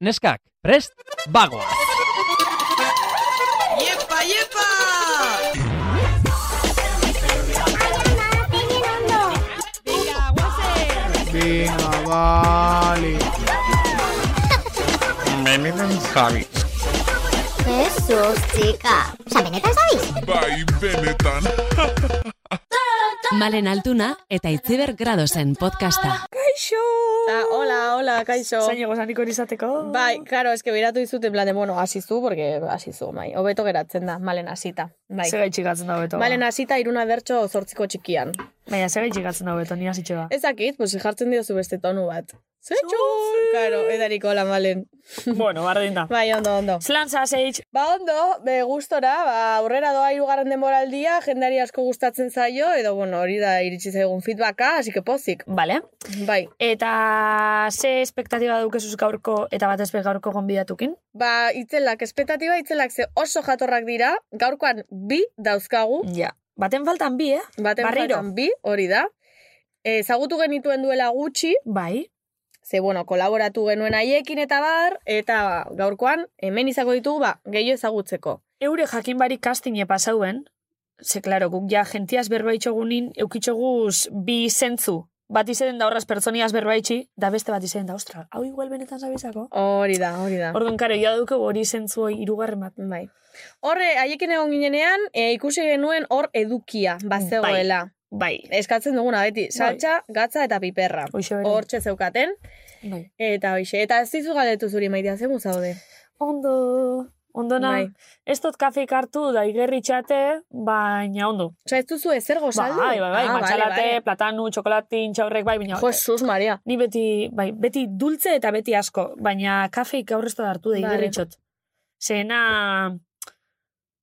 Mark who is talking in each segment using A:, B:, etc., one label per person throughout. A: Neskak, prest, bagoa!
B: Iepa, iepa!
C: Venga, vale.
D: Benetan zabi.
E: Jesus, txika. Osa, benetan zabiz?
D: Bai, benetan.
F: Malen Altuna eta Itziber Gradosen podcasta.
B: Ah, hola, hola, kaixo.
G: Zain egozan ikon izateko.
B: Bai, karo, eske biratu izute plan de, bueno, hasizu, porque hasizu, bai. Hobeto geratzen da, malen hasita. Bai.
G: Ze gaitxik atzen da beto.
B: Malen hasita iruna bertso zortziko txikian.
G: Baina, ze gaitxik atzen da beto, ni hasitxe ba.
B: Ez dakit, pues jartzen diozu beste tonu bat. Zetxo! Karo, edariko la malen.
G: bueno, barredin da.
B: Bai, ondo, ondo.
G: Zelan zaseitz,
B: Ba ondo, be gustora, ba aurrera doa hirugarren denboraldia, jendari asko gustatzen zaio edo bueno, hori da iritsi zaigun feedbacka, así que pozik.
G: Vale.
B: Bai.
G: Eta ze espektatiba dukezuz gaurko eta batez be gaurko gonbidatukin?
B: Ba, itzelak, espetatiba itzelak ze oso jatorrak dira, gaurkoan bi dauzkagu,
G: Ja. Baten faltan bi, eh?
B: baten
G: Barriro.
B: faltan bi, hori da. Ezagutu genituen duela gutxi,
G: Bai.
B: ze bueno, kolaboratu genuen haiekin eta bar, eta gaurkoan hemen izango ditugu ba, gehiago ezagutzeko.
G: Eure jakin barik castinge pasauen, ze klaro, guk ja gentiaz berbaitxogunin eukitxoguz bi zentzu. Bat izen da horraz pertsoniaz berbaitxi, da beste bat izen da, ostra, hau igual benetan zabizako.
B: Hori da, hori da.
G: Orduan, karo, ja duke hori zentzu hori irugarren bat.
B: Bai. Horre, haiekin egon ginenean, e, ikusi genuen hor edukia, bazegoela.
G: Bai.
B: Eskatzen duguna beti, saltsa, gatza eta piperra.
G: Hoxe bere.
B: Hortxe zeukaten,
G: Bai.
B: eta hoxe. Eta ez dizu galdetu zuri maitea, zemu zaude.
G: Ondo, ondo na.
B: Bai.
G: Ez dut kafeik hartu da igerri txate, baina ondo.
B: Osa, ez duzu ezer gozaldu?
G: Bai, bai, bai,
B: Ah,
G: matxalate,
B: bale,
G: platanu, txokolatin, txaurrek, bai, baina...
B: bale. Jesus, Maria.
G: Ni beti, bai, beti dultze eta beti asko, baina kafeik aurrezta da hartu da
B: Vale.
G: igerri txot. Zena...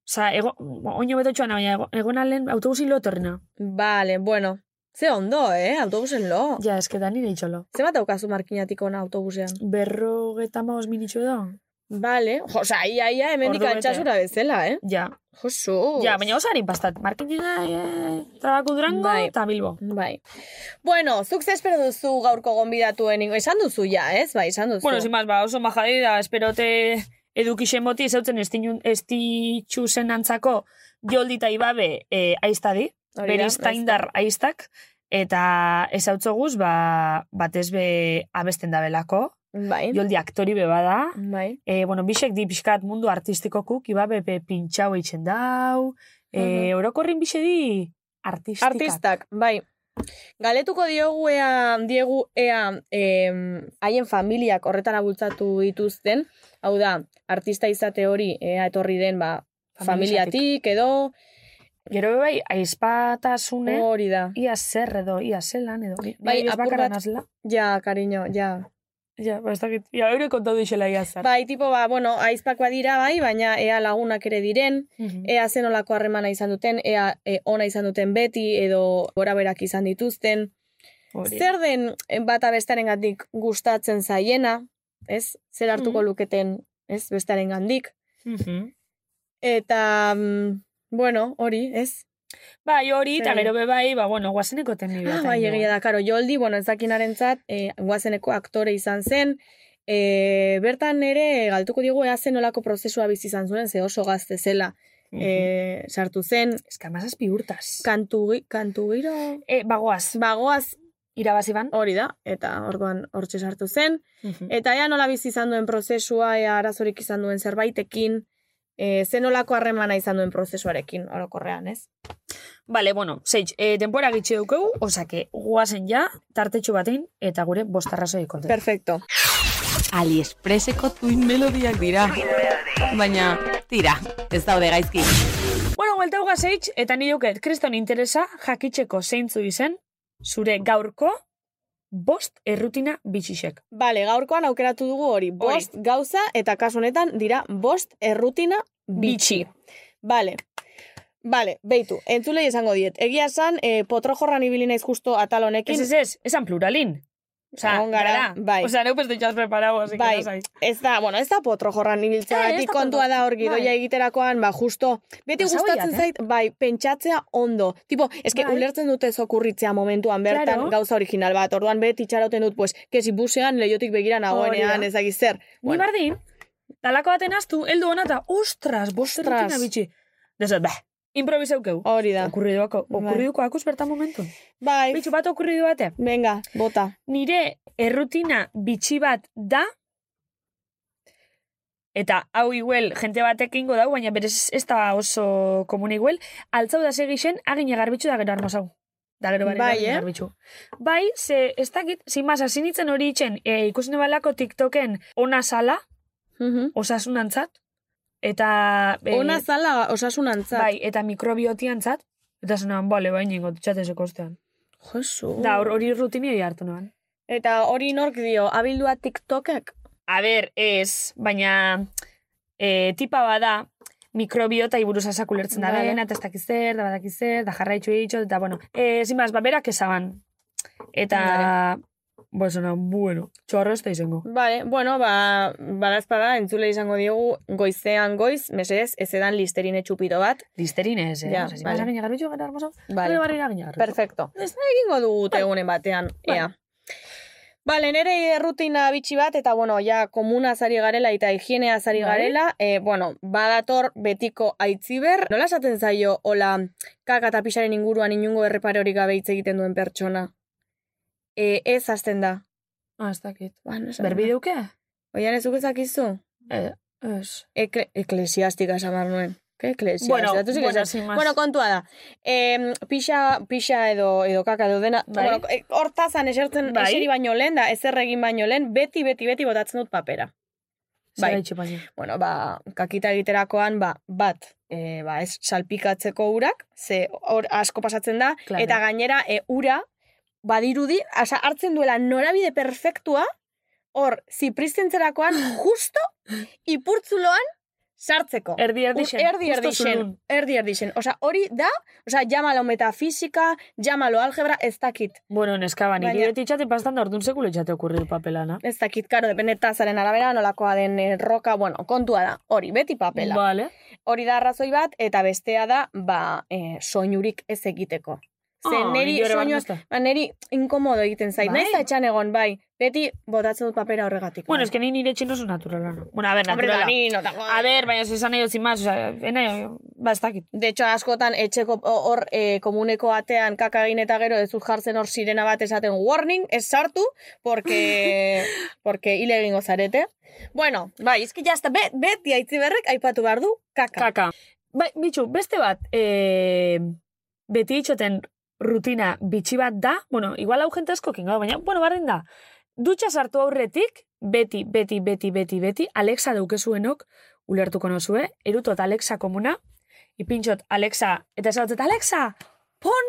G: Osa, ego, oino beto txoana, baina ego, egon alen autobusin lo etorrena.
B: Bale, bueno. Ze ondo, eh? Autobusen lo.
G: Ja, eske da nire itxolo.
B: Ze bat daukazu markinatik ona autobusean?
G: Berrogeta maoz minitxo da.
B: Bale. Osa, ia, ia, hemendik
G: Ordu bete.
B: altxasura bezala, eh?
G: Ja,
B: Josu.
G: ja baina osa harin pastat. Marketina, eh, trabaku durango
B: Bai.
G: eta bilbo.
B: Bai. Bueno, zuk ze espero duzu gaurko gonbidatuen ingo? Esan duzu ja, ez? Bai, esan duzu.
G: Bueno, sin más, ba, oso majadei da, esperote edukixen boti zeutzen estinun- estitxusen antzako joldi eta ibabe e, aiztadi,
B: Hori da,
G: beriztaindar aiztak, eta ezautzoguz, ba, batez be abesten da belako,
B: Bai.
G: joldi aktori beba da,
B: Bai.
G: e, bueno, bisek di pixkat mundu artistikokuk, ibabe be pintxau eitzen dau,
B: Mhm.
G: e, orokorrin bise di artistikak.
B: Artistak, bai. Galetuko diogu ea, diegu ea em, haien familiak horretara bultzatu dituzten, hau da, artista izate hori ea etorri den, ba, familiatik edo,
G: Gero be bai, aizpatasune,
B: hori da.
G: ia zer edo, ia zelan edo.
B: Oh. Bai,
G: Ni ez
B: apur
G: bakarra
B: bat-
G: nazela.
B: Ja, kariño, ja.
G: Ja, ba, ez dakit. Ja, eure kontau dixela ia zer.
B: Bai, tipo, ba, bueno, aizpak badira, bai, baina ea lagunak ere diren, ea zenolako harremana izan duten, ea e, ona izan duten beti, edo gora berak izan dituzten. Zer den eh, bata bestarengatik gustatzen zaiena, ez? Zer hartuko
G: Mhm.
B: luketen, ez? Bestarengandik. Eta, mm, bueno, hori, ez?
G: Bai, hori, eta
B: Zer?
G: gero be bai, ba, bueno, guazeneko ten nire.
B: Ah, bai, egia da, karo, joldi, bueno, ezakinarentzat eh, guazeneko aktore izan zen, eh, bertan ere galtuko digu ea zen olako prozesua bizi izan zuen, ze oso gazte zela
G: Mm-hmm.
B: eh, sartu zen,
G: bai. Mhm. Ez que amazazpi urtaz.
B: kantu, kantu giro,
G: E, bagoaz,
B: Ba- bagoaz
G: irabazi ban.
B: hori da, eta orduan hortxe sartu zen, Eta ea nola bizi izan duen prozesua, ea arazorik izan duen zerbaitekin, e, ze nolako harremana izan duen prozesuarekin, orokorrean, ez?
G: Vale, bueno, zeitz, e, denbora gitxe dukegu, osake, guazen ja, tartetxu batein, eta gure bostarrazoi konten.
B: Perfecto.
H: Aliexpreseko tuin melodiak dira. Baina, tira, ez daude gaizki.
G: Bueno, guelta huga zeitz, eta ni duket, kriston interesa, jakitzeko zeintzu izen, zure gaurko, bost errutina bitxisek.
B: Bale, gaurkoan aukeratu dugu hori, bost gauza eta kasu honetan dira bost errutina bitxi. Bale. Bale, beitu, eh, entzulei esango diet. Egia esan, e, potrojorran ibili naiz justo atal honekin.
G: Ez, ez, ez, esan pluralin. Osa,
B: Egon gara, bai.
G: Osa, neupes dutxas preparau, así
B: Bai.
G: que no zait.
B: Ez da, bueno, ez da potro jorran
G: Eh, ez
B: ibiltzeagatik
G: da
B: kontua
G: potro.
B: da hor gidoia
G: Bai.
B: egiterakoan, ba, justo. Beti
G: Pasau
B: gustatzen
G: biak, eh?
B: zait, bai, pentsatzea ondo. Tipo, eske
G: Bai.
B: ulertzen dute zokurritzea momentuan bertan
G: Claro.
B: gauza original bat. Orduan beti itxaroten dut, pues, kesi busean leiotik begira
G: Hori
B: nagoenean,
G: da.
B: ez dakiz zer.
G: Ni
B: Bueno,
G: bardin, talako baten aztu, heldu hona eta, ostras, bosterekin
B: Ostras.
G: abitxi. Dezat, bah, improvisaukeu.
B: hori da.
G: Okurriduako,
B: Bai.
G: okurriduko akuz bertan momentu.
B: Bai,
G: Bitxu bat okurridu bate.
B: venga, bota.
G: Nire errutina bitxi bat da, eta hau iguel, jente batek ingo dau, baina berez ez da oso komune iguel, altzau da segixen, agine garbitxu da gero armosau. Da gero bare
B: Bai,
G: bai,
B: eh?
G: garbitxu. Bai, ze ez dakit, zin basa, zinitzen hori itxen, e, ikusi nebalako TikToken ona zala,
B: Mhm.
G: osasunantzat, eta... eh,
B: Ona zala osasunantzat.
G: Bai, eta mikrobiotiantzat, eta zenan, bale, bain ingo, txatezeko ostean.
B: Jesu.
G: Da, hor- hori rutinio hartu noan.
B: Eta hori nork dio, abildua TikTokek?
G: A ber, ez, baina e, tipa bada mikrobiota iburuz asak ulertzen da
B: Vale.
G: bena, eta ez dakiz zer, da badakiz zer, da jarraitxu ditxot, eta bueno, e, zin baz, ba, berak esaban. Eta, pues, no, bueno, txorro ez da izango.
B: Bale, bueno, ba, badazpada entzule izango diogu goizean goiz, mesedez, ez edan listerine txupito bat.
G: Listerine ez, eh?
B: Ja,
G: Ja, Osa,
B: vale.
G: vale. Gara garbitxu, gara armosa, gara barri gara
B: perfecto. Ez da egingo dugu tegunen batean,
G: Bai.
B: ea. Bale, nere errutina bitxi bat, eta bueno, ja, komuna zari garela eta higienea zari
G: Bai.
B: garela, e, bueno, badator betiko aitziber, nola esaten zaio, hola, kaka eta pixaren inguruan inungo errepare hori gabe hitz egiten duen pertsona. E, ez hasten da.
G: Ah, ez dakit.
B: Ba, no esaten da.
G: Berbideuke?
B: Oian ezuk ezakizu?
G: Eh, ez.
B: Ekle, eklesiastika esamar nuen. Ke eklesiastika?
G: Bueno,
B: Tú sí que
G: bueno,
B: sabes.
G: sin más.
B: bueno, kontua da. Em, pixa, pixa edo, edo kaka edo dena.
G: Bai.
B: Bueno, e, hortazan esertzen
G: Bai.
B: eseri baino lehen da, ezer egin baino lehen, beti, beti, beti botatzen dut papera.
G: bai.
B: bai. Bueno, ba, kakita egiterakoan, ba, bat, e, ba, ez salpikatzeko urak, ze hor asko pasatzen da,
G: Claro.
B: eta gainera e, ura, badirudi, asa, hartzen duela norabide perfektua, hor, zipristentzerakoan, justo, ipurtzuloan, sartzeko.
G: Erdi, erdi,
B: Ur-
G: xen.
B: erdi
G: Justo
B: erdi
G: zulun.
B: xen, erdi erdi xen. Osa, hori da, osa, llámalo metafisika, llámalo algebra, ez dakit.
G: Bueno, neskaba, niri
B: Baina-
G: beti itxaten pastan da orduan sekulo itxate okurri papelana.
B: Ez dakit, karo, depende tazaren arabera, nolakoa den eh, roka, bueno, kontua da, hori, beti papela.
G: Vale.
B: Hori da arrazoi bat, eta bestea da, ba, eh, soinurik ez egiteko. Ze
G: Ah,
B: neri
G: nire barne
B: soinua,
G: ez da.
B: ba, neri inkomodo egiten zait.
G: Bai.
B: Naiz da etxan egon, bai, beti botatzen dut papera horregatik.
G: Bueno, es que ni nire etxin oso naturala. No? Bueno, a ver,
B: Hombre, ba,
G: naturala.
B: ni no dago.
G: A ver, baina ez esan nahi dut zin maz, oza, ena, ba, ez dakit.
B: De hecho, askotan etxeko hor eh, komuneko atean kaka egin eta gero ez dut jartzen hor sirena bat esaten warning, ez sartu, porque, porque hile egingo zarete. Bueno, bai, izki jazta, be, beti aitzi berrek aipatu behar du kaka.
G: Kaka. Bai, bitxu, beste bat, eh, beti itxoten rutina bitxi bat da, bueno, igual hau jente asko kingo, baina, bueno, barren da, dutxa sartu aurretik, beti, beti, beti, beti, beti, Alexa daukezuenok, ulertuko nozue, erutot Alexa komuna, ipintxot Alexa, eta esatzen, Alexa, pon!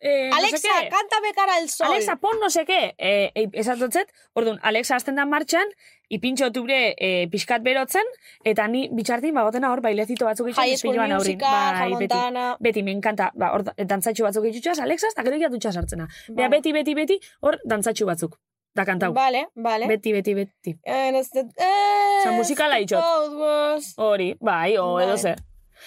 G: Eh, no sé
B: Alexa,
G: qué".
B: cántame cara al sol.
G: Alexa, pon no seke, e, e, esatotzet, orduan, Alexa hasten da martxan, ipintxo gure e, pixkat berotzen, eta ni bitxartin bagotena hor bailezito batzuk egiten
B: High School
G: ispiluan
B: Musical, Hannah
G: Bai, beti,
B: Montana.
G: beti, me encanta, ba, hor, dantzatxu batzuk egitutxaz, Alexa, eta gero dutxa sartzena.
B: bai.
G: Bea, beti, beti, beti, hor dantzatxu batzuk, da kantau.
B: Vale, vale.
G: Beti, beti, beti.
B: And it's the
G: Osea, musikala itxot.
B: Old Wars.
G: Hori, bai, o, edo
B: Bai.
G: zer.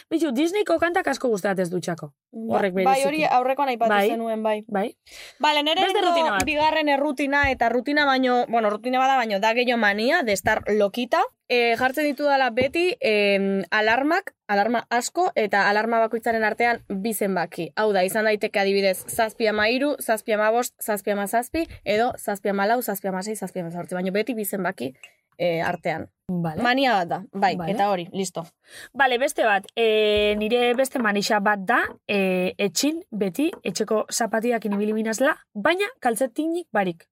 G: Bitxu, Disneyko kantak asko gustatez dutxako. Horrek
B: Bai, hori
G: bereziki.
B: aurrekoan aipatu
G: Bai.
B: zenuen, bai.
G: Bai?
B: Bale, nire
G: Beste
B: lehenko
G: rutina bat.
B: bigarren errutina eta rutina baino, bueno, rutina bada baino da gehiago mania, de estar lokita. E, jartzen ditu dela beti em, alarmak, alarma asko, eta alarma bakoitzaren artean bi zenbaki. Hau da, izan daiteke adibidez, zazpi ama iru, zazpi ama bost, zazpi ama zazpi, edo zazpi ama lau, zazpi ama sei, zazpi ama zortzi, baino beti bi zenbaki e, artean.
G: Vale.
B: Mania bat da, bai,
G: Vale.
B: eta hori, listo.
G: Bale, beste bat, e, nire beste manixa bat da, e, etxin beti etxeko zapatiak inibili binazla, baina kaltzetinik barik.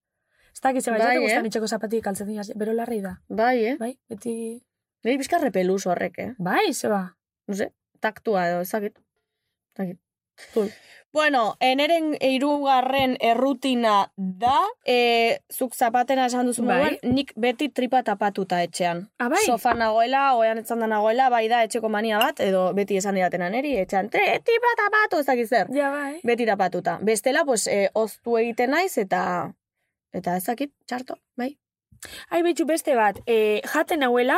G: Ez dakit zeba,
B: Bai,
G: bai,
B: eh?
G: gustan etxeko zapatiak kaltzetinik, bero larri da.
B: Bai, eh?
G: Bai, beti...
B: Nire bizka repeluz horrek, eh?
G: Bai, zeba.
B: no sé, taktua edo, ezakit. Ezakit. Bueno, eneren irugarren errutina da, e, zuk zapatena esan duzu
G: Bai.
B: moduan, nik beti tripa tapatuta etxean.
G: Ah, bai?
B: Sofa nagoela, oean etzan da nagoela, bai da etxeko mania bat, edo beti esan didatena neri, etxean, "Tri- tripa tapatu, ezakit zer.
G: Ja, bai.
B: Beti tapatuta. Bestela, pues, e, oztu egiten naiz, eta Eta ez dakit, txarto, bai?
G: Ai, betxu beste bat, e, jaten hauela,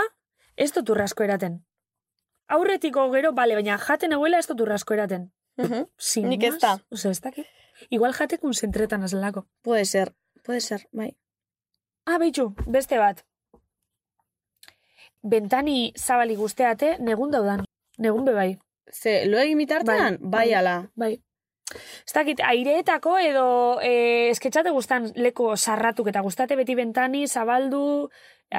G: ez dut urrasko eraten. Aurretiko gero, bale, baina jaten hauela ez dut urrasko eraten.
B: Ujú.
G: Sin
B: Nik ez
G: más.
B: da.
G: Osea, ez dakit. Igual jatekun zentretan azalako.
B: Puede ser, puede ser, bai.
G: Ah, betxu, beste bat. Bentani zabali guzteate, negun daudan. Negun be bai.
B: Ze, lo egin bitartean?
G: Bai,
B: Bai,
G: bai.
B: ala.
G: Bai. Ez dakit, aireetako edo e, esketxate gustan leko sarratuk eta gustate beti bentani, zabaldu,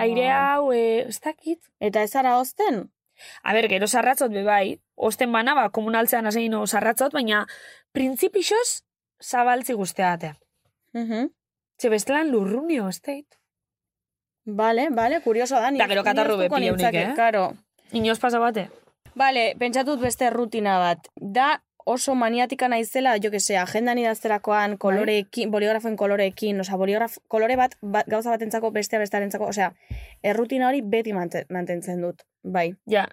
G: aire hau, e, ez dakit.
B: Eta ez ara hozten?
G: A ber, gero sarratzot be bai, osten bana, ba, komunaltzean azein sarratzot, baina printzipixoz zabaltzi guzteatea.
B: Mhm.
G: Txe, bestelan lurrunio, ez dakit.
B: Vale, vale, kurioso da. ni-
G: Eta gero
B: ni
G: katarro
B: gustuko
G: be pila unik,
B: nintzake,
G: eh?
B: Karo.
G: Inoz pasa bate.
B: Vale, pentsatut beste rutina bat. Da oso maniatika naizela, jo que se, agendan
G: Bai.
B: idazterakoan, koloreekin, boligrafoen koloreekin, osea, boligraf, kolore bat, bat gauza batentzako, bestea bestarentzako, osea, errutina hori beti mante- mantentzen dut, bai.
G: Ja,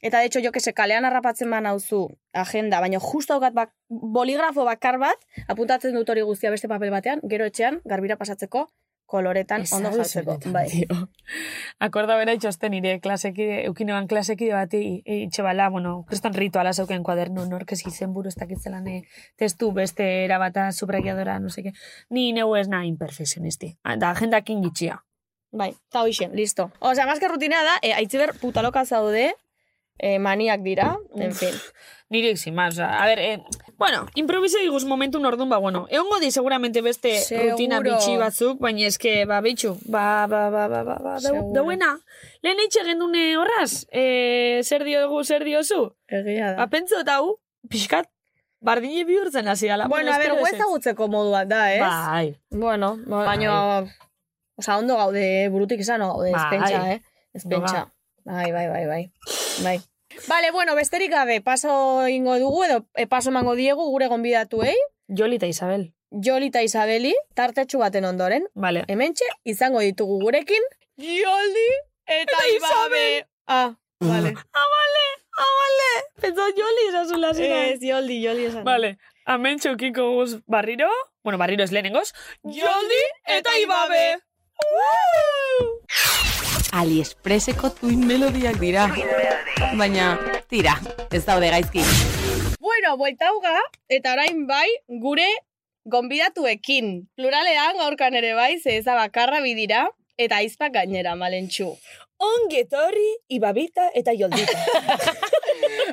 B: Eta, de hecho, jo que se, kalean harrapatzen ban hauzu agenda, baina justo daukat bak, boligrafo bakar bat, apuntatzen dut hori guztia beste papel batean, gero etxean, garbira pasatzeko, koloretan
G: Ez
B: ondo
G: zaudez
B: jartzeko,
G: honetan,
B: bai.
G: tio. Akorda bera itxosten nire klasekide, eukinoan klasekide bati i- itxebala, bueno, kriston rituala zeuken kuadernu, norkes izen buru ez dakitzelan eh, testu beste erabata subrakiadora, no seke. Ni neu ez nahi imperfekzionisti. Ah, Da agendakin gitxia.
B: Bai, eta hoxe, listo. Osea, más que rutina da, e, aitziber putaloka zaude, e, maniak dira, en fin.
G: Nire exima, oza, a ber, eh, bueno, improviso diguz momentu nordun, ba, bueno, egongo di seguramente beste
B: Seguro.
G: rutina bitxi batzuk, baina eske, ba, bitxu, ba, ba, ba, ba, ba, ba, dau-
B: Seguro.
G: dauena, lehen eitxe gendune horraz, eh, zer diogu, zer diozu?
B: Egia
G: Ba, pentsa eta hau, pixkat, bardine bihurtzen hasi ala.
B: Bueno, a ver,
G: espero
B: gu
G: ezetz.
B: ezagutzeko modua da, ez?
G: Bai,
B: Bueno, baina, osea, ondo gaude, eh, burutik esan, no gaude, ez
G: Bai.
B: pentsa, eh? Ez
G: Ondo
B: pentsa. Bai, bai, bai, bai. Bai. Vale, bueno, besterik gabe, paso ingo dugu, edo eh, paso emango diegu gure gonbidatuei,
G: Joli eta Isabel.
B: Joli eta Isabeli, tartetxu baten ondoren,
G: Vale.
B: hementxe izango ditugu gurekin Joldi eta Ibabe. Ah, vale. ah,
G: Amale, amale, pentsa Joli esazula zira.
B: Ez, Joldi, Joldi esan.
G: Vale, amen txukiko guz barriro, bueno, barriro ez lehenengoz, Joldi eta Ibabe. Woo!
H: Aliexpreseko tuin melodiak dira. Baina, tira, ez daude gaizki.
B: Bueno, bueltauga, eta orain bai, gure gonbidatuekin. Pluralean gaurkan ere bai, ze ez da bakarra bidira, eta aizpak gainera, malentxu.
G: Ongi etorri, Ibabita eta Joldita.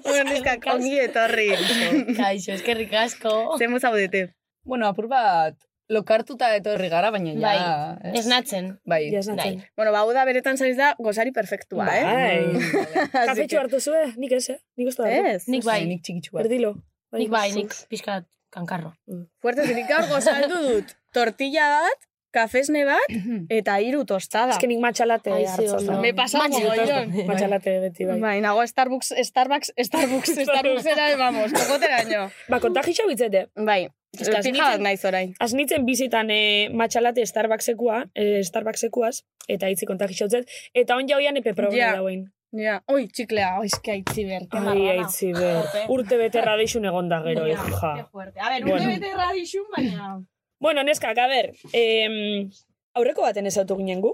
B: Hornizkak, ongi etorri.
I: Kaixo, eskerrik asko.
B: Zemu zaudete.
I: Bueno, apur bat, lokartuta etorri gara, baina ja...
G: Ah,
J: Bai,
I: ez?
J: esnatzen.
I: Bai.
G: Jasatzen.
B: Bueno, ba, hau da beretan zaiz da gozari perfektua,
G: Bai.
B: eh? Así
G: Kafetxu
B: que-
G: Ah, hartu zue, nik ez, eh? nik ez da. hartu.
B: Ez.
J: Nik bai,
I: Nik txikitxu bat.
G: Erdilo.
J: nik bai, nik pixka bat kankarro.
B: Fuerte, zirik gaur gozaldu dut. Tortilla bat, kafesne bat, eta hiru tostada.
G: Ez que nik matxalate
J: Ai, ze
G: hartzaz.
J: ondo.
B: Me pasa un mogollón.
G: Matxalate beti, bai.
B: Bai, nago Starbucks, Starbucks, Starbucks, Starbucks era, vamos, kokoteraino.
G: Ba, kontagixo bitzete.
B: Bai,
G: Eska,
B: pija bat naiz orain.
G: Asnitzen bizitan e, matxalate Starbucksekua, e, Starbucksekuaz, eta itzi kontagixo bitzet, eta on jauian epe programa
B: Ja.
G: yeah. dauen.
B: Ja, oi, txiklea, oi, eske aitzi ber.
J: Ai,
G: Ai, aitzi ber. Urte bete radixun egon da gero, hija.
B: A ber,
G: Bueno.
B: bete radixun, baina...
G: Bueno, neskak, a ber, em, aurreko baten ezautu ginen gu.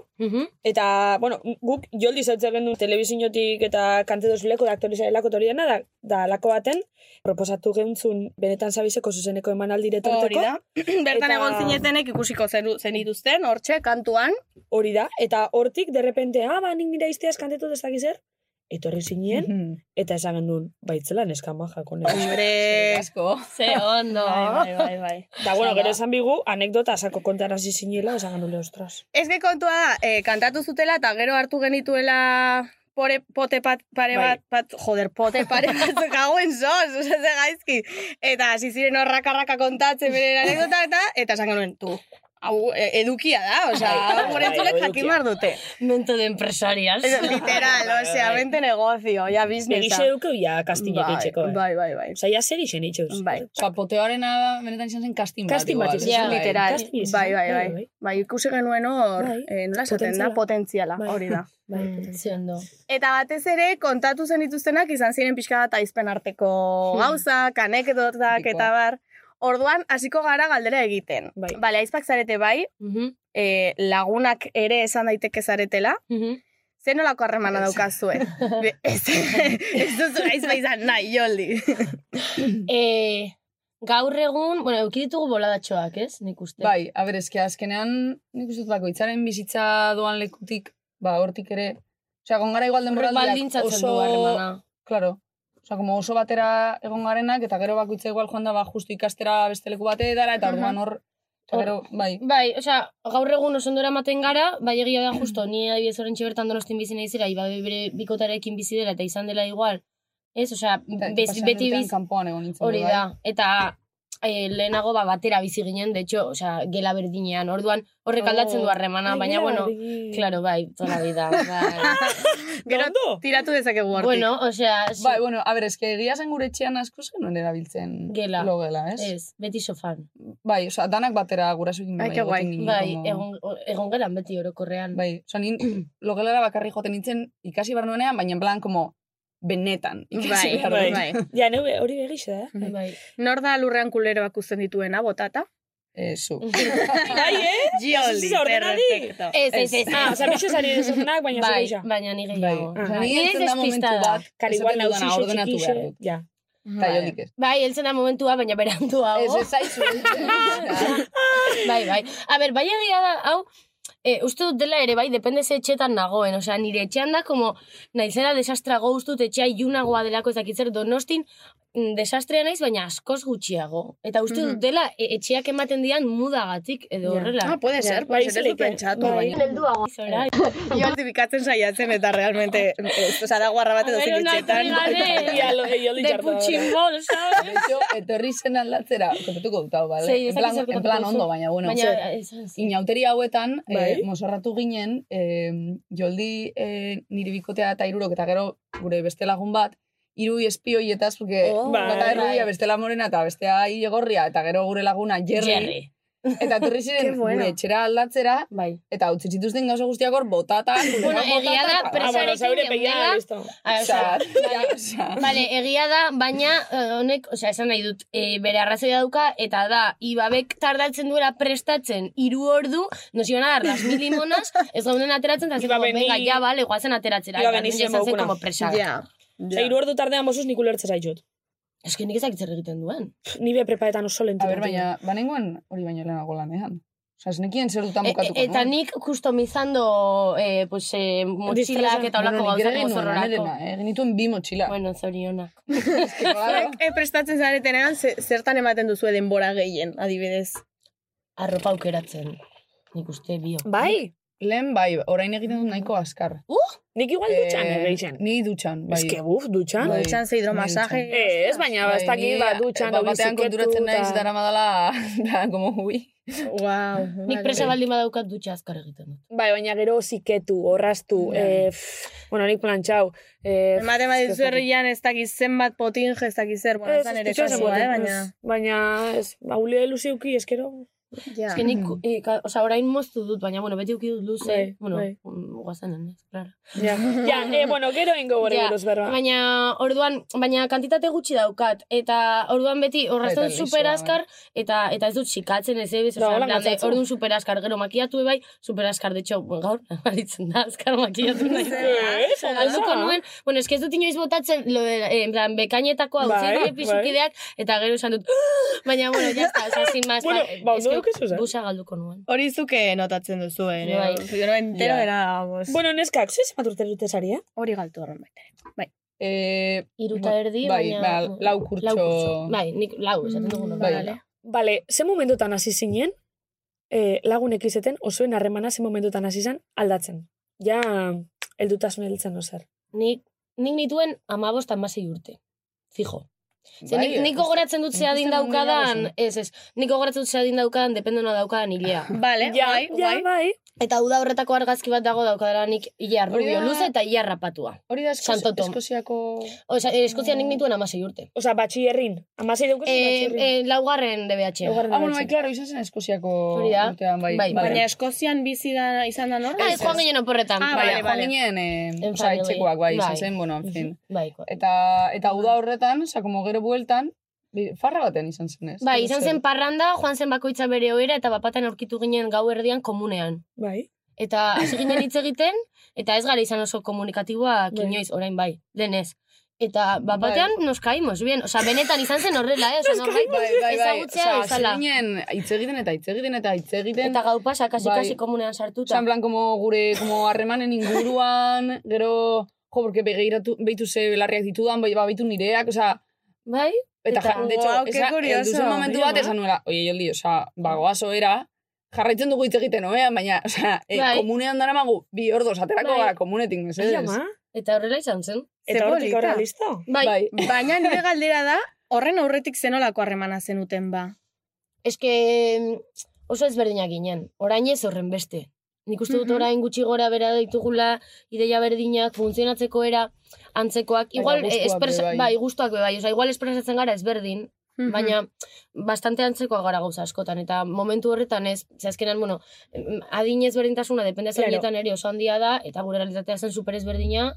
G: Eta, bueno, guk joldi zautze gendu telebizinotik eta kante dozuleko da aktorizarelako tori dena, da, da lako baten, proposatu gentzun benetan zabizeko zuzeneko emanaldi
B: Hori da. Bertan
G: Eta-
B: egon zinetenek ikusiko zen, zenituzten, hortxe, kantuan.
G: Hori da, eta hortik derrepente, ah, ba, nik nire izteaz kantetut ez dakiz zer, etorri
B: Mhm.
G: zinien,
J: Hmm.
G: eta esan gendun, baitzela neska maja, kone.
B: Hombre,
I: Asko.
J: Ze ondo.
B: bai, bai, bai.
G: Da, bueno, gero esan bigu, anekdota sako kontan hasi zinela, esan gendun, ostras.
B: Ez que kontua da, eh, kantatu zutela eta gero hartu genituela pore, pote pat, pare
G: Bai.
B: bat, pat, joder, pote pare bat gauen soz, oza, ze gaizki. Eta hasi ziren horrakarraka kontatzen beren anekdota eta, eta esan genuen, tu, hau e- edukia da, oza,
G: Bai,
B: hau gure entzulek jakin behar dute.
J: Mento de empresarias.
G: bai,
B: Ez, literal, osea, mente negozio, ja
G: Egixe
B: biznesa.
G: duke ja kastineko
B: Bai,
G: itxeko, eh?
B: Bai, bai, bai.
G: Osa, ja zer izen itxeuz.
B: Bai.
I: Osa,
J: Ba,
I: poteoaren benetan izan zen kastin bat.
G: Casting bat
I: igual,
G: izan
I: ez?
J: zen,
I: Bai.
B: Literal,
G: Ikasi izan,
B: bai, bai,
G: bai,
B: bai.
G: bai.
B: Bai, ikusi genuen hor,
G: Bai.
B: eh, nola esaten da, potentziala,
G: Potentziala. Bai.
B: hori da.
G: Bai.
J: Mm, Ze ondo.
B: Eta batez ere, kontatu zen dituztenak izan ziren pixka bat aizpen arteko gauzak, anekdotak
I: Tipikoa.
B: eta bar. Orduan, hasiko gara galdera egiten.
G: Bai.
B: Bale, aizpak zarete bai,
J: Mhm.
B: eh, lagunak ere esan daiteke zaretela,
J: Mhm.
B: Zer nolako harremana daukazue? Be- ez, ez duzu gaiz baizan nahi, joldi.
J: Eh, gaur egun, bueno, eukiditugu boladatxoak, ez? Nik uste.
I: Bai, a ber, eske azkenean, nik uste dut bakoitzaren bizitza doan lekutik, ba, hortik ere, osea, egon gara igual
J: Horrek
I: denboraldiak
J: baldintzatzen du harremana.
I: Claro. Osea, como oso batera egon garenak, eta gero bakoitza igual joan da, ba, justu ikastera beste leku batetara, eta orduan hor, eta
J: Hor-
I: gero, bai,
J: Bai, osea, gaur egun oso ondora ematen gara, bai egia da justo, ni adibidez orentxe bertan donostin bizi naizera, iba bere bikotarekin bizi dela eta izan dela igual. Ez, osea,
I: eta
J: bez,
I: pasaden
J: beti
I: urtean
J: biz,
I: kanpoan egon nintzen.
J: hori
I: bai.
J: da. Eta e, lehenago ba, batera bizi ginen, de hecho, osea, gela berdinean, orduan horrek aldatzen du harremana, baina bueno, claro, bai, toda la vida. Bai.
B: Gero tiratu dezakegu hortik.
J: bueno, osea, ez-
I: Bai, bueno, a ber, eske egia esan gure etxean asko zen non erabiltzen
J: Gela.
I: logela, ez?
J: ez, beti sofan.
I: Bai, osea, danak batera gurasoekin
B: Ai,
I: bai,
B: ke
I: egoten
B: guai.
I: ginen
J: Bai,
I: como-
J: egon, egon gelan beti orokorrean.
I: Bai, osea, nin logelara bakarri joten nintzen ikasi behar nuenean, baina en plan, como, benetan ikasi
B: Bai,
I: behar
B: bai.
I: nuen.
G: Ja, neu hori eh. begixe da.
B: Bai.
J: Bai.
B: Nor da lurrean kuleroak uzten dituena, botata?
I: Eh, zu.
G: Bai, eh?
B: Gioldi,
G: Ez, ez, ordenari.
B: perfecto.
J: Ez, ez, ez.
G: Ah, oza, bitxo zari desunak, baina
J: Bai,
G: zure
J: baina ni
I: Bai,
J: gehiago.
I: osea, ni
J: Ni ez
I: heltzen da momentu
J: despistada.
I: bat,
G: Kar
I: esaten
G: igual
I: dudana,
G: nauzixe,
I: ordenatu behar
G: txikixe.
I: dut.
G: Ja.
I: Eta jodik ez.
J: Bai, heltzen da momentua, baina
I: Ez,
J: berandu hau.
I: ez zaizu.
J: bai, bai. A ber, bai egia da, hau, e, uste dut dela ere, bai, depende ze etxetan nagoen. Osea, nire etxean da, como, naizela desastrago uste dut etxea iunagoa delako ezakitzer donostin, mm, desastrea naiz, baina askoz gutxiago. Eta uste dut dela, e, etxeak ematen dian mudagatik, edo
G: Ja.
J: horrela.
B: Ah, puede ser,
G: Bai,
B: puede ser, ez du
G: zeleke.
B: pentsatu,
G: Bai.
B: baina.
J: Zora,
B: Jo altifikatzen saiatzen eta realmente, ez, oza, da guarra bat edo
J: Pero no
B: zikitxetan.
J: frigade.
G: Ia, lo- ia,
J: de
G: litzartu.
J: putximbol, ¿sabes?
I: De hecho, etorri zen aldatzera, kopetuko dut hau, bale?
J: Sei, ez
I: en plan,
J: dakit zer
I: en plan
J: kontatuko
I: ondo,
J: duzu.
I: baina, bueno.
J: Baina, eh, esan zen.
I: Inauteri hauetan,
G: Bai.
I: eh, mozorratu ginen, eh, joldi eh, nire bikotea eta irurok eta gero gure beste lagun bat, hiru espio hietaz, porque
B: Oh,
I: bata
G: bai.
I: errubia, bestela morena eta bestea ilegorria, eta gero gure laguna Jerry.
J: Jerry.
I: Eta etorri
B: Qué
I: ziren
B: bueno.
I: gure etxera aldatzera,
J: Bai.
I: eta utzi zituzten gauza guztiak hor botata,
J: Bueno,
I: bueno,
J: egia
I: botata.
J: da, pres-
G: Ah, bueno, zaure
J: Presarekin
G: pegia, listo.
J: A,
I: Ah,
J: osea,
I: osea, ja, osea.
J: Bale, egia da, baina eh, honek, osea, esan nahi dut, eh, bere arrazoia dauka, eta da, ibabek tardatzen duela prestatzen hiru ordu, nos iban a dar las mil limonas, ez gauden ateratzen, eta zeko,
G: Ibabe ni-
J: venga, ja, bale, guazen ateratzera.
G: Ibabe
J: Eta
G: ni
J: nire izan
G: zen
J: zen
G: baukuna.
J: como presaka.
B: Ja.
G: Oza, iru ordu tardean bosuz nik ulertze zaitut.
J: Ez que nik ezakit zer egiten duen.
G: Ni be prepaetan oso lentu.
I: A ber, baina, banengoen hori baino lehenago lanean. Osea, ez nekien zer dutan
J: E,
I: bukatuko.
J: e- eta nik customizando eh, pues, eh, motxilak
G: Disfraza.
J: eta holako
I: nik ere
J: gauzak
I: genuen
J: mozorrorako.
I: lanerena, eh, genituen bi motxila.
J: Bueno, zorionak.
I: Claro.
B: Zuek, eh, prestatzen zaretenean, ze- zertan ematen duzu denbora gehien, adibidez.
J: Arropa aukeratzen. Nik uste bio.
G: Bai,
I: Lehen bai, orain egiten dut nahiko azkar.
G: nik igual dutxan
I: Eh,
G: egeitzen.
I: Ni dutxan, bai.
G: Eske buf, dutxan.
I: Bai.
B: Dutxan ze hidromasaje.
I: Bai,
G: Ez, baina ez dakit,
I: ni,
G: ba, dutxan,
I: ba,
G: hori
I: batean
G: ziketu
I: konturatzen naiz
G: eta-
I: dara madala, da, como hui.
B: eh, Wow.
J: Nik presa baldin badaukat dutxa azkar egiten dut.
G: Bai, baina gero ziketu, horraztu,
I: Ja.
G: eh, pff, bueno, nik plantxau. Eh, pff,
B: Ematen
G: eske
B: badizu herrian ez dakiz zenbat potinge ez dakiz zer, bueno,
G: Ez,
B: ez da nere
G: ez dutxan
B: kasua,
G: zen
B: eh,
G: baten,
B: baina...
G: ez. Baina, ez, ba, ulea luziuki, eskero.
B: Ja.
J: Ez que nik, e, ka, oza, orain moztu dut, baina, bueno, beti uki dut luze,
G: Bai,
J: bueno,
G: bai.
J: mm, guazenen, ez, klaro.
G: Ja, ja, eh, bueno, gero ingo gore
J: Ja,
G: buruz berba.
J: Baina, orduan, baina kantitate gutxi daukat, eta orduan beti
I: Eta
J: horrazten
I: lisoa,
J: super azkar, eta, eta ez dut sikatzen ez ebez,
G: Da, bai.
J: oza,
G: Ba, hola
J: plan, de,
G: gatzatzu.
J: orduan super azkar, gero makiatu ebai, super azkar, de hecho, bueno, gaur, aritzen da, azkar makiatu nahi
G: Eh, Ez,
J: Galduko
G: ondo.
J: nuen, bueno, eske ez dut inoiz botatzen, lo de, eh, en plan, bekainetako hau,
G: Bai,
J: bai,
G: bai.
J: pisukideak, eta gero esan dut, baina, bueno, ya está, oza, sin más,
G: Bueno,
J: pa-
G: ba,
J: eske
G: ondo dukezu, zer?
J: busa galduko nuen.
B: Hori zuke notatzen duzu, eh?
J: Bai.
B: Yo no entero
I: Ja.
B: era, vamos.
G: Bueno, neskak, zuz maturte dute eh? saria?
B: Hori galtu horren baita.
I: Eh,
J: Iruta erdi,
I: bai,
J: baina...
I: ba, lau kurtso.
J: Bai, nik lau, esaten dugun.
I: Bai.
G: Bale, ze momentutan hasi zinen, eh, lagunek izeten, osoen harremana ze momentutan hasi zen, aldatzen. Ja, eldutasun heltzen ozer.
J: Nik, nik nituen amabost amasei urte. Fijo. Ze,
I: bai,
J: nik, nik gogoratzen dut
I: ikusten
J: zeadin
I: nuen
J: daukadan,
I: jala
J: ez ez, nik gogoratzen dut zeadin daukadan, dependena daukadan hilea.
B: Vale,
G: ja,
B: bai,
G: ja,
B: bai.
G: bai.
J: Eta uda horretako argazki bat dago daukadala nik hile
I: Hori
J: arbubio
I: da-
J: luze eta hile arrapatua.
I: Hori da Eskozi-
J: Santo Tom.
I: Eskoziako...
J: Osa, eh, Eskozia
I: Bai.
J: nik nituen amasei urte.
G: Osa, batxillerrin. Amasei dugu
J: E, e, laugarren DBH.
G: Laugarren.
I: Ah, bueno, bai, klaro, izan zen Eskoziako
J: Hori da.
I: urtean, bai.
J: Bai,
I: bale.
B: Baina Eskozian bizi da izan da norra?
J: Ah, ez joan ginen oporretan.
B: Ah,
I: Bai,
B: Bale,
I: joan
B: bale.
I: ginen, eh,
J: En
I: osea,
J: familia.
I: etxekoak, bai, izan
J: Bai.
I: zen, bueno, en fin.
J: Bai, ko-
I: Eta, eta uda horretan, oza, como gero bueltan, bi- farra batean izan zen, ez?
J: Bai, izan zen parranda, joan zen bakoitza bere ohera, eta bapatan aurkitu ginen gau erdian komunean.
I: Bai.
J: Eta hasi ginen hitz egiten, eta ez gara izan oso komunikatiboak
I: Bai.
J: inoiz, orain bai, denez. Eta bapatean nos caímos, bien. Osa, benetan izan zen horrela, eh? Osa, norbait
I: Bai, bai, bai.
J: ezagutzea
I: Osea,
J: bezala.
I: hasi ginen hitz egiten eta hitz egiten eta hitz egiten.
J: Eta gau pasa, kasi,
I: Bai.
J: kasi komunean sartuta.
I: Osea, en plan, como gure como harremanen inguruan, gero, jo, porque begeiratu, beitu ze belarriak ditudan, bai, ba, beitu nireak, osea,
J: Bai?
I: eta,
J: Eta-
I: ja, de hecho,
B: Guau, qué
I: esa,
B: curioso.
I: heldu zen momentu bat,
J: Bien,
I: esan nuela, oie, joldi, osea, bagoaz ohera, jarraitzen dugu hitz egiten, oean, baina, osea, e,
J: Bai.
I: komunean dara magu, bi ordoz, aterako
J: Bai.
I: gara komunetik, mesedez.
J: Eta horrela izan zen.
B: Ze polita.
J: Bai,
I: Bai,
B: Baina nire galdera da, horren aurretik zenolako harremana zenuten ba.
J: eske mm, oso ezberdinak ginen. Orain ez horren beste. Nik uste dut
B: Mhm.
J: orain gutxi gora bera ditugula, ideia berdinak, funtzionatzeko era, antzekoak. Igual,
I: gustuak
J: eh, espresa,
I: be bai.
J: bai, gustuak be bai. Osa, igual espresatzen gara ezberdin, baina bastante antzekoak gara gauza askotan. Eta momentu horretan ez, ze azkenan, bueno, mm, adin ezberdintasuna, depende
G: Claro.
J: zailetan ere oso handia da, eta gure realitatea zen super ezberdina,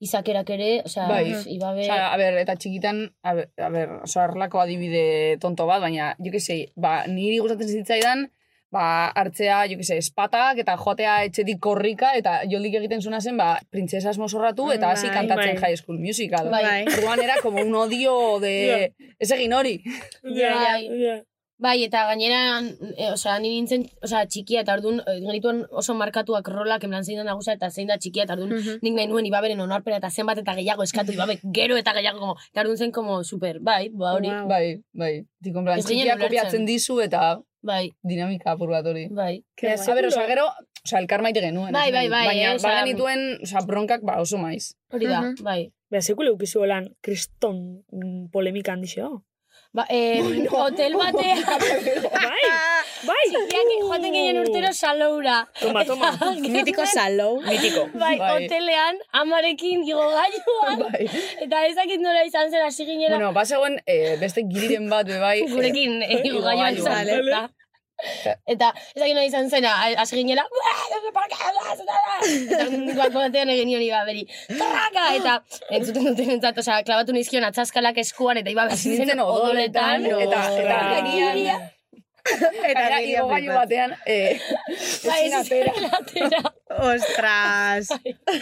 J: izakerak ere, osea,
I: Bai.
J: ibabe...
I: Osa, a ber, eta txikitan, a ber, a ber oso arlako adibide tonto bat, baina, jo que sei, ba, niri gustatzen zitzaidan, ba, hartzea, jo que sei, espatak, eta joatea etxetik korrika, eta joldik egiten zuna zen, ba, printzesas mozorratu, eta hasi
B: Bai,
I: kantatzen
G: bai.
I: High School Musical.
J: Bai.
I: Orduan era como un odio de... Ez egin hori.
J: Bai. Bai, eta gainera, e, osea, ni nintzen, osea, txikia eta orduan, e, genituen oso markatuak rolak, emlan zein da nagusa eta zein da txikia, eta orduan,
B: Mhm.
J: nik nahi nuen ibaberen onarpena eta zenbat eta gehiago eskatu, ibabe gero eta gehiago, como, eta orduan zen, como, super, bai, ba, hori,
B: Wow.
I: Bai, bai. Tikon plan,
J: Ez ginen
I: txikia
J: ulertzen.
I: kopiatzen dizu, eta
J: bai,
I: dinamika apur bat hori.
J: bai.
B: Qué
I: A ber, osa, gero, osa, elkar maite genuen.
J: Bai,
I: esan
J: bai,
I: dut.
J: bai, eh,
I: Baina,
J: osea-
I: bagenituen, osa, bronkak, ba, oso maiz.
J: Hori da,
B: Mhm.
J: bai.
G: Beha, sekule ukizu holan, kriston mm, polemika handixeo.
J: Ba, eh, hotel batean,
G: bai, bai.
J: txikiak joaten ginen urtero saloura.
G: Toma, toma.
B: Mitiko salou.
G: Mitiko.
J: Bai,
I: Bai.
J: hotelean, amarekin, digo gailuan,
I: bai.
J: eta ezakit nola izan zen, hasi ginela,
I: Bueno, bazegoen eh, beste giriren bat be bai. eh,
J: gurekin
I: Igo
J: igogailuan
I: gailuan,
J: izan.
B: bale.
J: Eta, eta ez dakit nola izan zena, hasi ginela, "Buah, ez dakit por qué, buah, ez dakit." eta nik bat batean egin nion ibaberi, torraka, eta entzuten duten entzat, osea, klabatu nizkion atzaskalak eskuan, eta iba
I: Hasi
J: hasi
I: nintzen odoletan,
J: odoletan,
I: eta, eta,
J: Eta giria,
I: agian-
J: Bai,
I: eta
B: giria
I: igogailu
B: flipat.
I: batean, eh,
J: ba,
I: ezin
J: ez
I: atera.
J: zen atera.
B: Ostras.
J: Bai.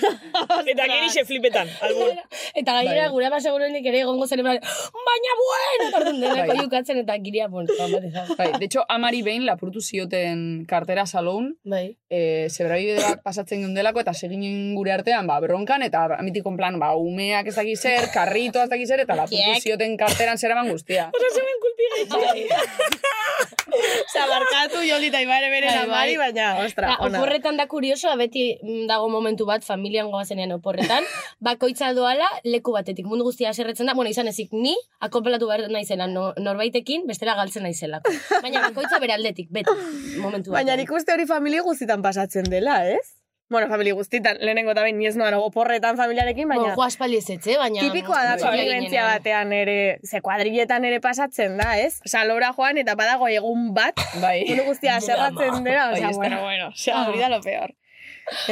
G: Eta gerixe flipetan. albur.
J: Eta gainera
I: Bai.
J: gure ama seguruenik ere egongo zen, en plan, baina bueno, eta orduan denako
I: Bai.
J: jukatzen, eta giria, bueno, ba, bat
I: Bai, de hecho, amari behin lapurtu zioten kartera saloun,
J: Bai.
I: eh, zebrabide bat pasatzen geundelako, eta seginen gure artean, ba, bronkan, eta mitikon plan, ba, umeak ez dakiz zer, karritoa ez dakiz zer, eta lapurtu
J: Kiek.
I: zioten karteran zeraman guztia.
B: Zabarkatu jolita ibare bere
J: Bai,
B: amari,
J: bai.
B: baina, ostra,
J: Ta,
B: ona.
J: oporretan da kuriosoa, beti mm, dago momentu bat, familian goazenean oporretan, bakoitza doala leku batetik. Mundu guztia aserretzen da, bueno, izan ezik ni, akonpelatu behar naizela no, norbaitekin, bestera galtzen naizelako. Baina bakoitza bere aldetik, beti, momentu bat.
B: Baina nik uste hori familia guztitan pasatzen dela, ez? Bueno, familia guztitan, lehenengo eta behin, ni ez noan oporretan familiarekin, baina...
J: Ba, Jo, Bai. aspaldi ez etxe, baina...
B: Tipikoa da
J: Txikia
B: konbibentzia
J: ginen,
B: batean ere, ze kuadrilletan ere pasatzen da, ez? Salora joan eta badago egun bat,
I: Bai.
B: mundu guztia aserratzen dela,
I: Ahí
B: osea,
I: está.
B: bueno, bueno, osea, hori da lo peor.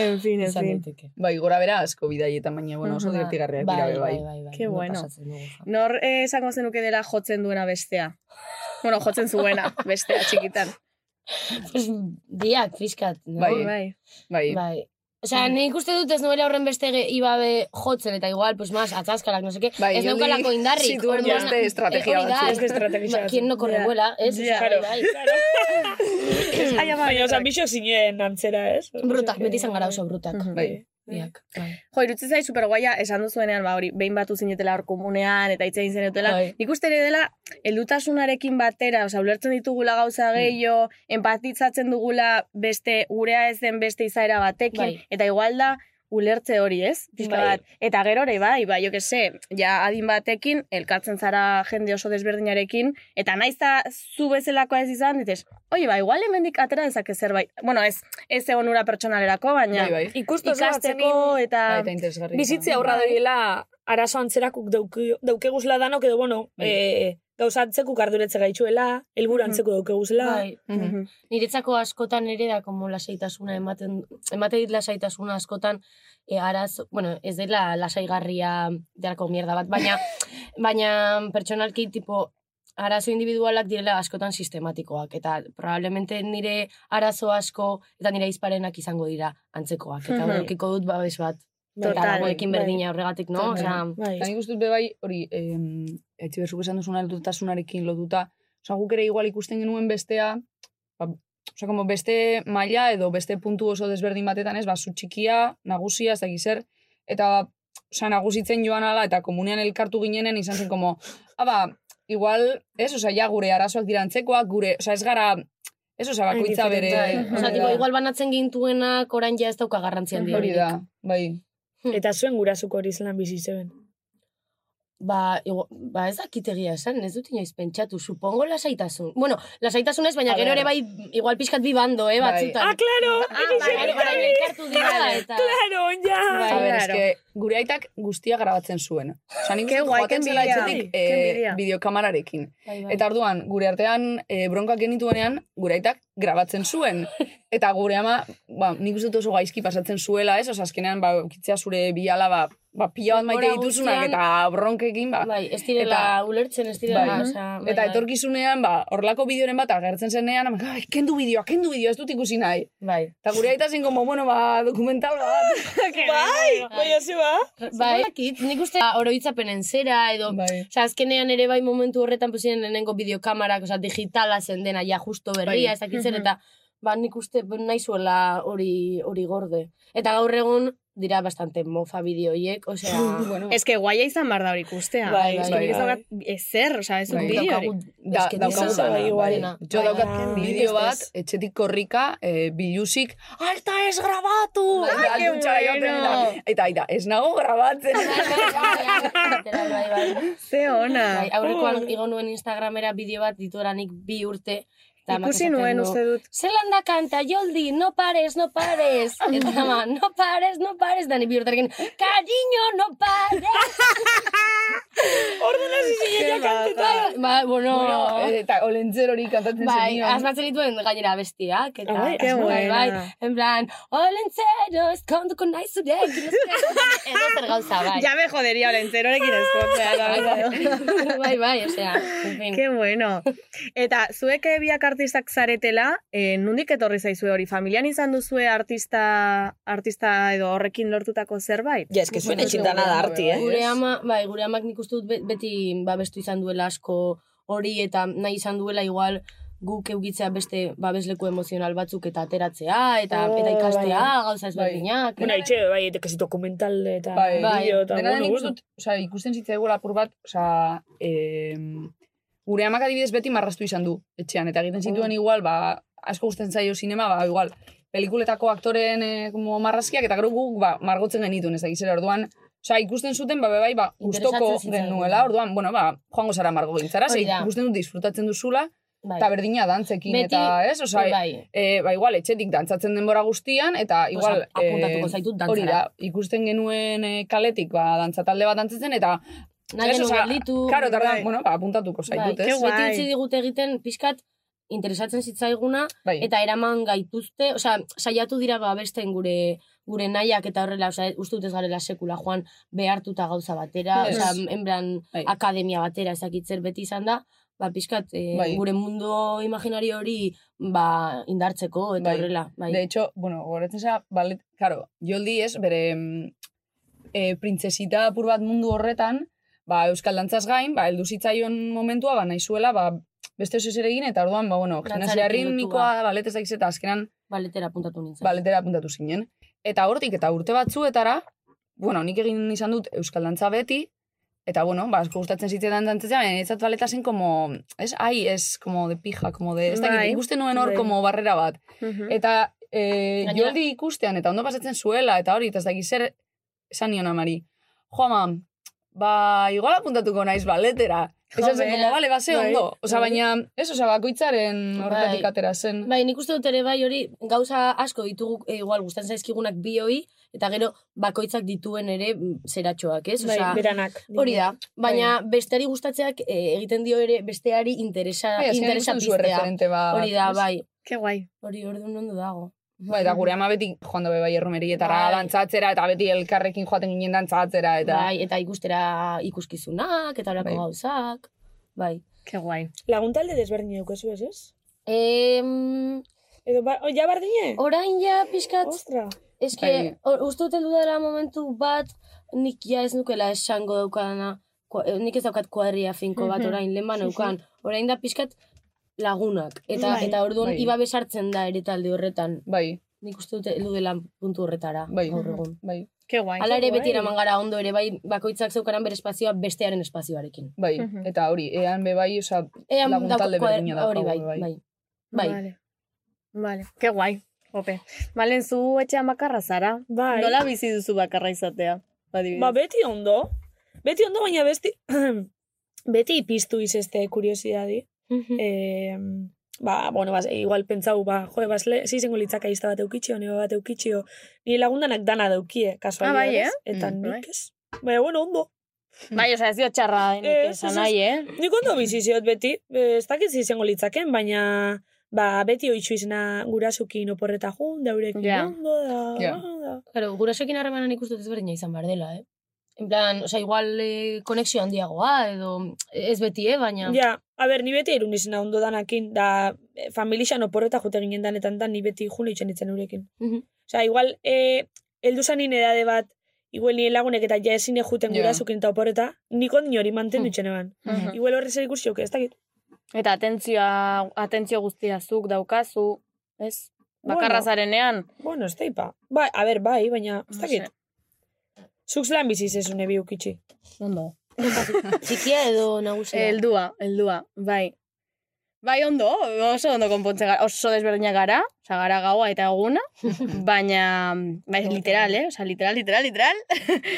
B: En fin, en
J: izan
B: fin.
J: daiteke.
I: Bai, gora bera asko bidaietan, baina, bueno, oso
B: Ba,
I: divertigarriak
J: Bai,
I: dira, be,
J: bai,
I: bai.
J: bai, bai.
B: Qué
J: ondo
B: bueno.
J: pasatzen dugu, ja.
B: Nor eh, esango zenuke dela jotzen duena bestea? Bueno, jotzen zuena, bestea, txikitan.
J: Pues, Biak, fiskat. no?
I: Bai.
B: bai.
I: Bai,
J: Bai. Osea, nik uste dut ez nuela horren beste ge- ibabe jotzen, eta igual, pues mas, atzaskalak, no seke,
I: Bai,
J: ez
I: hori
J: neukalako indarrik.
I: zituen
J: orduan-
I: beste estrategia
J: Eh, hori da,
I: batzuk.
J: ez-
G: Beste estrategia
J: ba, Quien no corre
B: Ya.
J: vuela, ez?
B: Ya.
J: Bai, bai.
B: Ai, ama,
G: Baina, oza, bisok zinen antzera, ez?
J: Brutak, bai, beti izan gara oso brutak.
B: Mhm.
I: bai.
J: Biak, bai.
B: Jo, irutzi zai superguaia esan duzuenean, ba hori, behin batu zinetela hor komunean eta hitz egin zenetela.
J: Bai.
B: Nik uste ere dela, heldutasunarekin batera, osea, ulertzen ditugula gauza gehiago, empatitzatzen dugula beste, gurea ez den beste izaera batekin,
J: Bai.
B: eta igual da, ulertze hori, ez? Pixka
J: Bai.
B: bat. Eta gero ere bai, bai, jo que se, ja adin batekin, elkartzen zara jende oso desberdinarekin, eta naiz da zu bezalakoa ez izan, dites, oie, ba, igual hemendik atera dezake zerbait. Bueno, ez, ez egon ura pertsonalerako, baina
I: Bai, bai.
G: Ikustu oso
B: ikasteko
G: atzenin
B: eta...
I: Bai, eta Bai. interesgarria.
G: bizitze aurra dabiela arazo antzerakuk dauki- daukeguzla danok edo, bueno,
I: Bai.
G: e, gauza antzekuk arduretze gaituela, helburu
B: Mhm.
G: antzeko daukeguzla.
J: Bai.
I: Mhm.
J: Niretzako askotan ere da como lasaitasuna ematen emate dit lasaitasuna askotan e, araz, bueno, ez dela lasaigarria delako mierda bat, baina baina pertsonalki tipo arazo individualak direla askotan sistematikoak, eta probablemente nire arazo asko eta nire izparenak izango dira antzekoak, eta
B: Mhm.
J: mm dut babes bat, eta
B: Total,
J: dagoekin
B: bai.
J: berdina horregatik, no?
I: Total.
J: Osea,
B: Bai.
I: Eta nik uste dut be bai, hori, em, etxe berzuk esan duzuna lotutasunarekin lotuta, oza, guk ere igual ikusten genuen bestea, ba, oza, como beste maila edo beste puntu oso desberdin batetan ez, ba, zu txikia, nagusia, ez dakiz zer, eta oza, nagusitzen joan ala, eta komunean elkartu ginenen izan zen, como, aba, igual, ez, oza, ja, gure arazoak dira antzekoak, gure, oza, ez gara, ez, oza, bakoitza bere...
G: Indiferentea, eh.
J: Osa,
I: hori
J: tipo,
I: da.
J: igual banatzen gintuenak orain ja ez dauka garrantzian dira.
I: Hori da, bai.
G: Eta zuen gurasuko hori zelan bizi zeben.
J: Ba, igu, ba ez dakitegia esan, ez dut inoiz pentsatu, supongo lasaitasun. Bueno, lasaitasun ez, baina
I: A
J: gero
I: ber.
J: ere bai, igual pixkat bi bando, eh,
I: Bai.
J: batzutan.
G: Ah, claro!
J: Ah, bai,
G: Bai,
J: bai, bai, elkartu dira, eta...
G: Claro, ja!
I: Bai, a ber,
B: claro.
I: eske, gure aitak guztia grabatzen zuen. Osa, nik
B: Ke
I: uste dut
B: guai,
I: joaten
B: ke
I: zela
B: envidia.
I: etxetik
B: Ke
I: eh,
B: envidia.
I: bideokamararekin.
J: Bai, bai.
I: Eta orduan, gure artean eh, bronkak genituenean, gure aitak grabatzen zuen. Eta gure ama, ba, nik uste dut oso gaizki pasatzen zuela, ez? Osa, azkenean, ba, kitzea zure biala, ba, ba pila bat maite
J: Denbora
I: dituzunak,
J: guztian-
I: eta bronkekin, ba.
J: Bai, ez direla
I: Eta-
J: ulertzen, ez direla,
I: Bai.
J: osea... bai,
I: Eta
J: bai.
I: etorkizunean, ba, horlako bideoren bat agertzen zenean, ama, "Ai, kendu bideoa, kendu bideoa, ez dut ikusi nahi.
J: Bai.
I: Eta gure aita zen, como, bueno, ba, dokumental bat.
G: Bai, bai, hasi ba.
J: Bai, dakit, nik uste oroitzapenen zera, edo...
I: Bai.
J: Osa, azkenean ere bai momentu horretan pusien lehenengo bideokamarak, osa, digitala zen dena, ja, justo
B: Bai.
J: berria, ez dakit zer, eta ba, nik uste nahi zuela hori, hori gorde. Eta gaur egun dira bastante mofa bideoiek, osea...
I: Bueno,
B: Ez que guaia izan bar da hori ikustea.
I: Bai,
B: ez
I: bai,
B: que nik ez
I: bai.
B: daukat ezer, osea, ez dut
I: Bai.
B: bideo hori.
I: Da,
J: Es que
I: daukagu
J: dizazue
I: dana,
J: igualena.
I: bai. Jo
J: Bai.
I: daukat
G: Ah,
I: bideo bat,
G: bidez.
I: etxetik korrika, eh, bilusik, alta ez grabatu!
J: Ah,
I: Eta
B: que
I: aldutxara joaten
B: bueno!
I: da. Eta, aita, ez nago grabatzen.
J: Literal, bai, bai.
B: Ze ona.
J: Bai, aurrekoan igo nuen Instagramera bideo bat ditoranik bi urte. eta amak
B: Ikusi
J: esaten
B: nuen
J: du,
B: uste dut.
J: Zelan da kanta, Joldi, no pares, no pares. Eta ama, no pares, no pares, dani bi urtarekin, cariño, no pares.
B: Ze baja.
J: Bai, ba, bueno, eh,
I: Bueno,
B: eh,
I: Eh, eta olentzero hori kantatzen
J: Bai,
I: zenion.
J: asmatzen dituen gainera bestiak, eta...
G: Ah, bai,
B: qué
J: bai,
B: buena.
J: bai, en plan, olentzero, eskonduko nahi zurek, edo zer gauza, bai.
B: Ya me jodería olentzerorekin ezkotzea.
J: bai,
B: da, bai.
J: bai, bai, bai, osea, en fin.
B: Ke bueno. Eta zuek eh, biak artistak zaretela, eh, nundik etorri zaizue hori? Familian izan duzue artista, artista edo horrekin lortutako zerbait?
K: Ja, eske
G: Bai,
K: zuen etxintana
G: ba.
K: da arti, eh?
J: Gure ama, bai, gure amak nik uste dut be- beti babestu izan duela asko hori eta nahi izan duela igual guk eukitzea beste babesleku emozional batzuk eta ateratzea eta
I: Ah,
B: Oh,
J: eta ikastea
G: bai.
J: gauza ezberdinak.
G: Bueno, itxe, bai, eta kasi dokumental eta
I: Bai.
G: bideo eta
I: Dena den
G: bueno, bueno.
I: ikustut, oza, ikusten zitzaigu lapur bat, oza, em, gure amak adibidez beti marrastu izan du, etxean, eta egiten zituen
J: Bai.
I: igual, ba, asko gustatzen zaio sinema, ba, igual, pelikuletako aktoren eh, como marrazkiak, eta gero guk, ba, margotzen genituen, ez da gizera, orduan, oza, ikusten zuten, ba, bai, ba, gustoko
J: Interesatzen zitzaigun.
I: genuela, orduan, bueno, ba, joango zara margo gintzara, ze
J: Hori da.
I: ikusten dut disfrutatzen duzula,
J: Bai.
I: eta berdina dantzekin,
J: Beti-
I: eta, ez, oza,
J: bai.
I: e, ba, igual, etxetik dantzatzen denbora guztian, eta igual...
J: Pues, apuntatuko
I: eh,
J: zaitut dantzara.
I: Hori da, ikusten genuen eh, kaletik, ba, dantzatalde bat dantzatzen, eta...
J: Nahi
I: ez,
J: genuen
I: osea,
J: gelditu.
I: Karo, eta orduan,
J: Bai.
I: bueno, ba, apuntatuko
J: Bai,
I: zaitut, ez?
J: beti
B: guai.
J: utzi digute egiten pixkat interesatzen zitzaiguna
I: Bai,
J: eta eraman gaituzte, osea, saiatu dira babesten gure gure nahiak eta horrela, osea, uste dut ez garela sekula joan behartuta gauza batera,
I: Ez.
J: osea, en plan
I: Bai.
J: akademia batera ezakitzer beti izan da, ba pizkat eh,
I: Bai.
J: gure mundo imaginario hori ba indartzeko eta
I: Bai.
J: horrela, bai.
I: De hecho, bueno, goretzen za, balet, karo, joldi ez, bere mm, eh, printzesita apur bat mundu horretan, ba, Euskal Dantzaz gain, ba, heldu zitzaion momentua, ba, nahi zuela, ba, beste oso zer egin, eta orduan, ba, bueno,
J: Dantzarekin
I: gimnasia ritmikoa,
J: lotua.
I: balet ez dakiz, eta azkenan
J: baletera apuntatu nintzen.
I: baletera apuntatu zinen. Eta hortik eta urte batzuetara, bueno, nik egin izan dut euskal dantza beti, eta bueno, ba, asko gustatzen zitzaidan dantzatzea, baina niretzat baleta zen como, ez, ai, ez, como de pija, como de, ez dakit,
B: Bai.
I: ikusten nuen hor,
B: Bai.
I: como barrera bat.
B: Mhm.
I: Eta, e,
J: Mm-hmm. Gainera-
I: joldi ikustean, eta ondo pasatzen zuela, eta hori, eta ez dakit zer, esan nion amari, jo ama, ba, igual apuntatuko naiz baletera. Esan zen,
B: Joder.
I: como, bale, base
B: Bai.
I: ondo. Osa, baina, ez, osa, bakoitzaren
J: Bai.
I: horretatik atera zen.
J: Bai, nik uste dut ere bai hori gauza asko ditugu e, igual gustatzen zaizkigunak bioi eta gero bakoitzak dituen ere mm, zeratxoak, ez?
G: Bai,
J: Osea,
G: beranak.
J: Hori da, baina
I: Bai.
J: besteari gustatzeak e, egiten dio ere besteari interesa,
I: Bai, azkenean
J: interesa
I: ikusten duzu
J: piztea.
I: erreferente bat.
J: Hori da,
I: ez?
J: bai,
B: Ke guai.
J: hori orduan ondo dago.
I: Bai, eta gure ama beti joan dobe bai erromerietara
J: Bai.
I: dantzatzera, eta beti elkarrekin joaten ginen dantzatzera, eta...
J: Bai, eta ikustera ikuskizunak, eta horako
I: Bai.
J: gauzak. Bai. Ke guai.
G: Laguntalde desberdin daukazu ez ez?
J: Em...
G: Edo, ba, o, ja bardine?
J: Orain ja pixkat...
G: Ostra.
J: Ez
G: Bai.
J: que, hor- uste dut heldu dela momentu bat, nik ja ez nukela esango daukadana, kua- eh, nik ez daukat kuadria finko bat
G: Mhm.
J: orain, lehen ban
G: Sí, sí.
J: neukan. Orain da pixkat lagunak. Eta,
G: Bai.
J: eta orduan
G: Bai.
J: iba besartzen da ere talde horretan.
I: Bai.
J: Nik uste dut heldu dela puntu horretara.
I: Bai.
J: Gaur egun.
I: Bai.
G: Ke guai.
J: Hala ere beti eraman gara ondo ere bai bakoitzak zeukanan bere espazioa bestearen espazioarekin.
I: Bai,
J: Mhm.
I: eta hori, ean be bai, oza,
J: Ean
I: laguntalde
J: dauka-
I: berdina da.
J: hori bai,
I: bai.
J: Bai.
B: Vale. Vale. Qué guay. Ope. Malen, zu etxean bakarra zara.
G: Bai.
B: Nola bizi duzu bakarra izatea? Adibidez.
G: Ba, beti ondo. Beti ondo, baina besti... beti piztu izeste kuriosidadi. eh, ba, bueno, bas, igual pentsau, ba, jo, bas, le, zizengo litzaka izta bat eukitxio, nire bat eukitxio, nire lagundanak dana daukie, kasualia.
B: Ah, bai, eh?
G: Eta
B: Mm,
G: nik ez. Baina, bueno, ondo.
B: Bai, oza, ez dio txarra denik esan nahi, eh?
G: Nik ondo biziziot beti, Eh, ez dakit izango litzaken, baina ba, beti oitzu izena gurasukin oporreta jun, daurekin
J: Ja.
G: ondo, da,
J: Ja.
G: da.
J: Claro, gurasoekin harremanan ikusten ezberdina izan behar dela, eh? En plan, oza, igual eh, konexio handiagoa, edo ez beti, eh, baina...
G: Ja, a ber, ni beti erun izena ondo danakin, da eh, familixan oporreta jute ginen danetan da, ni beti jun itxen itzen eurekin.
J: Mhm.
G: Osea, igual, eh, eldu zanin edade bat, igual nire lagunek eta ja ezine juten
B: Ja.
G: gurasukin eta oporreta, nik ondin hori mantendu itxen eban.
B: Mhm.
G: Igual horre zer ikusiok, ez dakit.
B: Eta atentzioa, atentzio guztia zuk daukazu, ez? Bakarra
G: Bueno.
B: zarenean.
G: Bueno, ez da ipa. Bai, a ber, bai, baina, ez dakit. Zuk zelan bizi zezune bi ukitxi.
B: Ondo.
J: Txikia edo nagusia?
B: Eldua, eldua, Eh, bai. Bai ondo, oso ondo konpontzen gara, oso desberdinak gara, oza, gara gaua eta eguna, baina, bai, literal, eh? Oza, literal, literal, literal.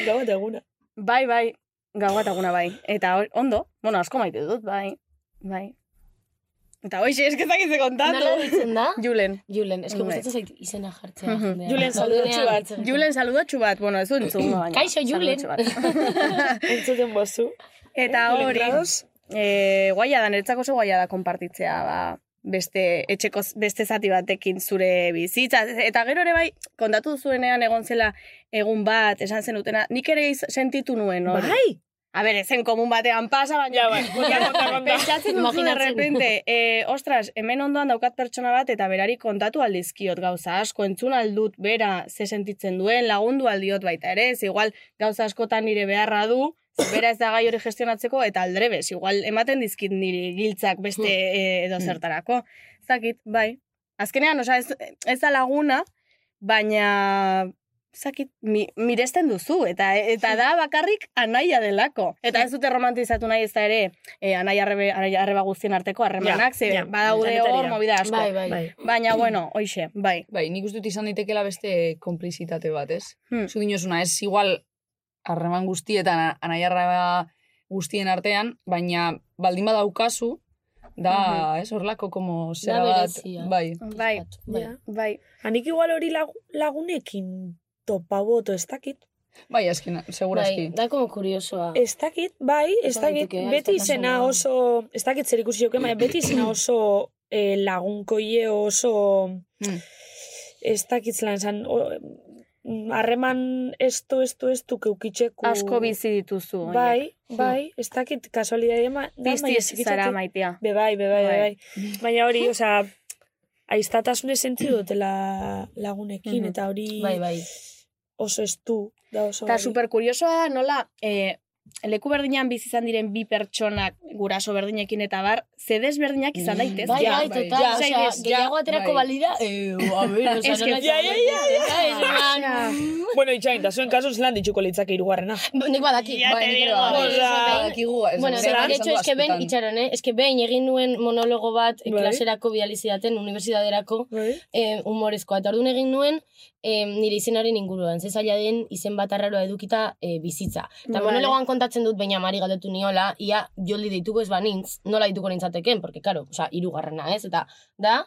G: gaua eta eguna.
B: Bai, bai, gaua eta eguna, bai. Eta hor- ondo, bueno, asko maite dut, bai, bai. Eta hoxe, esketak izan kontatu.
J: Nola ditzen da?
B: Julen.
J: Julen, eske
B: Bai.
J: gustatzen zait izena jartzea.
B: Mhm.
J: jendea.
B: Julen saludotxu
J: Zuzenean
B: bat.
J: hitz egiten.
B: Julen saludotxu bat, bueno, ez dut entzungo baina.
J: Kaixo, Julen.
G: Entzuten bozu.
B: Eta
G: Julen
B: hori,
G: Grados.
B: e, guaia da, niretzako oso guaia da konpartitzea, ba, beste etxeko z- beste zati batekin zure bizitza. Eta gero ere bai, kontatu zuenean egon zela egun bat, esan zenutena, nik ere iz- sentitu nuen hori.
G: Bai!
B: A ber, ezen komun batean pasa, baina...
G: bai, konta, konta, konta.
B: Pentsatzen duzu de
G: Imaginatzen.
B: repente, eh, ostras, hemen ondoan daukat pertsona bat, eta berari kontatu aldizkiot gauza asko, entzun aldut bera ze sentitzen duen, lagundu aldiot baita ere, ez igual gauza askotan nire beharra du, ze bera ez da gai hori gestionatzeko, eta aldrebes, igual ematen dizkit nire giltzak beste eh, edo zertarako. Ez dakit, bai. Azkenean, osea, ez, ez da laguna, baina zakit, mi, miresten duzu, eta eta da bakarrik anaia delako. Eta ez dute romantizatu nahi ez da ere, e, anaia arrebe, anaia arreba guztien arteko harremanak, ze
I: ja.
B: badaude hor
I: Sanitaria.
B: mobida asko.
I: Bai, bai. Bai.
B: Baina, bueno, oixe, bai.
I: Bai, nik uste dut izan daitekeela beste konplizitate bat, ez?
B: Hmm.
I: Zu dinozuna, ez igual harreman guztietan, anaiarra guztien artean, baina baldin badaukazu, da,
G: Mhm.
I: ez, horlako, como,
G: Da
I: zera bat,
G: berezia.
I: bai.
B: Bai, bai.
G: Anik igual hori lagu- lagunekin topaboto, ez dakit.
I: Bai, azken, seguraski.
J: Da como kuriosoa.
G: Ez dakit, bai, ez
I: Oso
G: dakit,
I: daiteke, ez
G: beti
I: da
G: izena
I: kasuala.
G: oso, ez dakit zer ikusi joke, baina beti izena oso eh, lagunkoie oso,
B: Hmm.
G: ez dakit zelan esan, o- mm, harreman esto, esto, esto, keukitxeku.
B: Asko bizi dituzu. horiek.
G: Bai, bai, ez dakit, kasualidade ma, da,
B: Pizti
G: baina
B: ez zara,
G: txikitatik-
B: maitea.
G: Be bai, be bai, be
B: Bai.
G: bai. Baina hori, osea, aiztatasune sentzi dutela lagunekin,
B: Mhm.
G: eta hori
B: Bai, bai.
G: oso estu, da oso
B: Eta
G: hori.
B: super kuriosoa da nola eh, leku berdinean bizi izan diren bi pertsonak guraso berdinekin eta bar, ze desberdinak izan daitez.
J: Bai,
B: Ja,
J: bai, total,
B: Ja,
J: osea,
B: zaidez, ja,
J: gehiago aterako
B: bai.
J: balira, eh, a ber, osea,
G: Es que-
J: nola
G: ja, ja, ja, ja, ja,
J: izango da,
G: ja.
J: ba, ja.
G: Bueno, itxain, eta zuen kasu zelan ditxuko litzake irugarrena.
J: Nik badaki.
G: Ya
J: bai,
G: te
J: nik ere
G: digo,
J: badaki.
G: o sea,
J: Behin-
G: badakigu, ez
J: Bueno,
G: dakit,
J: eta
G: zelan
J: de hecho,
G: esango
J: eske ben,
G: askotan.
J: itxaron, eh? Eske ben egin nuen monologo bat
G: Bai.
J: klaserako bializidaten unibertsitaterako eh, humorezkoa. Eta orduan egin nuen eh, nire izenaren inguruan. Ze zaila den izen bat arraroa edukita eh, bizitza. Eta
B: Bai.
J: monologoan kontatzen dut, baina amari galdetu niola, ia joldi deituko ez banintz, nola dituko nintzateken, porque, karo, oza, irugarrena ez, eta da,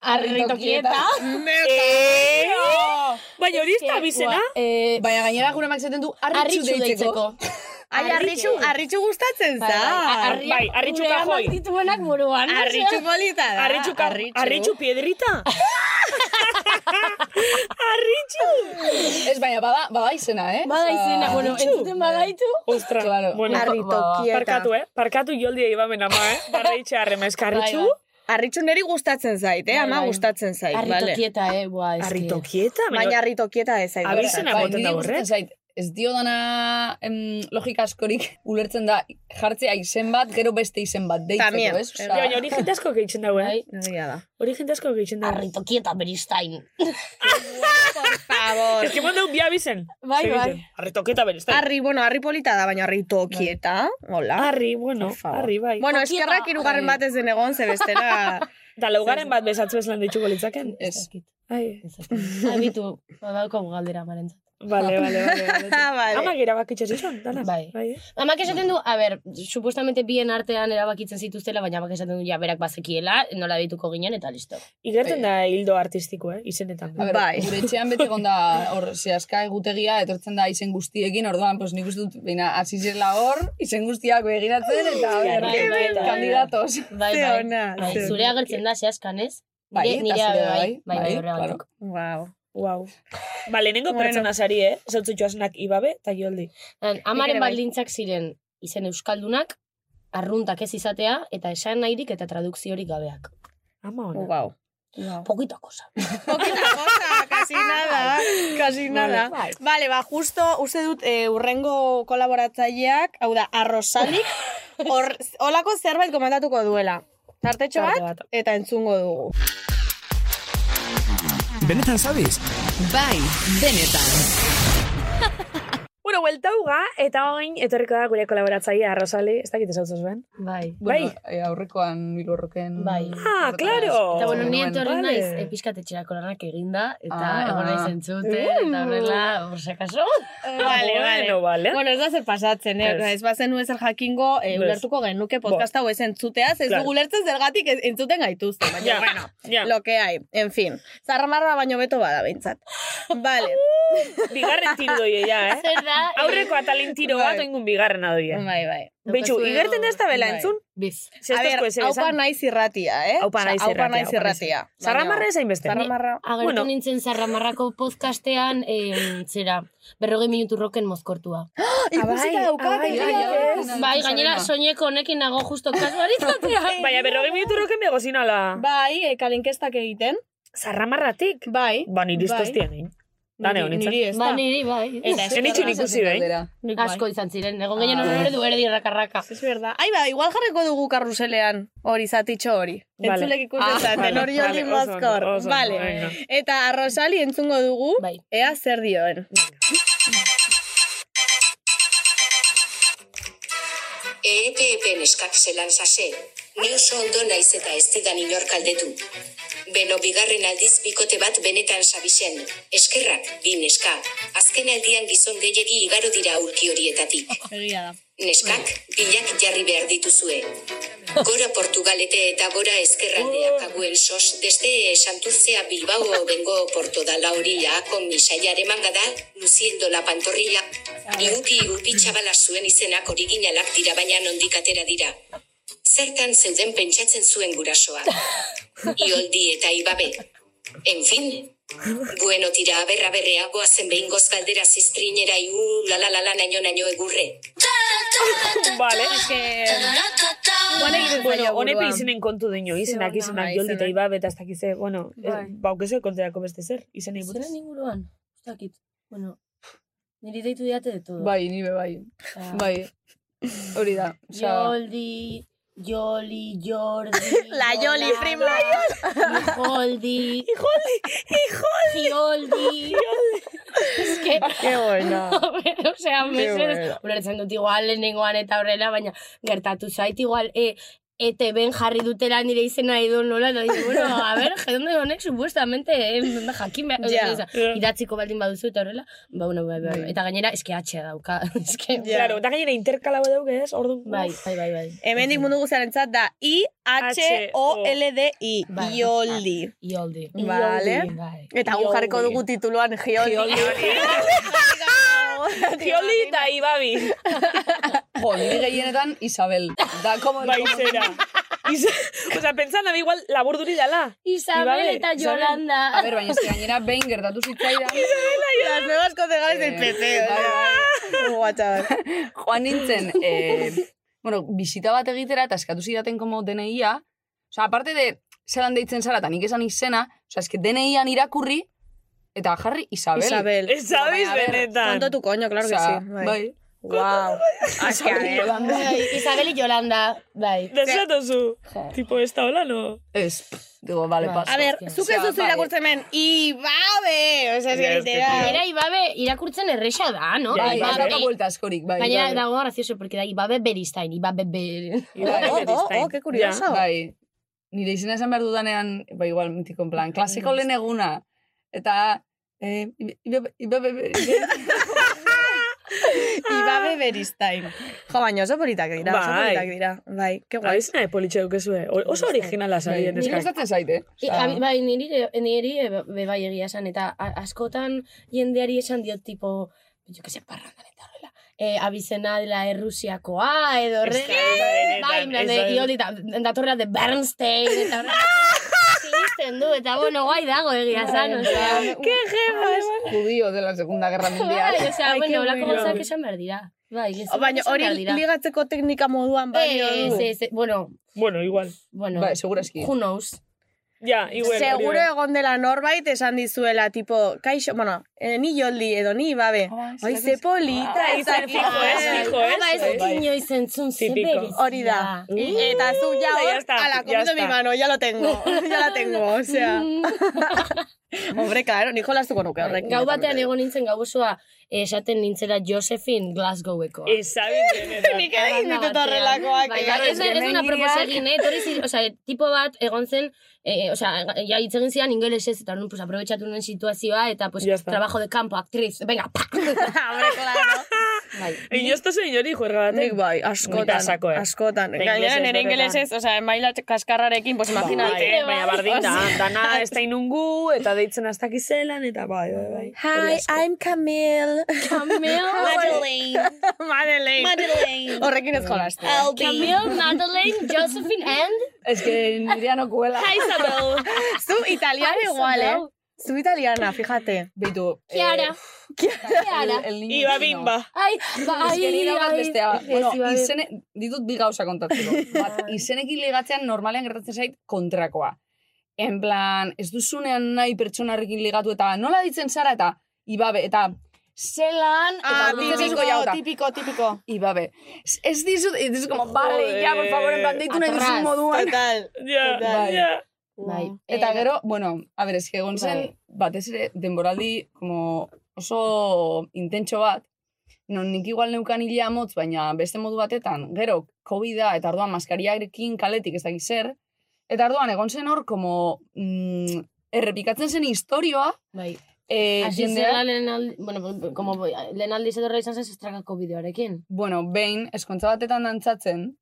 J: Arritokieta.
G: Eh, Baina hori ez da
J: Eske,
G: bizena?
J: ua, eh,
I: Baina gainera gure makizaten du
J: Harritxu deitzeko.
B: Ai, harritxu, harritxu gustatzen
J: Bai,
B: za.
J: bai, bai, harritxu kajoi. dituenak buruan.
G: ah,
B: Harritxu polita da.
G: Arritxu, ka, arritxu piedrita?
I: Arritxu! Ez, baina bada, bada izena, eh?
J: Bada izena, bueno, entzuten badaitu.
G: Ostra,
I: Claro.
G: bueno,
I: Harritokieta.
G: parkatu, eh? Parkatu joldi ibamen ama, eh? Barra itxe harrema,
B: Bai,
G: eskarritxu.
B: Arritxu neri gustatzen zait, eh?
G: Bai,
B: Ama
G: bai.
B: gustatzen zait, bale.
J: Arritokieta, eh? Bua, ez
G: Arritokieta?
B: Baina arritokieta ez zait.
I: Bai, niri gustatzen zait, Ez dio dana em, logika askorik ulertzen da jartzea izen bat, gero beste izen bat
G: Tamien.
I: deitzeko, ez? Osea-
G: Baina hori jente asko gehitzen dago,
B: Bai.
G: eh?
B: da.
G: Hori jente asko gehitzen dago.
J: Arritokieta beristain.
B: favor.
G: Ez que mandau bia bizen.
B: Bai, bai.
G: Arritokieta beristain.
B: Arri, bueno, arri polita da, baina arri tokieta. Hola.
G: Arri, bueno, arri, bai.
B: Bueno, eskerrak irugarren bat ez den egon, ze bestela...
G: Da, laugarren bat bezatzu eslan dituko litzaken?
I: Ez.
G: Ai.
J: Abitu, badauko galdera maren.
G: Vale, vale, vale.
J: Vale.
G: Ama gira bakitxe zizun, dana.
J: Bai.
G: bai.
J: Amak esaten du, a ber, supuestamente bien artean erabakitzen zituztela, baina amak esaten du, ja, berak bazekiela, nola deituko ginen, eta listo.
G: Igerten
J: Bai.
G: da hildo artistiko, eh? Izenetan.
I: A ber, gure etxean bete gonda hor zehazka egutegia etortzen da izen guztiekin, orduan, pues nik uste dut, baina, hasi zirela hor, izen guztiak begiratzen, eta a ber,
J: Bai, bai, bai.
G: eh,
I: kandidatos.
J: Bai, bai. Bai, zure agertzen da, zehazkan, ez?
I: Bai,
J: Nire-
I: eta
J: nirea
I: zurea
J: bai,
I: bai, bai,
J: bai, bai, horregatik.
B: Wow.
G: Wow. Ba, lehenengo
J: Bueno.
G: pertsona zari, eh? Zautzu joasnak ibabe eta joldi.
J: Dan,
G: Nik
J: Amaren
G: ere bai.
J: baldintzak ziren izen euskaldunak, arruntak ez izatea, eta esan nahirik eta tradukziorik gabeak.
G: Ama ona.
B: Wow.
J: Poquita cosa.
B: Casi nada, casi nada.
J: Bai.
B: Vale, ba, justo, uste dut, eh, urrengo kolaboratzaileak, hau da, arrosalik, hor, holako zerbait komentatuko duela. Tartetxo
A: Tarte
B: bat, eta entzungo dugu.
A: Benetan zabiz?
G: Bai, denetan. bueno, buelta uga, eta orain etorriko da gure kolaboratzailea Rosali, ez dakit ezautzen zuen?
J: Bai.
I: Bueno, eh, aurrekoan milborroken...
J: Bai.
G: Ah, claro!
J: Eta bueno, ni
I: Bueno,
J: etorri
I: Oh, vale.
J: naiz eh, pixkat etxerako lanak eginda, eta
I: Ah.
J: egon naiz entzute, eta horrela, por si acaso.
B: Vale, vale. Bueno, ez da zer pasatzen, eh?
J: Ez.
B: ez bazen ezer jakingo, eh,
J: Ez.
B: ulertuko genuke podcast hau ez entzuteaz, ez
J: Claro.
B: dugu ulertzen zergatik ez- entzuten gaituzte, baina,
J: Ja,
B: bueno, lo que hay, en fin. Zarramarra baino beto bada, behintzat. Vale.
G: Bigarren tiro doie ja, eh?
J: Zer da?
G: Aurreko atalin tiro bat, oingun bigarrena doie.
B: Bai, bai.
G: Betxu, igerten da ez da bela entzun?
J: Biz.
B: A ber, haupa naiz irratia, eh?
G: Haupa
B: Osea, Haupa
G: naiz irratia,
B: naiz
G: haupa naiz
B: irratia.
G: irratia. Zarramarra ezain beste.
B: Zarramarra.
J: Agertu
B: Bueno.
J: nintzen zarramarrako podcastean, eh, zera, berrogei minutu roken mozkortua.
G: Ikusita daukak,
B: bai,
J: Bai, gainera soineko honekin nago justo kasualitatea.
G: Baina berrogei minutu roken begozinala.
B: Bai, e, kalenkestak egiten.
G: Zarramarratik?
B: Bai.
G: Ba,
B: Bai.
G: niri iztoztian egin. Dane honetzen.
B: niri ez da.
J: Ba, niri bai.
G: Eta ez Zen itxin ikusi da, eh?
B: Bai.
J: Asko izan ziren, egon gehien hori hori du erdi errakarraka.
B: Ez berda. Ai, ba, igual jarriko dugu karruselean hori zatitxo hori.
J: Vale.
B: Entzulek
J: Ah,
B: ikusten zaten,
J: vale,
B: hori hori
J: vale, oso ondo,
B: mozkor.
J: oso ondo,
B: Vale.
J: venga.
B: Eta arrosali entzungo dugu, ea zer dioen.
L: EEPEpen eskak zelan zase, ni oso ondo naiz eta ez didan inor kaldetu. Beno bigarren aldiz bikote bat benetan sabixen, eskerrak, bi neska, azken aldian gizon gehiegi igaro dira urki horietatik.
B: Egia da.
L: Neskak, bilak jarri behar dituzue. Gora Portugalete eta gora ezkerraldea kaguen sos, deste santurzea Bilbao bengo porto da lauria kon misaiare mangada, luziendo la pantorrilla. Iupi iupi txabala zuen izenak originalak dira baina nondik atera dira. Zertan zeuden pentsatzen zuen gurasoa. Ioldi eta ibabe. En fin, bueno tira aberra berreagoa zen behin gozgaldera ziztrinera iu la la la la naino naino egurre.
G: Vale.
L: Bueno, egiten
G: Bueno,
L: zaio
G: honepe
L: buruan.
G: izenen kontu dino, izenak,
L: Ze ona,
G: izenak,
L: bai,
G: joldi eta
L: izenak.
G: ibabe eta ez dakize, bueno, ez-
J: Bai.
G: ba, aukezu konterako beste zer, izenei butez.
J: Zeren inguruan, ez dakit. Bueno, niri deitu diate de todo.
I: Bai, nire bai.
J: Ah.
I: Bai. Hori da. Osea,
J: Joldi, Joli, Jordi...
B: La Joli,
J: Jolana,
B: primo.
J: Hijoldi... Hijoldi, hijoldi... Joldi... Es que...
B: Qué
G: Ah,
B: bueno.
J: o sea, mesedez...
B: bueno.
J: Ulertzen dut igual lehenengoan eta horrela, baina gertatu zait igual... E, ete ben jarri dutela nire izena edo nola, eta digo, bueno, a ver, jedonde honek supuestamente eh, jakin behar,
G: Ja.
J: osea, idatziko baldin baduzu eta horrela, ba, bueno, bai, bai, bai. eta gainera, eske atxea dauka, eske...
G: Claro, eta gainera interkala bat dauke ez, ordu.
J: Bai, bai, bai, bai.
B: Hemendik mundu guztiaren zat da I-H-O-L-D-I.
J: Bai.
B: Ioldi.
J: Ioldi.
B: Vale.
J: Ioldi, bai.
B: Eta gu jarriko dugu tituluan Gioldi. bai.
G: Gioldi eta Ibabi.
I: jo, nire gehienetan Isabel. Da, como...
G: Bai, zera. Isa, o sea, pentsan dabe igual laburduri dala.
J: Isabel
G: Ibabe,
J: eta
G: Isabel.
J: Yolanda.
I: A ber, baina ez que gainera behin gertatu zitzaidan.
B: Las nuevas concejales del PP. o sea.
I: Joan nintzen, eh, bueno, bisita bat egitera eta eskatu zidaten como DNIa. Osa, aparte de, zelan deitzen zara, eta nik esan izena, osa, eske DNIan irakurri, eta jarri Isabel.
B: Isabel.
G: Isabel,
I: Baina, a ber,
G: benetan.
B: Tonto tu coño, claro que
I: osea,
B: sí.
I: Bai.
B: Wow.
J: Bai, Isabel y Yolanda, bai.
G: Desatozu. Tipo, ez da hola, no?
I: Ez, pff, digo, vale, paso.
B: A ver, zuk ez duzu
I: bai.
B: irakurtzen ben, ibabe! Osa, ez
G: Ja, ez que
B: literal.
J: Era Ibabe irakurtzen erresa da, no?
I: Bai, bai,
J: Ibabe-
I: bai, vuelta askorik, bai.
J: Gainera
I: bai.
J: dago gracioso, porque da Ibabe Beristain, Ibabe Ber...
I: Bai,
B: Oh, oh, oh, qué curioso.
I: Bai, nire izena esan behar dudanean, bai, igual, mitiko en plan, klaseko lehen eguna. Eta, eh, ibe- ibe- ibe- ibe-
B: Ibabe beristain. Jo, baina oso politak dira, oso
G: Bai.
B: politak dira. Bai, qué guai.
G: Abiz nahi eh, politxe dukezue. O- Oso originala zari
I: Bai, Nire
G: den
I: gustatzen zait, eh?
J: I-
I: Osea,
J: abi- Bai, niri, niri be- be bai egia esan, eta a- askotan jendeari esan diot, tipo, jo que se parrandan eta horrela. Eh, abizena dela errusiakoa, edo horre... Bai, en plan de, diot, eta datorrela de Bernstein, eta horrela. Sinisten du, eta bueno, guai dago egia
B: Bai,
J: esan, osea.
I: ¡Qué gemas! Judío de la Segunda Guerra Mundial.
J: Bai, osea,
B: Ai,
J: bueno,
B: qué
J: olako
B: bueno.
J: gauzak esan behar dira. Bai, gezurrak
B: O, Baina
J: esan
B: hori
J: behar dira.
B: ligatzeko teknika moduan balio
J: Ez,
B: du.
J: ez, ez, bueno,
G: Bueno, igual.
J: bueno,
I: Bai, seguraski.
J: who knows.
G: Ja, igual.
B: Seguro egon dela norbait esan dizuela, tipo, kaixo, bueno, eh, ni joldi edo ni babe. Oi, ze polita,
G: Ah, izan
B: ez
G: fijo, ez,
B: dakit.
G: fijo,
J: Ba, ez
G: ez.
J: dut inoiz entzun ze
G: Tipiko.
J: berezia.
B: Hori da. Eta zu ja
G: Uh, ya
B: hor,
G: está,
B: ala,
G: ya
B: comido
G: está.
B: mi mano, ya lo tengo, ya la tengo, o sea. Hombre, claro, ni jolastuko nuke horrekin.
J: Mm, Gau batean egon nintzen gau osoa esaten nintzela Josephine Glasgoweko.
G: Izabi benetan.
B: Nik ere egin ditut horrelakoak.
J: Bai,
B: eh.
J: bai, ez, ez duna proposegin, eh? Etorri zi, o sea, tipo bat egon zen, eh, o sea, ja hitz egin zidan ingelesez, eta nun, pues, aprobetxatu nuen situazioa, eta, pues,
G: Ya está.
J: trabajo de campo, actriz, venga, Bai. pak!
B: Hombre, claro.
G: Inozta zu inori juerga
B: Nik
G: baten.
B: bai, askotan,
G: Nik pasako, eh.
B: askotan.
G: Eta
B: Gainera
G: ingelesez
B: nire
G: benetan.
B: ingelesez, o sea, maila kaskarrarekin, pues
G: Bai,
B: imagínate.
G: baina bardin da, dana ez da inungu, eta deitzen aztak izelan, eta bai, bai, bai. Hori
B: Hi,
G: asko.
B: I'm Camille. Ah,
J: Camille,
B: Madeleine. Madeleine. Horrekin ez jolastu.
J: Camille, Madeleine, Josephine, and
I: Es que nirea no cuela.
J: Isabel.
B: Zu italiana igual, eh? Zu italiana, fíjate.
I: Beitu. eh,
J: Kiara. Kiara.
I: El niño
G: Iba
I: chino.
G: bimba.
J: Ai, ba,
I: Es
J: ai,
I: que nire bat
J: ai.
I: bestea.
J: Ez,
I: Bueno,
J: Iba bimba.
I: izene, ditut bi gauza kontatzeko. Bat, izenekin ligatzean normalean gertatzen zait kontrakoa. En plan, ez duzunean nahi pertsonarrekin ligatu eta nola ditzen zara eta ibabe, eta zelan,
J: Ah,
I: eta orduan ez duzu jauta.
B: típico, típico.
I: Ibabe. Ez- Ez dizut, ez dizut, como, vale, ya, por favor, en plan, deitu nahi
J: Atrás.
I: duzun moduan.
B: Total.
G: Ja,
I: Bai.
G: ja.
J: Bai.
I: Eta gero, bueno, a ber, eske egon zen,
J: Bai.
I: batez ere, denboraldi, como oso intentxo bat, non nik igual neukan hilea motz, baina beste modu batetan, gero, COVID-a, eta arduan maskariarekin kaletik ez dakiz zer, eta arduan egon zen hor, como, mm, errepikatzen zen historioa,
J: Bai.
I: e,
J: Asi zela lehen aldi, bueno, como lehen aldi zetorra izan zen estrakako bideoarekin.
I: bueno, behin, eskontza batetan dantzatzen,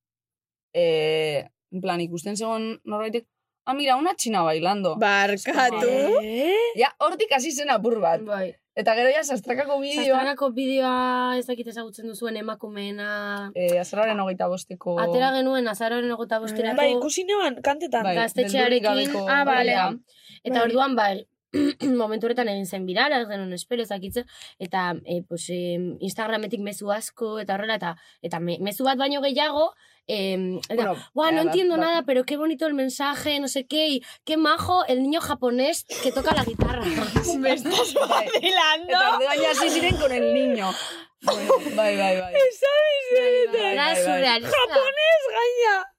I: e, en plan, ikusten zegoen norbaitek, ah, mira, una txina bailando.
J: Ba-
B: Barkatu.
I: Ja, hortik hasi zen apur bat.
J: Bai.
I: Eta gero ja, sastrakako bideoan,
J: Zastrakako bideoa ez dakit ezagutzen duzuen emakumeena.
I: eh, azararen hogeita bosteko...
J: Atera genuen azaroren ogota bosterako.
G: Bai, ikusi neban, kantetan.
I: bai,
J: gaztetxearekin-
I: beldurrik gabeko-
J: Ah, bale.
I: Ja.
J: Eta orduan, bai, momentu horretan egin zen birala, ez genuen espero ezakitzen, eta e, pues, e, Instagrametik mezu asko, eta horrela, eta, eta me, mezu bat baino gehiago, em, eta,
I: Bueno,
J: Buah, no
I: eh,
J: entiendo
I: bat- bat-
J: nada, pero qué bonito el mensaje, no sé qué, y qué majo el niño japonés que toca la guitarra.
B: Me estás vacilando.
I: Eta orduan ja hasi ziren con el niño. Bueno, bai, bai, bai.
J: Era surrealista.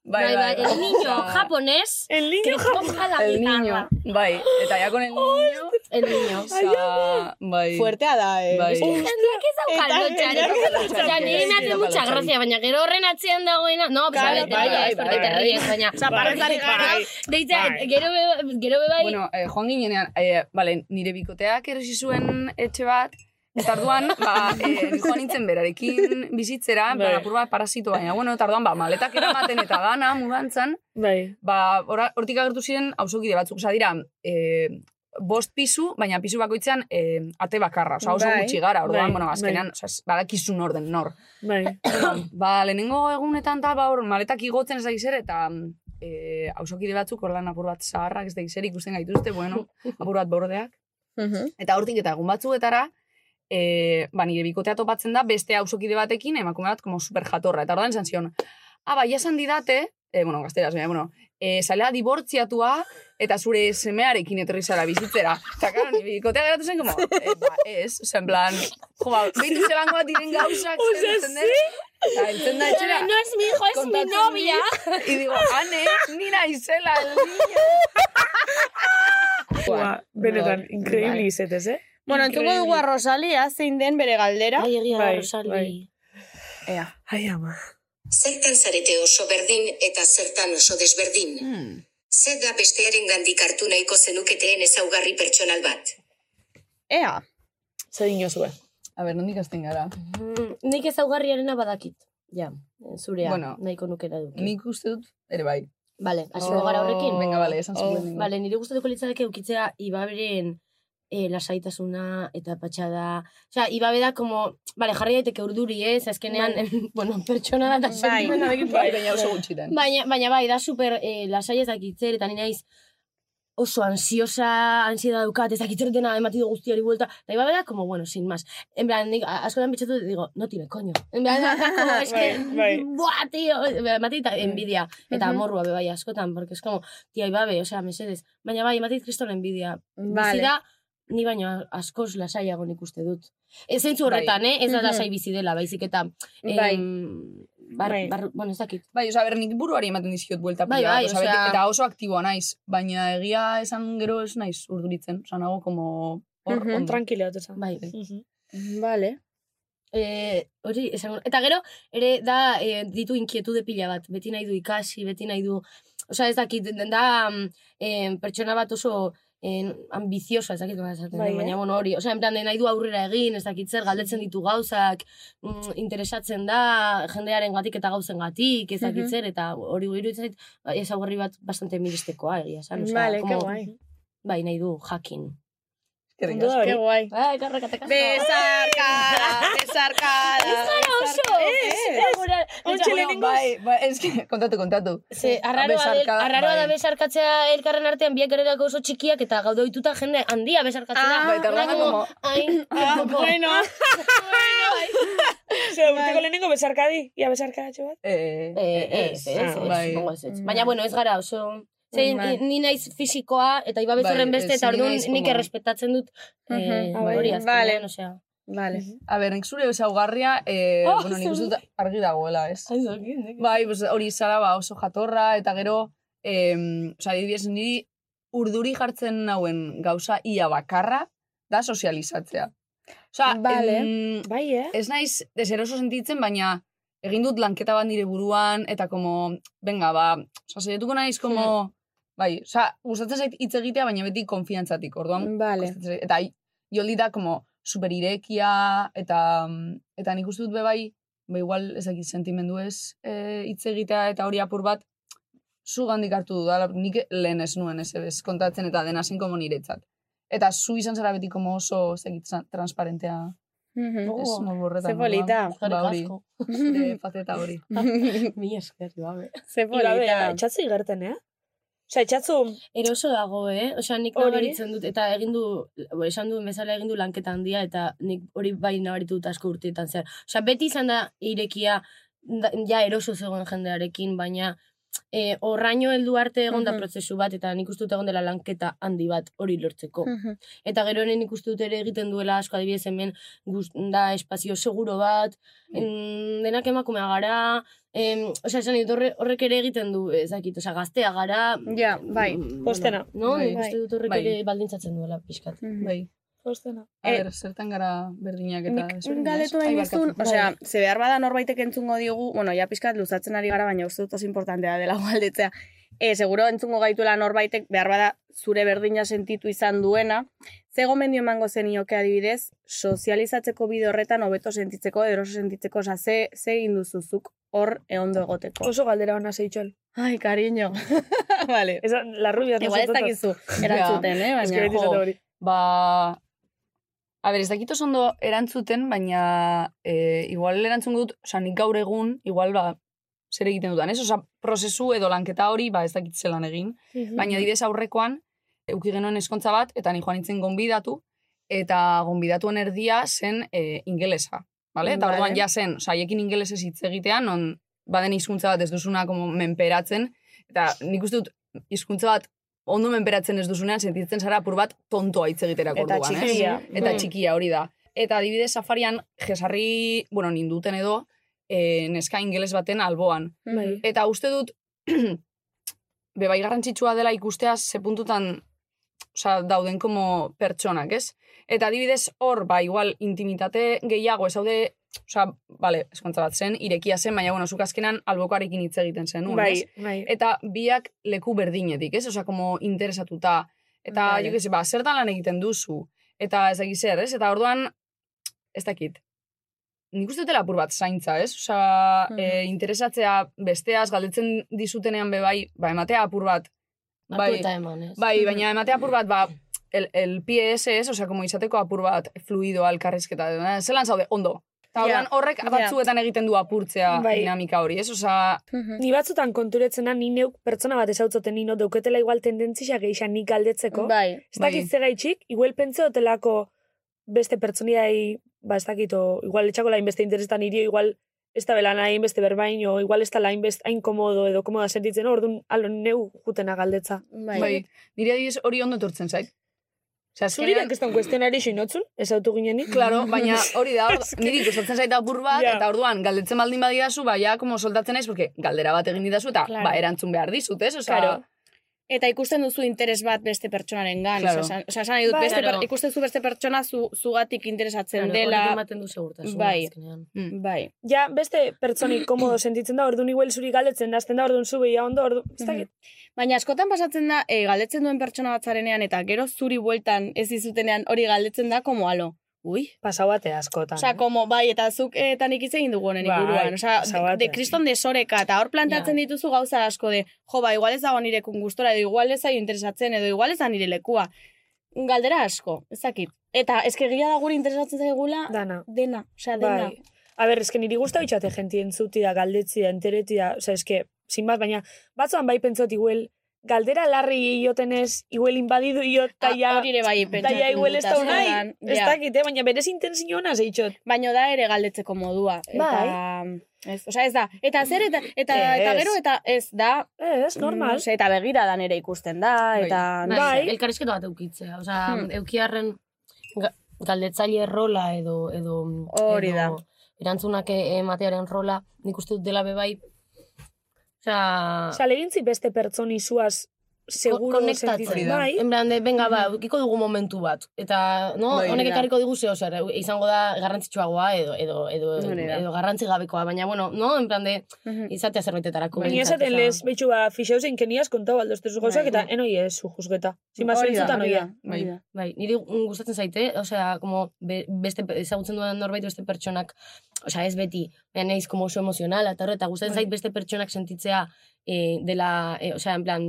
I: Bai,
J: Bai, bai, el niño
I: Eta-
J: japonés
G: El
J: que
G: niño
J: toca la
I: El
J: guitarra.
I: niño, bai. Eta ja con el niño,
J: El niño.
I: oza, bai.
B: Fuertea da, eh.
I: Bai.
J: Jendeak ez daukan lotxarik. Osea, niri me hace mucha gracia, baina gero horren atzean dagoena... No, pues, a ver, te
I: bai, bai,
J: ríes, porque te
I: bai.
J: ríes, baina...
B: Osa, parretarik gara.
J: Deitza,
G: Bai.
J: gero be, gero be bai...
I: Bueno, eh, joan ginenean, eh, vale, nire bikoteak erosi zuen etxe bat, eta arduan, ba, eh, ni joan nintzen berarekin bizitzera, en plan,
G: Bai.
I: apur bat parasito baina, bueno, eta arduan, ba, maletak eramaten eta dana, mudantzan,
G: Bai.
I: ba, ora- hortik agertu ziren hausokide batzuk, oza, dira, eh, bost pisu, baina pisu bakoitzean eh, ate bakarra, oza, oso
B: Bai.
I: gutxi gara, orduan,
G: Bai,
I: bueno, azkenean,
G: bai.
I: oza, badakizu nor den nor.
G: Bai.
I: ba, lehenengo egunetan, tal, ba, hor, maletak igotzen ez dakiz ere, eta eh, ausokide batzuk, ordan apur bat zaharrak, ez da zer ikusten gaituzte, bueno, apur bat bordeak. Eta hortik eta egun batzuetara, e, ba, nire bikotea topatzen da beste hausokide batekin emakume bat como super jatorra. Eta ordan esan zion, ah, ba, jasan didate, e, bueno, gazteraz, baina, bueno, e, zalea dibortziatua eta zure semearekin etorri zara bizitzera. Eta, karo, nire bikotea geratu zen, como, e, ba, ez, zen plan, jo, ba, behitu zelango bat diren gauzak,
J: O sea,
I: zer, Eta entzen da etxera.
J: No es mi hijo, es mi
I: kontatzen
J: novia.
I: dit, Y digo, ane, ni naizela, el niño.
G: Ua, benetan,
B: Bai.
G: increíble izetez, eh?
B: Bueno, entzuko dugu a Rosalia, zein den bere galdera.
J: Bai, egia
L: da,
J: Rosali.
I: Ea.
G: Ai, ama.
L: Zertan zarete oso berdin eta zertan oso desberdin.
G: Hmm.
L: Zer da bestearen gandik hartu nahiko zenuketeen ezaugarri pertsonal bat.
B: Ea.
I: Zer eh? inozue. A ber, nondik azten gara.
J: Mm, Nik ezaugarriarena badakit. Ja, zurea,
I: Bueno.
J: nahiko nukera dut.
I: Nik uste dut, ere bai.
J: Vale, hasiko gara horrekin.
I: Venga, bale, esan zuen lehenengo.
J: Vale, nire gustatuko litzadeke eukitzea ibaberen eh, lasaitasuna eta patxada. Osea, ibabe da como, vale, jarri daiteke urduri ez, azkenean, bueno, pertsona da eta sentimena
I: bai,
J: dakin-
I: baina oso gutxitan.
J: Baina, baina bai, da super eh, lasai ez dakitzer, eta nina iz oso ansiosa, ansiedad daukat, ez dakitzer dena emati du guztiari buelta, eta iba bera, como, bueno, sin más. En plan, nik, a- askotan bitxatu, digo, no tiene coño. En plan, da, como, es que,
G: Bai, bai.
J: buah, tío, emati eta envidia, eta
B: Mhm.
J: amorrua be bai askotan, porque es como, tia, ibabe, osea, mesedez, baina bai, emati kriston envidia.
B: Vale.
J: Bizi da, ni baino askoz lasaiago nik uste dut. Ez zentzu horretan,
I: Bai.
J: eh? Ez da
I: Mhm.
J: lasai bizi dela, baizik eta,
I: Bai.
J: em, bar,
I: Bai.
J: bar, bueno, ez dakit.
I: Bai, oza, ber, nik buruari ematen dizkiot buelta
J: Bai,
I: pila bat,
J: bai,
I: osea,
J: osea-
I: beti- eta oso aktiboa naiz, baina egia esan gero ez naiz urduritzen, oza, nago como hor,
J: Mhm.
I: ondo.
G: Tranquila, eta
J: Bai.
B: Vale.
J: Eh, hori, esango, eta gero, ere da, eh, ditu inkietude pila bat, beti nahi du ikasi, beti nahi du, osea, ez dakit, da, mm, eh, pertsona bat oso eh, ambiziosa, ez dakit, nola esaten,
G: Bai,
J: den,
G: eh?
J: baina, bueno, hori, osea, en plan, de nahi du aurrera egin, ez dakit zer, galdetzen ditu gauzak, mm, interesatzen da, jendearen gatik eta gauzen gatik, ez dakit
B: Mhm.
J: zer, eta hori iruditzen zait, ba, ezaugarri bat bastante miristekoa, egia esan, osea,
B: Vale,
J: como-
B: que guai.
J: Bai, nahi du, jakin.
I: Eskerrik
B: Ondo da hori. Que guai.
J: Bai, karrakataka.
B: Bezarkada, bezarkada.
J: Ez gara oso, ez, gura-
I: Bueno, Bai, bai, eski, kontatu, kontatu.
J: Ze, arraroa, del,
I: Besarka,
J: arraroa da
I: Eh, bai.
J: besarkatzea elkarren artean biak ererako oso txikiak eta gaude ohituta jende handia besarkatzea.
I: Ah, Bai, eta orduan
J: Orduan
I: como-
J: Ai,
G: Ah,
J: como-
G: bueno. Ze, urteko lehenengo bezarkadi, ia bezarkadatxo bat.
I: Eh,
J: Eh, ez, ez, ez,
G: Ah, bai.
J: supongo ez, ez. Baina, bueno, ez gara oso... Ze,
G: Bai.
J: ni- ni naiz fisikoa eta ibabez
I: Bai,
J: horren beste
I: ez,
J: eta
I: ni
J: orduan
I: naiz
J: nik
I: como-
J: errespetatzen dut eh,
I: Ah, bai.
J: hori
B: Vale.
J: azkenean, osea.
B: Vale.
I: A ber, nik zure ezaugarria, eh,
J: Ah,
I: bueno, nik
J: zer-
I: uste dut argi dagoela, ez?
J: Ai, zokin, zokin.
I: Bai, pues, hori zara ba, oso jatorra, eta gero, em, oza, adibidez, niri urduri jartzen nauen gauza ia bakarra, da sozializatzea. Osa,
B: Vale.
G: bai, eh?
I: ez naiz deseroso sentitzen, baina egin dut lanketa bat nire buruan, eta como, venga, ba, oza, zeretuko naiz, como, bai, oza, gustatzen zait hitz egitea, baina beti konfiantzatik, orduan,
B: Vale.
I: gustatzen zait. Eta joldi da, como, superirekia, eta, mm, eta nik uste dut be bai, ba igual, ez dakit sentimendu ez eh, hitz egitea, eta hori apur bat, zu gandik hartu dudala, nik lehen ez nuen ez, ez kontatzen, eta dena zen como niretzat. Eta zu izan zara beti como oso, ez dakit, tran- transparentea.
B: Mhm.
I: Ez,
J: Oh,
I: modu horretan.
B: ze polita.
I: Ba, hori.
J: Eskerrik asko.
I: Nire faceta hori. Bai,
J: Mi esker, ibabe.
B: Ze
G: Ibabe,
B: polita.
G: etxatzu igerten, eh? Osa, etxatzu,
J: Eroso dago, eh? Osea, nik
G: Hori.
J: nabaritzen dut, eta egin du, bo, esan duen bezala egin du lanketa handia, eta nik hori bai nabaritu dut asko urteetan zer. Osea, beti izan da irekia, da, ja eroso zegoen jendearekin, baina eh, horraino heldu arte egon da
B: Mhm.
J: prozesu bat, eta nik uste dut egon dela lanketa handi bat hori lortzeko. Eta gero honen ikuste dut ere egiten duela asko adibidez hemen gust, da espazio seguro bat, em, denak emakumea gara, em, osea, esan dut horre- horrek ere egiten du, ez dakit, osea, gaztea gara,
B: Ja, bai.
G: postena.
J: Mm, no,
I: Bai.
J: nik uste dut horrek
I: Bai.
J: ere baldintzatzen duela pixkat.
I: Bai.
G: Postena.
I: A
B: Eh,
I: ber, zertan gara berdinak eta
B: Nik
I: ezberdinak, ez?
B: galetu
I: Ai,
B: nahi nizun,
I: barkatu. Bai.
B: osea, ze behar bada norbaitek entzungo digu, bueno, ja pixkat luzatzen ari gara, baina uste dut oso importantea dela galdetzea. E, seguro entzungo gaituela norbaitek behar bada zure berdina sentitu izan duena, ze gomendio emango zenioke adibidez, sozializatzeko bide horretan hobeto sentitzeko, eroso sentitzeko, osea, ze, ze egin duzuzuk hor eondo egoteko.
G: Oso galdera hona zeitxol.
B: Ai, cariño. vale.
G: Ez, la rubia.
B: Bai, Igual ez dakizu, erantzuten, eh?
G: Ez que
B: Baina,
G: beti
B: jo,
G: zate hori.
I: Ba... A ber, ez dakit oso ondo erantzuten, baina e, igual erantzun dut, oza, nik gaur egun, igual ba, zer egiten dudan, ez? Osa, prozesu edo lanketa hori, ba, ez dakit zelan egin,
G: Mhm.
I: baina didez aurrekoan, euki genuen eskontza bat, eta ni joan nintzen gonbidatu, eta gonbidatuen erdia zen e, ingelesa, bale? Eta
G: Vale.
I: orduan ja zen, osa, haiekin ingelesez hitz egitean, non baden hizkuntza bat ez duzuna como menperatzen, eta nik uste dut hizkuntza bat ondo menperatzen ez duzunean, sentitzen zara apur bat tontoa hitz egiterako
G: Eta
I: orduan, ez?
G: txikia.
I: Eta
G: Mm.
I: txikia hori da. Eta adibidez safarian, jesarri, bueno, ninduten edo, eh, neska ingeles baten alboan.
G: Bai.
I: Eta uste dut, bebai garrantzitsua dela ikustea ze puntutan osea, dauden como pertsonak, ez? Eta adibidez hor, ba, igual, intimitate gehiago, ez haude, osea, bale, eskontza bat zen, irekia zen, baina, bueno, zuk azkenan albokoarekin hitz egiten zen,
G: Bai,
I: bai. Eta biak leku berdinetik, ez? Osea, como interesatuta, eta,
G: Bai.
I: jo que se, ba, zertan lan egiten duzu, eta ez dakit zer, ez? Eta orduan, ez dakit, nik uste dela apur bat zaintza, ez? Osa, e, interesatzea besteaz, galdetzen dizutenean be bai, ba, ematea apur bat.
J: Hartu eta eman, ez?
I: Bai,
J: Mhm.
I: baina ematea apur bat, ba, el, el PS, ez? Osa, como izateko apur bat fluidoa elkarrizketa. eh, Zelan zaude, ondo. Eta
G: Ja,
I: orduan horrek
G: ja.
I: batzuetan egiten du apurtzea
G: Bai.
I: dinamika hori, ez? Osa,
G: Ni batzutan konturetzena ni neuk pertsona bat esautzoten ni no deuketela igual tendentzia geixa ni galdetzeko.
B: Bai,
G: Ez dakit
B: bai.
G: ze gaitxik, igual pentsa dutelako beste pertsoniai, ba ez dakit, o, igual etxako lain beste interesetan irio, igual ez da bela nahi beste berbain, o igual ez da lain beste hain komodo edo komoda sentitzen, orduan alo neu jutena galdetza.
I: bai. nire adibidez hori ondo etortzen zait. Osea,
G: Zuri da keston kuestionari xinotzun, ez autu ginenik.
I: Claro, baina hori da, hor- niri gustatzen zaita apur bat,
G: Ja.
I: eta orduan, galdetzen baldin badidazu, ba, ja, como soltatzen naiz, porque galdera bat egin didazu, eta,
B: Claro.
I: ba, erantzun behar dizut, ez? Osa,
B: Claro. Eta ikusten duzu interes bat beste pertsonaren gan.
I: Claro.
B: Claro. Osa, esan nahi dut,
I: Bai.
B: beste
I: Claro.
B: per, ikusten zu beste pertsona zu, zugatik interesatzen
J: Claro,
B: dela.
J: horrek ematen du segurtasuna
B: Bai. Bai.
G: Ja, beste pertsoni komodo sentitzen da, orduan igual zuri galdetzen, hasten da, orduan zu behia ondo, orduan, ez dakit.
B: Mhm. Baina askotan pasatzen da, e, galdetzen duen pertsona bat zarenean, eta gero zuri bueltan ez dizutenean hori galdetzen da, como alo. Ui.
G: Pasauate askotan.
B: Osa, como, bai, eta zuk eh, eta nik hitz egin dugu honen
G: Bai,
B: inguruan. Osa,
G: pasabate.
B: de kriston desoreka, eta hor plantatzen dituzu gauza asko de, jo, ba, igual ez dago nire gustora, edo igual ez zaio interesatzen, edo igual ez da nire lekua. Galdera asko, ez dakit. Eta eskegia da guri interesatzen zaigula,
G: dana.
B: dena, osa, dena.
G: Bai. A ber, eske niri gusta bitxate jenti entzuti da, galdetzi da, entereti da, oza, eske, sin bat, baina, batzuan bai pentsot iguel, galdera larri iotenez, iguel inbadidu iot,
B: Ah,
G: ta ja,
B: hori ere bai,
G: ta ja
B: pentsatzen
G: iguel
B: dut
G: ez da unai,
B: askotan,
G: ez
B: ja.
G: dakit, eh, baina berez intenzio hona zeitxot.
B: Baina da ere galdetzeko modua. Eta, ez, osea, ez da, eta zer, eta, eta,
G: Bai. Ez.
B: eta gero, eta ez da...
G: Ez, Bai.
J: normal.
B: Ose, eta begira da nere ikusten da, eta...
J: Bai, Elkarrizketa bat eukitzea, oza,
B: Bai. Hmm.
J: eukiarren ga- galdetzaile rola edo... edo
B: Hori
J: edo,
B: da.
J: Erantzunak e- ematearen rola, nik uste dut dela bai. bebai, oza...
G: Oza, legintzi beste pertsoni zuaz, seguro sentitzen.
J: konektatzen.
G: Bai,
J: En plan, de, venga, ba, eukiko dugu momentu bat. Eta, no,
G: Hori
J: honek
G: da.
J: ekarriko digu zeo zer, izango da garrantzitsuagoa edo, edo, edo,
G: Hori da.
J: edo garrantzi gabekoa, baina, bueno, no, en plan, de,
G: Mhm.
J: izatea zerbaitetarako.
G: Baina
J: behintzat,
G: Bai, esaten
J: osea.
G: lez, behitxu, ba, fixeuzen keniaz kontau aldostezu gauzak, eta enoi ez, zu juzgeta. Zima zentzutan oia.
J: Bai, bai, niri gustatzen zaite, osea, como be- beste pe- ezagutzen duen norbait beste pertsonak, osea, ez beti, baina naiz como oso emozionala, eta horre, eta gustatzen
G: Bai.
J: zait beste pertsonak sentitzea eh, dela, eh, osea, en plan,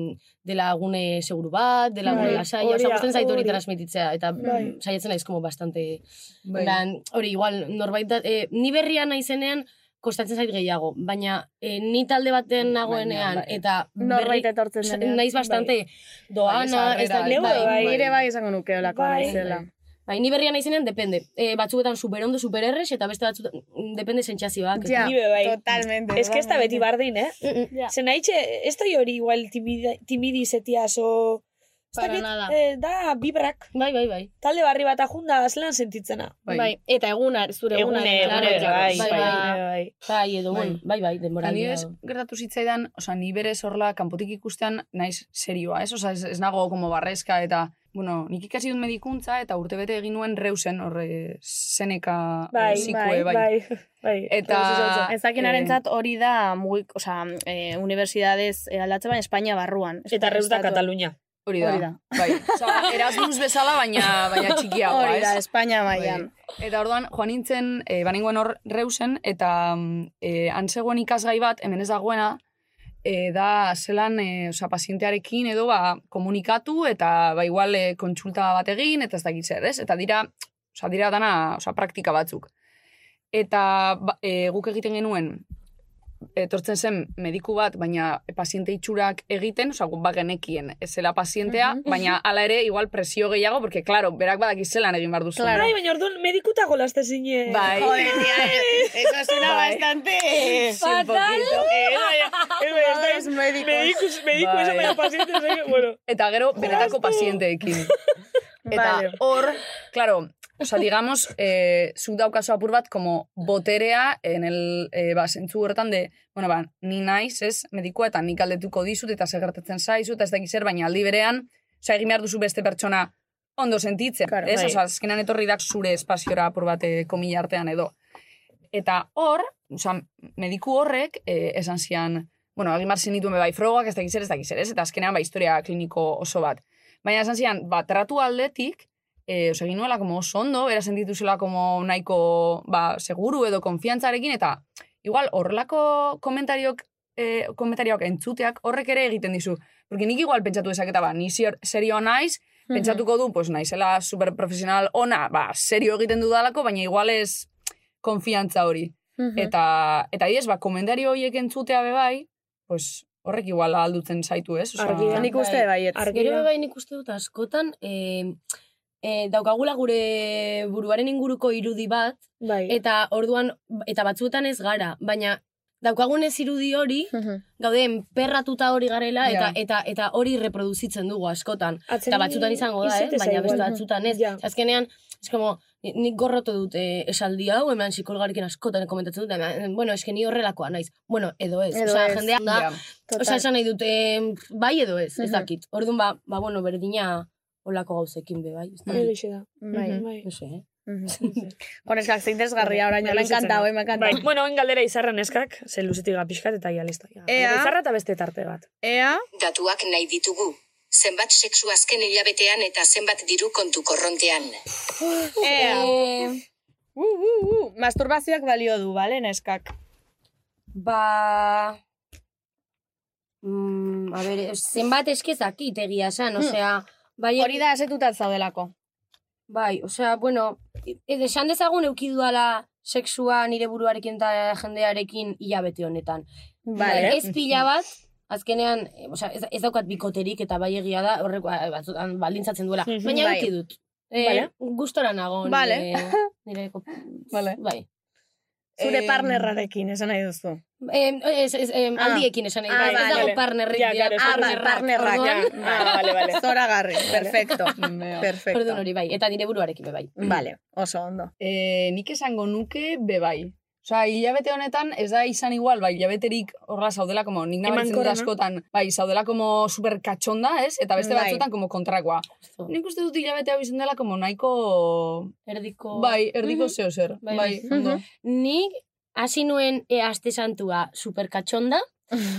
J: dela gune seguru bat, dela gune
G: Bai,
J: lasaia,
G: hori da,
J: osea, gustatzen zait hori
G: hori.
J: transmititzea, eta
G: Bai.
J: mm, saiatzen naiz como bastante, en
G: Bai.
J: plan, hori, igual, norbait, da, eh, ni berria naizenean, kostatzen zait gehiago, baina eh, ni talde baten
G: bai.
J: nagoenean, eta
B: Norbait etortzen
J: Osa,
B: denean,
J: naiz bastante doana,
B: Bai,
J: ez da,
B: sarrera, Nire bai esango nuke olako naizela.
J: Bai, ni berria naizenen, depende. E, batzuetan superondo supererres, eta beste batzuetan, mm, depende sentxazioak.
G: Ja, Ni be bai.
B: totalmente.
G: Es que ez da beti bardin, eh?
J: Mm,
G: Ze nahitxe, ez da hori igual timidi- timidizetiaz o... ez
B: Para
G: dakit,
B: nada.
G: eh, da, bibrak.
J: Bai, bai, bai.
G: Talde barri bat ajunda azlan sentitzena.
B: Bai. Eta eguna, zure eguna.
G: Egune,
B: claro,
G: egune,
B: claro.
G: bai,
B: Bai,
G: bai,
B: bai.
G: bai.
J: Bai, edo,
I: Bai.
J: bueno, bai, bai, denbora.
I: Ni ez gertatu zitzaidan, osea, ni berez horla kanpotik ikustean naiz serioa, ez? Osea, ez, ez nago como barrezka eta, bueno, nik ikasi dut medikuntza eta urtebete egin nuen reusen horre seneka
B: Bai,
I: eh,
B: bai,
I: zikue, bai.
G: bai. Bai.
I: Eta... eh,
B: ezakenarentzat hori da mugik, osea, eh, unibertsitatez eh, aldatzen baina Espainia barruan.
G: Eta reus da Katalunia.
I: Hori da.
B: Hori da.
I: Bai. Osa, Erasmus bezala, baina, baina txikiagoa,
B: Hori da,
I: ez?
B: Espainia mailan.
I: Bai. Eta orduan, joan nintzen, e, banengoen hor reusen, eta mm, eh, han antzegoen ikasgai bat, hemen ez dagoena, eh, da zelan eh, osea, pazientearekin edo ba, komunikatu eta ba, igual eh, kontsulta bat egin, eta ez dakit zer, ez? Eta dira, osea, dira dana osea, praktika batzuk. Eta ba, eh, guk egiten genuen etortzen zen mediku bat, baina paziente itxurak egiten, osea, guk bagenekien ez zela pazientea,
G: Mhm.
I: baina hala ere igual presio gehiago, porque, claro, berak badaki zelan egin behar duzu.
G: Bai, baina orduan medikuta golazte zine.
I: Bai. Joder, tia,
K: eso suena bastante-
G: Fatal.
K: Ez da, medikuz, medikuz,
I: Bai.
K: baina paziente zaigu, bueno.
I: Eta gero, benetako pazienteekin. Eta
K: Vale.
I: hor, claro, o sea, digamos, eh, zuk daukazu apur bat, como boterea, en el, eh, ba, zentzu horretan de, bueno, ba, ni naiz, ez, medikua, eta nik aldetuko dizut, eta zer gertatzen zaizu, eta ez dakiz zer, baina aldi berean, osea, egin behar duzu beste pertsona ondo sentitzen,
G: Claro,
I: ez?
G: bai.
I: Osea, azkenan etorri dak zure espaziora apur bat eh, komila artean edo. Eta hor, osea, mediku horrek, eh, esan zian, bueno, egin behar zenituen bai frogak, ez dakiz zer, ez dakiz zer, ez? Eta azkenean, ba, historia kliniko oso bat. Baina esan zian, ba, tratu aldetik, e, osea, egin nuela como oso ondo, bera sentitu zela como nahiko, ba, seguru edo konfiantzarekin, eta igual horrelako komentariok, e, komentarioak entzuteak horrek ere egiten dizu. Porque nik igual pentsatu dezaketa, ba, ni sier- serio naiz,
G: Mhm.
I: pentsatuko du, pues naizela superprofesional ona, ba, serio egiten dudalako, baina igual ez konfiantza hori.
G: Mhm.
I: Eta, eta adibidez, ba, komentario horiek entzutea be bai, pues horrek igual aldutzen zaitu, ez? Osea,
J: Gero be bai nik uste dut askotan, eh, eh, daukagula gure buruaren inguruko irudi bat,
G: Bai.
J: eta orduan, eta batzuetan ez gara, baina daukagunez irudi hori, gauden perratuta hori garela,
G: Ja.
J: eta, eta, eta hori reproduzitzen dugu askotan.
G: Atzeri
J: eta batzutan izango da, eh?
G: izatez
J: baina beste
G: igual.
J: batzutan ez. Azkenean, ez como, ni- nik gorrotu dut eh, esaldi hau, hemen psikologarekin askotan komentatzen dut, hemen, bueno, eske ni horrelakoa naiz. Bueno, edo ez.
G: Edo
J: Osea,
G: ez,
J: jendea da,
G: ja. Total.
J: osea, esan nahi dut, eh, bai edo ez, ez
G: Mhm.
J: dakit. Orduan, ba, ba bueno, berdina olako gauzekin be, bai. Ez dakit.
K: Horixe da. Bai.
J: Mhm.
K: Bai.
J: No sé.
K: Bueno, eskak zein desgarria
B: Bai,
K: orain, me ha encantado, eh, me ha encantado.
G: Bai, bueno, en galdera izarren eskak, zen luzetik gapiskat eta ia listo. Ia.
L: Ea.
G: Izarra eta beste tarte bat.
K: Ea.
L: Datuak nahi ditugu. Zenbat sexu azken hilabetean eta zenbat diru kontu korrontean.
K: Ea.
J: Eh,
K: Uh, uh, uh. Masturbazioak balio du, bale, neskak?
J: Ba... Mm, a ber, zenbat eskezakit egia esan,
G: Hmm.
J: osea... Bai, Hori
K: da asetutat zaudelako.
J: Bai, osea, bueno, edo esan dezagun eukidudala sexua nire buruarekin eta jendearekin hilabete honetan.
K: Vale.
J: Ez pila bat, azkenean, eh, osea, ez, ez daukat bikoterik eta bai egia da, horrek ba- batzutan baldintzatzen duela.
K: Mhm.
J: Baina
K: Bai.
J: eduki dut. Eh,
K: Vale.
J: Gustora nago nire,
K: Vale.
J: nire kop- Bai.
K: Zure
J: Em,
K: partnerrarekin, esan nahi duzu.
J: Em, ez, ez, em,
K: Ah.
J: aldiekin esan nahi.
K: Ah,
J: dut. ez
K: vale.
J: dago partnerrik
K: Ja,
J: dira. Ah,
K: claro, ez dago Ah, bai, partnerrak,
J: orduan.
K: ja. Ah, vale, vale. Zoragarri, perfecto, perfecto.
J: Orduan hori bai, eta nire buruarekin be bai.
K: Vale, oso ondo.
I: Eh, nik esango nuke bebai. Osea, hilabete honetan ez da izan igual, bai, hilabeterik horra zaudela, como nik nabaritzen dut
G: Emankorra, no?
I: askotan, bai, zaudela como super katxonda, ez? Eta beste
G: Bai.
I: batzuetan como kontrakoa. Nik uste dut hilabete hau izan dela como nahiko...
J: Erdiko...
I: Bai, erdiko
J: Mhm.
I: zeo zer. Bai, ondo.
J: Mhm. Nik hasi nuen e, aste santua superkatxonda,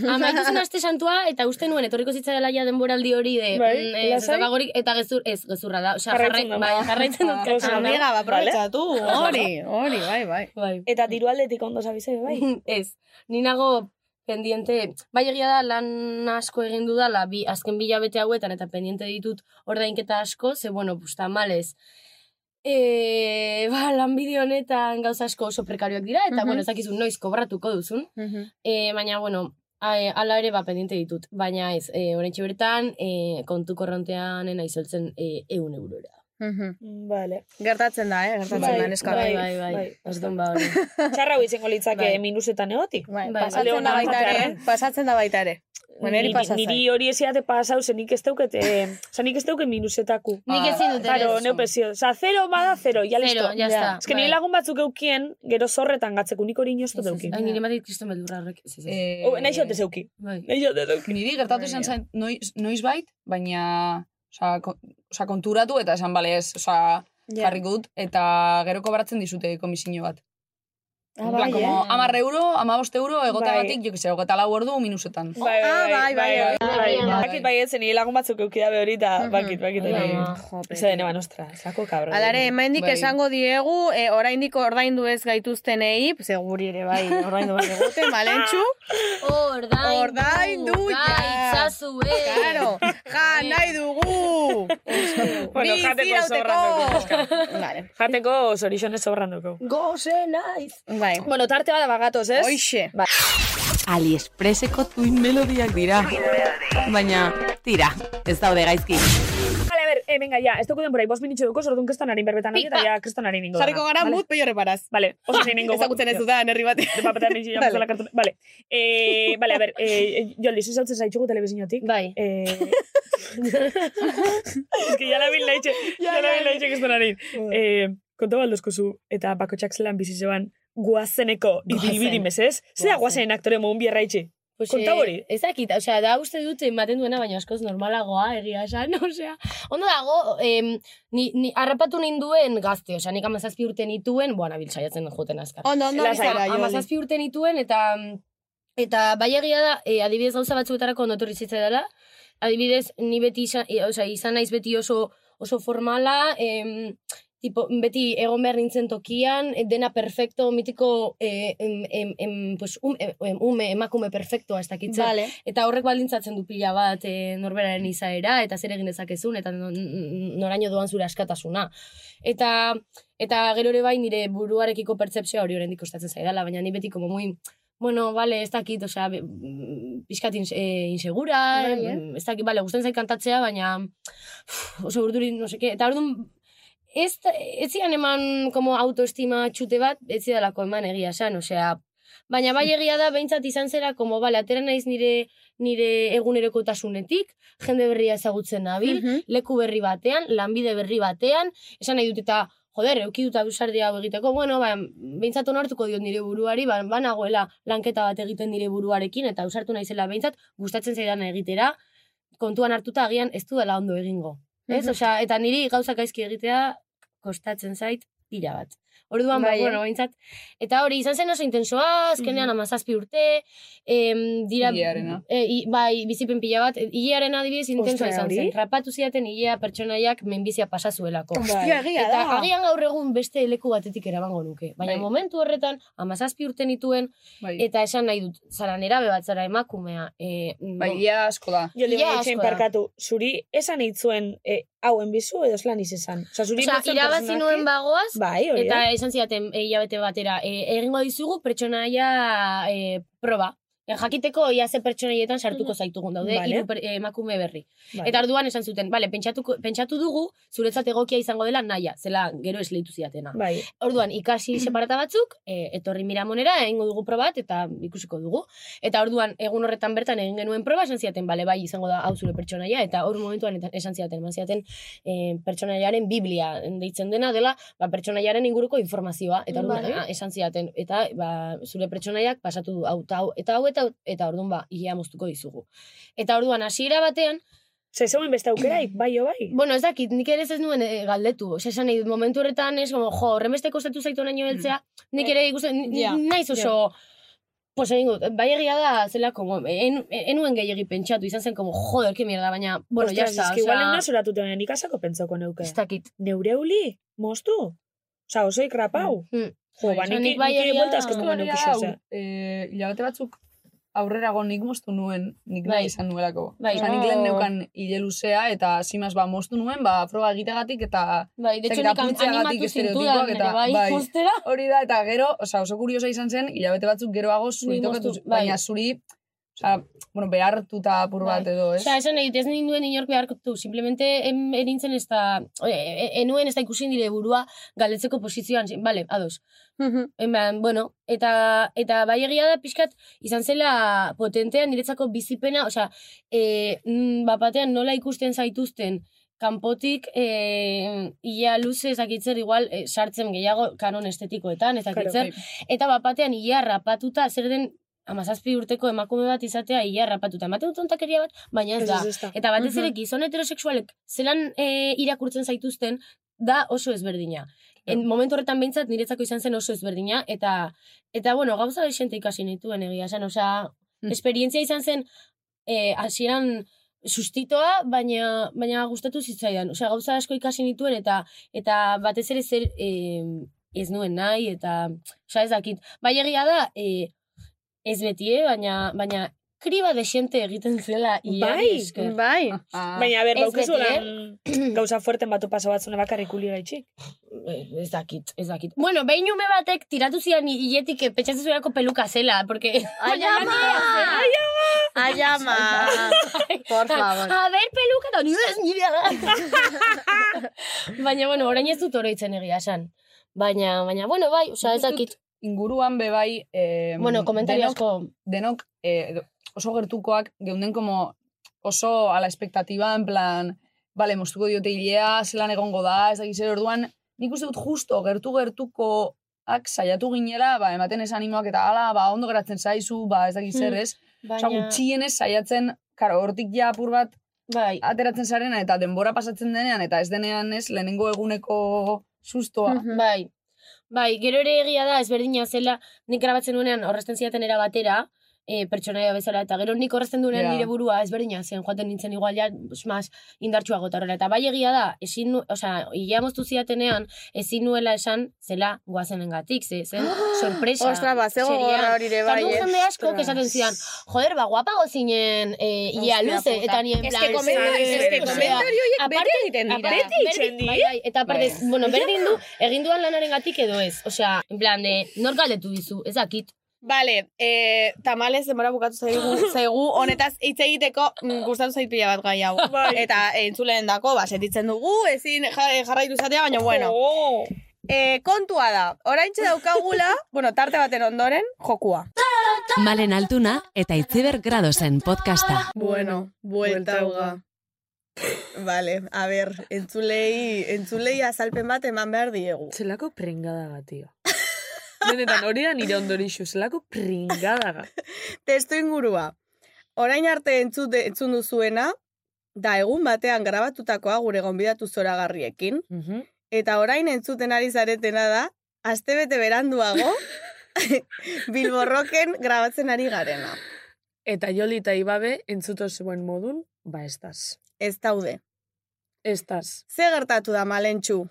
J: amaitu zen aste santua eta uste nuen etorriko zitzaiela ja denboraldi hori de
K: Bai,
J: mm, eh, ez
K: lasai?
J: daukagorik, eta gezur, ez gezurra da, osea jarrai,
K: Jarraitzen da.
J: bai, jarraitzen dut katxonda.
K: Amiga, ba, aprobetsatu, hori, hori, bai,
J: bai.
K: Eta diru aldetik ondo zabizei,
J: ez, ni nago pendiente, bai egia da lan asko egin dudala, bi, azken bilabete hauetan eta pendiente ditut ordainketa asko, ze bueno, pusta malez. E, ba, lanbide honetan gauza asko oso prekarioak dira, eta
K: Mhm.
J: bueno, ez dakizu noiz kobratuko duzun, E, baina, bueno, a- ala ere ba pendiente ditut. Baina ez, e, orain bertan, e, kontu korrontean ena izoltzen e, eun eurora.
K: Mm, Vale. Gertatzen da, eh? Gertatzen
G: Bai,
K: da, neska.
G: bai, bai, bai.
J: Azten ba hori.
G: Txarra hau izango litzake
K: Bai.
G: minusetan egotik.
K: Bai,
G: Bai,
K: Pasatzen da baita ere, pasatzen da baita ere. Bueno, niri pasa zait.
G: niri hori esiate pasau, ze nik ez dauket, eh, oza, nik ez dauket minusetaku.
J: Nik ezin dut ere
G: Claro,
J: eso.
G: neu pesio. Oza, zero bada zero, ja
J: Zero,
G: listo.
J: ya está,
G: Ez que nire
J: bai.
G: lagun batzuk eukien, gero zorretan gatzeko, nik hori inoz dut eukin.
K: eh.
J: Ai, nire batik kriston beldurra horrek. Ez, Bai. ez,
I: Eh.
J: ez.
G: Oh, nahi Bai, xote zeuki. Nahi xote zeuki.
I: Niri gertatu izan zen noiz, noiz bait, baina osea, kon- osea, konturatu eta esan bale ez, osea,
G: Ja.
I: jarriko dut, eta gero kobratzen dizute komisio bat.
K: Ah,
I: En
K: bai,
I: plan, como,
K: eh.
I: amarre euro, amabost euro, egoteagatik,
G: Bai.
I: jo que se, ogeta lau ordu minusetan.
G: Bai,
J: Ah,
G: bai, bai, bai, bai,
I: bai.
G: Bakit bai etzen, nire lagun batzuk eukida behori, eta
K: Mhm.
G: bakit,
K: eh?
G: bakit, hori.
K: Ja.
G: Ez da deneban, ostra, zako kabro.
K: Alare, hemendik
G: Bai.
K: esango diegu, e, oraindik ordaindu ez gaituztenei, seguri ere bai, ordaindu behar digute, malentxu.
J: Ordaindu, eh.
K: Ordaindu, ja.
J: gaitzazue.
G: eh.
K: Claro, ja,
G: Bai.
K: nahi dugu.
G: Bueno,
K: Bi
G: jateko
K: zirauteko.
G: zorran Jateko zorixonez zorran dugu.
J: Goze naiz.
K: Bai.
G: Bueno, tarte bada bagatoz, ez?
K: Hoixe.
G: Bai.
H: AliExpresseko tuin melodiak dira. Baina, tira, ez daude gaizki.
G: Vale, a ver, eh, venga, ya, ez dugu denbora, bost minitxo duko, sortun kestan harin berbetan hori, eta
K: Pipa.
G: ya kestan harin ingo.
K: Jarriko gara
G: vale?
K: mut peio reparaz.
G: Vale, oso zein ingo.
K: Ezagutzen ez dudan, herri batean.
G: De papetan nintxi
K: Vale.
G: jamuzela kartu. Vale, eh, vale, a ver, eh, Joldi, zuz hautzen zaitxugu telebizinotik.
J: Bai.
G: Eh, es que ya la bin laitxe, ya la bin laitxe kestan harin. Eh, konta baldozkozu, eta bakotxak zelan bizi zeban, guazeneko,
J: Goazen.
G: ibilbidi mesez, zera guazen aktore mogun bierra itxe.
J: Pues,
G: Konta
J: eh,
G: hori.
J: Ez dakit, osea, da uste dut ematen duena, baina askoz normalagoa, egia esan, osea. Ondo dago, em, ni, ni, harrapatu ninduen gazte, osea, nik amazazpi urte nituen, buena, bilsaiatzen joten azkar.
B: Oh,
K: Ondo, ondo,
J: Lasai,
K: bizarra, Joli.
J: Hamazazpi urte nituen, eta eta bai egia da, eh, adibidez gauza batzuetarako ondotorri dela, adibidez, ni beti izan, e, osea, izan naiz beti oso, oso formala, em, tipo, beti egon behar nintzen tokian, eh, dena perfecto, mitiko eh, em, em, em, pues, um, em, ume, emakume perfectoa ez dakitza.
K: Vale.
J: Eta horrek baldintzatzen du pila bat eh, norberaren izaera, eta zer egin dezakezun, eta no- n- noraino doan zure askatasuna. Eta, eta gero ere bai nire buruarekiko pertsepzioa hori oraindik kostatzen zaidala, baina ni beti como muy, bueno, vale, ez dakit, osea, be- mm, pixkat inse- eh, insegura,
K: Bai, eh?
J: em, ez dakit, vale, gustatzen zait kantatzea, baina uf, oso urduri, no seke, eta orduan, ez, da- ez zidan eman como autoestima txute bat, ez zidalako eman egia esan, osea, baina bai egia da, behintzat izan zera, como, bale, atera naiz nire nire egunerokotasunetik, jende berria ezagutzen nabil,
K: Bai.
J: leku berri batean, lanbide berri batean, esan nahi dut eta, joder, euki dut abusardia hau egiteko, bueno, ba, behintzat onartuko diot nire buruari, ba, banagoela lanketa bat egiten nire buruarekin, eta ausartu naizela behintzat, gustatzen zaidana egitera, kontuan hartuta agian ez dela ondo egingo. Ez?
K: Mhm.
J: Osea, eta niri gauzak gaizki egitea kostatzen zait pila bat. Orduan, ba,
K: Bai, eh?
J: bueno, behintzat, eta hori, izan zen oso intensoa, azkenean
K: Mhm.
J: amazazpi urte, em, dira...
I: Hilearena.
J: E, i, bai, bizipen pila bat, hilearen adibidez intensoa
K: Ostra,
J: izan
K: hori.
J: zen. Rapatu zidaten hilea pertsonaiak menbizia pasazuelako.
K: Ostia, egia
J: Eta
K: da.
J: agian gaur egun beste leku batetik erabango nuke. Baina
I: Bai.
J: momentu horretan, amazazpi urte nituen,
I: Bai,
J: eta esan nahi dut, zara nera bat zara emakumea. E,
I: bai, ia asko da.
G: Joldi,
J: Ia
G: baina itxein
J: asko da.
G: parkatu, zuri esan eitzuen eh, hauen bizu edo zelan izan. Osa, zuri
J: Osa,
G: batzen
J: irabazi
G: pertsonak-
J: nuen bagoaz,
G: Bai, hori
J: Eta
G: da.
J: esan zidaten e, hilabete batera, e, egingo dizugu pertsonaia e, proba. E, jakiteko ia ze pertsonaietan sartuko zaitugun daude
G: Vale.
J: hiru per- eh, emakume berri.
G: Vale.
J: Eta orduan esan zuten, bale, pentsatuko, pentsatu dugu zuretzat egokia izango dela naia, zela gero esleitu zidatena.
G: Bai.
J: Orduan, ikasi separata batzuk, e, etorri miramonera, egingo dugu probat, eta ikusiko dugu. Eta orduan, egun horretan bertan egin genuen proba, esan ziaten, bale, bai, izango da hau zure pertsonaia, eta hor momentuan eta- esan ziaten, eman ziaten e, pertsonaiaren biblia deitzen dena dela, ba, pertsonaiaren inguruko informazioa, eta orduan,
K: Vale.
J: a, esan ziaten, eta ba, zure pertsonaiak pasatu du, hau, eta hau, eta hau, eta, hau, eta orduan, ba, hilea moztuko dizugu. Eta orduan, hasiera batean,
G: Ose, zeuen beste aukeraik, bai, o bai.
J: Bueno, ez dakit, nik ere ez ez nuen eh, galdetu. Osa, esan nahi dut, momentu horretan ez, como, jo, horrenbeste kostatu zaitu naino heltzea, nik ere ikusten, ni-
K: Ja,
J: naiz oso... Pues egin dut, bai egia da, zela, como, en, enuen gehiagi pentsatu, izan zen, como, joder, que mierda, baina, bueno,
G: Ostras,
J: ya está,
G: es que igual egun
J: osea,
G: azuratute baina nik asako pentsoko neuke.
J: ez dakit.
G: Neure uli, moztu. Osa, oso ikrapau.
J: Mm.
G: Jo, ba,
J: Osea,
G: nik
J: nik bai
G: nik ere
J: egia-
G: buelta asko
I: Eskola
G: eman
I: nire
G: neuke
I: da,
G: zuzea.
I: eh, hilabete batzuk aurrera nik moztu nuen, nik nahi
J: Bai.
I: izan nuelako.
J: Bai.
I: Osa, nik lehen
J: Oh.
I: neukan hile luzea, eta simaz, ba, moztu nuen, ba, proba egitegatik, eta
J: Bai, de hecho,
I: Zek
J: nik an-
I: apurtzeagatik
J: animatu zintudan,
I: estereotipoak
J: nire
I: eta-
J: bai,
I: bai.
J: ikustera.
I: hori da, eta gero, osa, oso kuriosa izan zen, hilabete batzuk geroago zuri
J: Ni moztu,
I: tokatu, zi-
J: bai.
I: baina zuri, osa, bueno, behartuta apur bat
J: Bai.
I: edo, ez?
J: Osa, esan nahi, dut, ez ninduen inork beharkotu, simplemente em, erintzen ez da, e, e- enuen ez da ikusi nire burua galdetzeko posizioan, zin- bale, ados, Hemen, bueno, eta, eta bai egia da pixkat, izan zela potentea niretzako bizipena, osea, e, mm, bat batean nola ikusten zaituzten, kanpotik e, ia luze ezakitzer igual e, sartzen gehiago kanon estetikoetan,
I: Bai.
J: ezakitzer, eta bat batean ia rapatuta, zer den amazazpi urteko emakume bat izatea ia rapatuta. Ematen dut ontakeria bat, baina ez da.
G: Ez, ez da.
J: Eta batez ere
K: Mhm.
J: gizon heterosexualek zelan e, irakurtzen zaituzten da oso ezberdina. En, momentu horretan behintzat niretzako izan zen oso ezberdina eta eta bueno, gauza desente ikasi nituen egia esan, osea,
I: Mm.
J: esperientzia izan zen eh hasieran sustitoa, baina baina gustatu zitzaidan. Osea, gauza asko ikasi nituen eta eta batez ere zer eh, ez nuen nahi e, eta osea, ez dakit. Bai egia da, eh, ez beti, eh? baina, baina kriba desiente egiten
G: Bai,
J: zela hilari esker. Ah,
B: Bai,
G: Baina, a ber,
J: Ez
G: baukezu
J: beti,
G: lan
B: eh?
G: gauza fuerten batu pasa batzuna bakarrik uli gaitxik.
J: eh, Ez dakit, ez dakit. Bueno, behin ume batek tiratu zidan hiletik eh, pentsatzen zuelako peluka zela, porque...
B: Ai, ama!
J: Ai,
B: Ai, ama! Por favor.
J: A ber, peluka da, nire ez nirea da. baina, bueno, orain ez dut oroitzen egia esan. Baina, baina, bueno, bai, osea, ez dakit.
I: Inguruan be bai... Eh,
J: Bueno, komentario
I: denok-
J: asko.
I: Denok eh, edo- oso gertukoak geunden como oso a la expectativa, en plan, bale, moztuko diote hilea, zelan egongo da, ez dakiz ere orduan, nik uste dut justo gertu-gertukoak saiatu ginela, ba, ematen ez animoak eta ala, ba, ondo geratzen zaizu, ba, ez dakiz
G: Mm,
I: zer,
J: Hmm,
I: ez? Osa,
J: baina-
I: gutxienez saiatzen, karo, hortik ja apur bat
J: bai.
I: ateratzen zarena, eta denbora pasatzen denean, eta ez denean ez, lehenengo eguneko sustoa.
B: Hmm.
J: Bai. Bai, gero ere egia da, ezberdina zela, nik grabatzen duenean horrezten zidaten era batera, e, pertsonaia bezala, eta gero nik horrezten duenean
I: Ja.
J: nire burua ezberdina zen, joaten nintzen igual ja, mas, indartsuago eta horrela. Eta bai egia da, ezin, nu- osea, ia moztu zidatenean, ezin nuela esan zela guazenengatik, ze, zen sorpresa.
B: Ostra, bazego
J: serian.
B: gorra hori ere
J: Eta
B: bai,
J: orduan
B: eh.
J: jende asko
B: Ostras.
J: esaten zidan, joder, ba, guapago zinen e, ia
B: Hostia
J: luze,
B: puta.
J: eta nien
B: Ez
J: plan...
B: que komenta-
J: "Sí".
B: ez que
J: Osea,
B: komentario horiek beti
J: aparte-
B: egiten dira.
J: aparte,
B: Beti
J: berdin-
B: egiten
J: bai,
B: die.
J: bai, eta aparte,
B: Bai.
J: bueno, berdin du, egin duan lanarengatik edo ez. Osea, en plan, de, nor galdetu dizu, ez dakit.
B: Vale, eh, tamales denbora bukatu zaigu, zaigu honetaz hitz egiteko mm, gustatu zait pila bat gai hau. Eta eh, entzuleen dako, ba, sentitzen dugu, ezin ja- jarraitu izatea, baina bueno.
G: Oh!
B: Eh, kontua da, oraintxe daukagula, bueno, tarte baten ondoren, jokua.
F: Malen Altuna eta Itziber Gradosen podcasta.
B: Bueno, buelta uga. Vale, a ber, entzulei, entzulei azalpen bat eman behar diegu.
G: Zelako prengadaga, tio. Benetan hori da nire ondorixu, zelako pringadaga.
B: Testu ingurua. Orain arte entzun, entzun duzuena, da egun batean grabatutakoa gure gonbidatu zoragarriekin. Eta orain entzuten ari zaretena da, astebete beranduago, Bilborroken grabatzen ari garena.
G: Eta joli eta ibabe entzuto zuen modun, ba estaz.
B: Ez daude.
G: Estaz.
B: Ze gertatu da malentxu?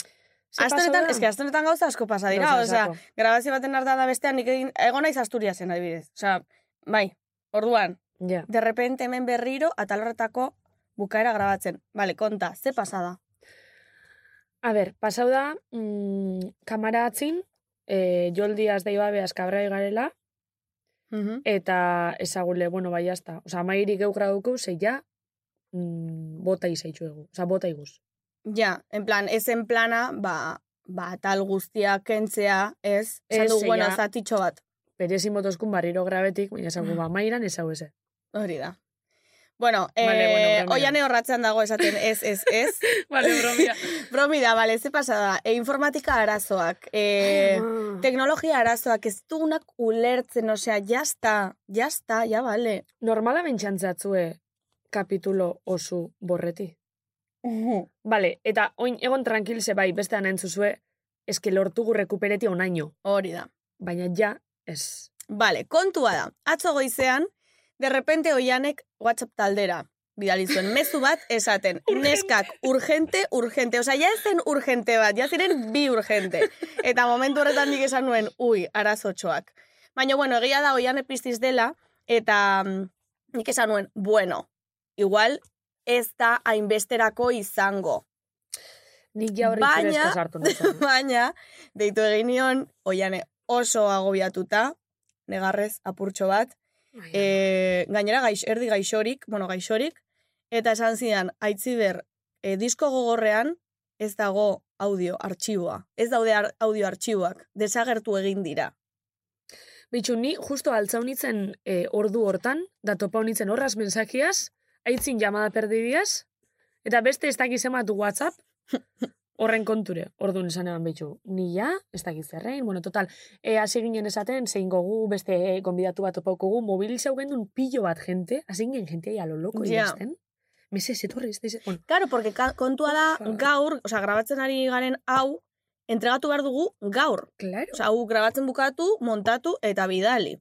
G: Ze
B: Aste
G: pasau
B: honetan,
G: da?
B: eske aste honetan gauza asko pasa dira,
G: Gauza
B: osea,
G: asko.
B: grabazio baten hartan da bestean nik egin egon naiz Asturiasen adibidez. Osea, bai, orduan.
G: Ja.
B: De repente hemen berriro atalorretako bukaera grabatzen. Vale, konta, ze pasada.
G: A ber, pasau da, mm, kamara atzin, e, joldi azda ibabe askabrai garela, eta ezagule, bueno, bai jazta. Osa, amairik eukra dugu, zei ja, mm, bota izaitxu egu. Osa, bota iguz.
B: Ja, en plan, ez en plana, ba, ba tal guztia kentzea, ez?
G: Ez,
B: Esan du, bueno,
G: ja.
B: zatitxo bat.
G: Perezin botozkun barriro grabetik, baina esagu, ba, mairan ezau eze.
B: Hori da. Bueno,
G: Vale,
B: eh,
G: bueno, bromia.
B: oian horratzen dago esaten ez, ez, ez.
G: vale, bromia.
B: bromida, vale, ze pasada. E, informatika arazoak,
G: Eh,
B: e, teknologia arazoak, ez dugunak ulertzen, osea, jazta, jazta, ja, vale.
G: Normala bentsantzazue kapitulo osu borreti. Vale, eta oin egon tranquil ze bai, bestean entzuzue, eske lortugu rekuperetia unaino.
B: Hori da.
G: Baina ja, ez.
B: Vale, kontua da. Atzo goizean, de repente oianek WhatsApp taldera bidali zuen mezu bat esaten. Neskak urgente, urgente. Osea, ja ez zen urgente bat, ja ziren bi urgente. Eta momentu horretan nik esan nuen, ui, arazotxoak. Baina, bueno, egia da oian piztiz dela, eta mm, nik esan nuen, bueno, igual ez da hainbesterako izango.
G: Nik ja horri
B: Baina-
G: baina... sartu nintzen.
B: Baina, deitu egin nion, oiane oso agobiatuta, negarrez, apurtxo bat, e, gainera gaix, erdi gaixorik, bueno, gaixorik, eta esan zidan, aitziber, e, disko gogorrean ez dago audio artxiboa, ez daude ar, audio artxiboak, desagertu egin dira.
G: Bitxu, ni justo altza honitzen eh, ordu hortan, da topa honitzen horraz mensakiaz, aitzin llamada perdidiaz, eta beste ez dakiz ematu WhatsApp, horren konture, orduan esan eban bitxu. Ni ja, ez dakiz zerrein, bueno, total, e, hasi ginen esaten, zein gogu, beste e, gonbidatu bat topaukogu, mobil zeu gendun pilo bat jente, hasi ginen jente ia lo loko
B: Ja.
G: idazten. Mese, zetorri, ez da, ez- bueno,
B: Claro, porque ka- kontua da gaur, osea, grabatzen ari garen hau, entregatu behar dugu gaur.
G: Claro.
B: Osea, hau grabatzen bukatu, montatu eta bidali.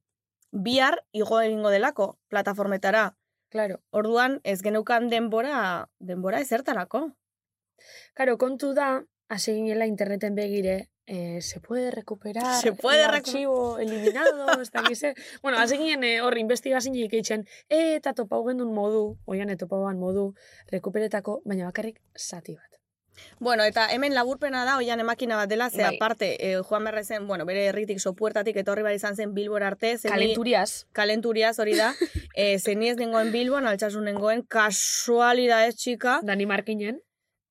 B: Bihar igo egingo delako, plataformetara.
G: Claro.
B: Orduan, ez geneukan denbora, denbora ezertarako.
G: Karo, kontu da, hasi ginela interneten begire, eh, se puede recuperar
K: Se puede
G: el
K: recu-
G: archivo eliminado, ez dakit zer. bueno, hasi ginen eh, hor investigazin ikeitzen, e, eta topau gendun modu, oian etopauan modu, rekuperetako, baina bakarrik zati bat.
B: Bueno, eta hemen laburpena da, oian emakina bat dela, ze
G: Bai.
B: aparte, eh, Juan Berrezen, bueno, bere herritik sopuertatik etorri behar izan zen Bilbora arte. Zen
G: Kalenturiaz.
B: Kalenturiaz, hori da. eh, zen ni ez nengoen Bilbon, altxasun nengoen, kasualidadez txika.
G: Dani Markinen.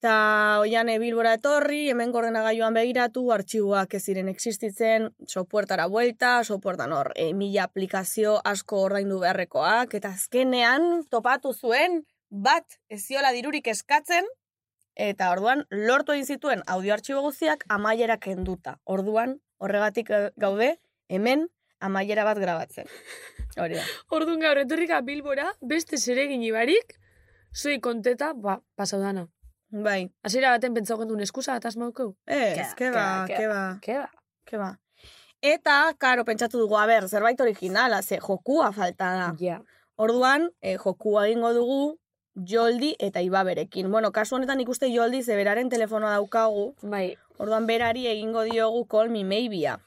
B: Eta oian eh, Bilbora etorri, hemen ordenagailuan begiratu, artxiboak ez ziren existitzen, sopuertara buelta, sopuertan hor, eh, mila aplikazio asko ordaindu beharrekoak, eta azkenean topatu zuen, bat ez ziola dirurik eskatzen, Eta orduan, lortu egin zituen audioartxibo guztiak amaiera kenduta. Orduan, horregatik eh, gaude, hemen amaiera bat grabatzen. Hori da.
G: Orduan gaur etorrika Bilbora, beste zeregin ibarik, zui konteta, ba, pasau dana.
B: Bai.
G: Hasiera baten pentsau gendun eskusa, eta asmaukeu.
B: Ez, ke ba, ke ba.
G: Ke ba.
B: Ke ba. Eta, karo, pentsatu dugu, a ber, zerbait originala, ze jokua falta da.
G: Ja.
B: Orduan, eh, jokua egingo dugu, Joldi eta Ibaberekin. Bueno, kasu honetan ikuste Joldi ze beraren telefonoa daukagu.
G: Bai.
B: Orduan berari egingo diogu Call Me Maybea.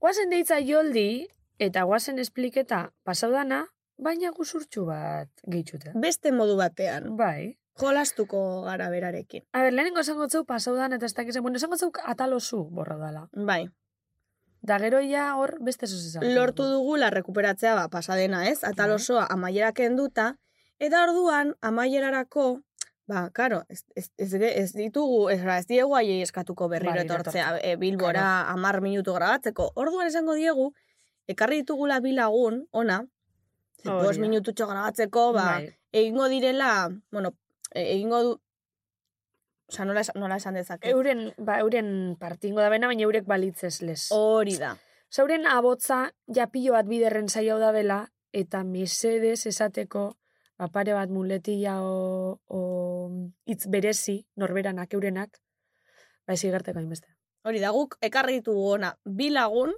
G: Guazen deitza joldi, eta guazen espliketa pasaudana, baina guzurtxu bat gehitxuta.
B: Beste modu batean.
G: Bai.
B: Jolastuko gara berarekin.
G: A ber, lehenengo esango zeu pasaudan eta ez dakizan, bueno, esango zeu atalozu borra dala.
B: Bai.
G: Da gero ja hor beste zozizan.
B: lortu dugula rekuperatzea ba, pasadena, ez? Atal osoa amaiera kenduta, eta orduan amaierarako, ba, karo, ez, ez, ez, ez ditugu, ez, ez diegu haiei eskatuko berriro
K: Berriro
B: etortzea
K: etortzea.
B: e, bilbora
K: Bai, Claro.
B: amar minutu grabatzeko. Orduan esango diegu, ekarri ditugula bi lagun, ona, ze
K: Hori
B: bost
K: da.
B: minututxo grabatzeko, ba,
K: Bai.
B: egingo direla, bueno, e- egingo du, Osa, nola, esan- nola esan dezake.
G: Euren, ba, euren partingo da bena, baina eurek balitzez les.
B: Hori da.
G: Zauren abotza, ja pilo bat biderren zaio da dela, eta mesedez esateko, ba, pare bat muletilla o, o itz berezi, norberanak, eurenak, ba, ez igerteko hainbeste.
B: Hori da, guk ekarri ditugu ona bi lagun,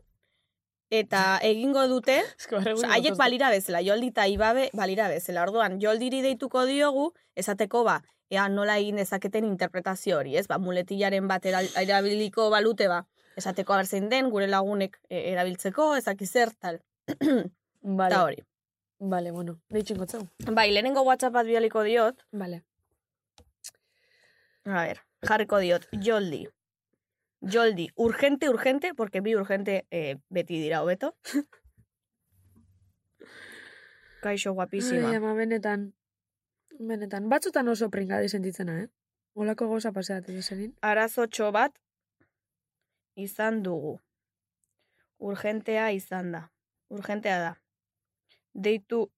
B: eta egingo dute,
G: barregun
B: osea, haiek
G: datoz-
B: balira bezala, joldi eta ibabe balira bezala. Orduan, joldiri deituko diogu, esateko ba, ea nola egin dezaketen interpretazio hori, ez? Ba, muletillaren bat eral- erabiliko balute ba, esateko aber zein den, gure lagunek e, erabiltzeko, ezakizer, tal.
G: Vale.
B: Eta hori.
G: Vale, bueno, deitxin gotzau.
B: Bai, lehenengo WhatsApp bat bialiko diot.
G: Vale.
B: A ver, jarriko diot, joldi. Joldi, urgente, urgente, porque bi urgente eh, beti dira hobeto. Kaixo guapísima.
G: Ai, ama, benetan, benetan, batzutan oso pringadi sentitzena, eh? Olako goza paseatzen izanin.
B: Arazotxo bat izan dugu. Urgentea izan da. Urgentea da. Deitu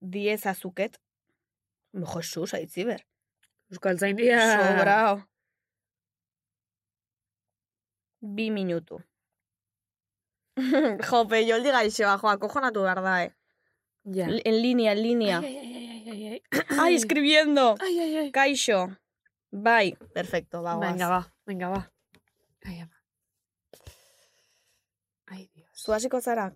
B: diezazuket. Jesus, aitziber.
G: Euskal zaindia.
B: Sobrao. Bi minutu. Jope, joldi gaixoa, joa, kojonatu behar da, eh.
G: Ja.
B: L- En linea, en linea.
G: Ai, ai, ai, ai, ai,
B: Ai, escribiendo.
G: Ai, ai, ai.
B: Kaixo. Bai, perfecto,
G: ai.
B: bagoaz.
G: Venga, ba, venga, ba. Ai, ama.
B: Zu hasiko zara?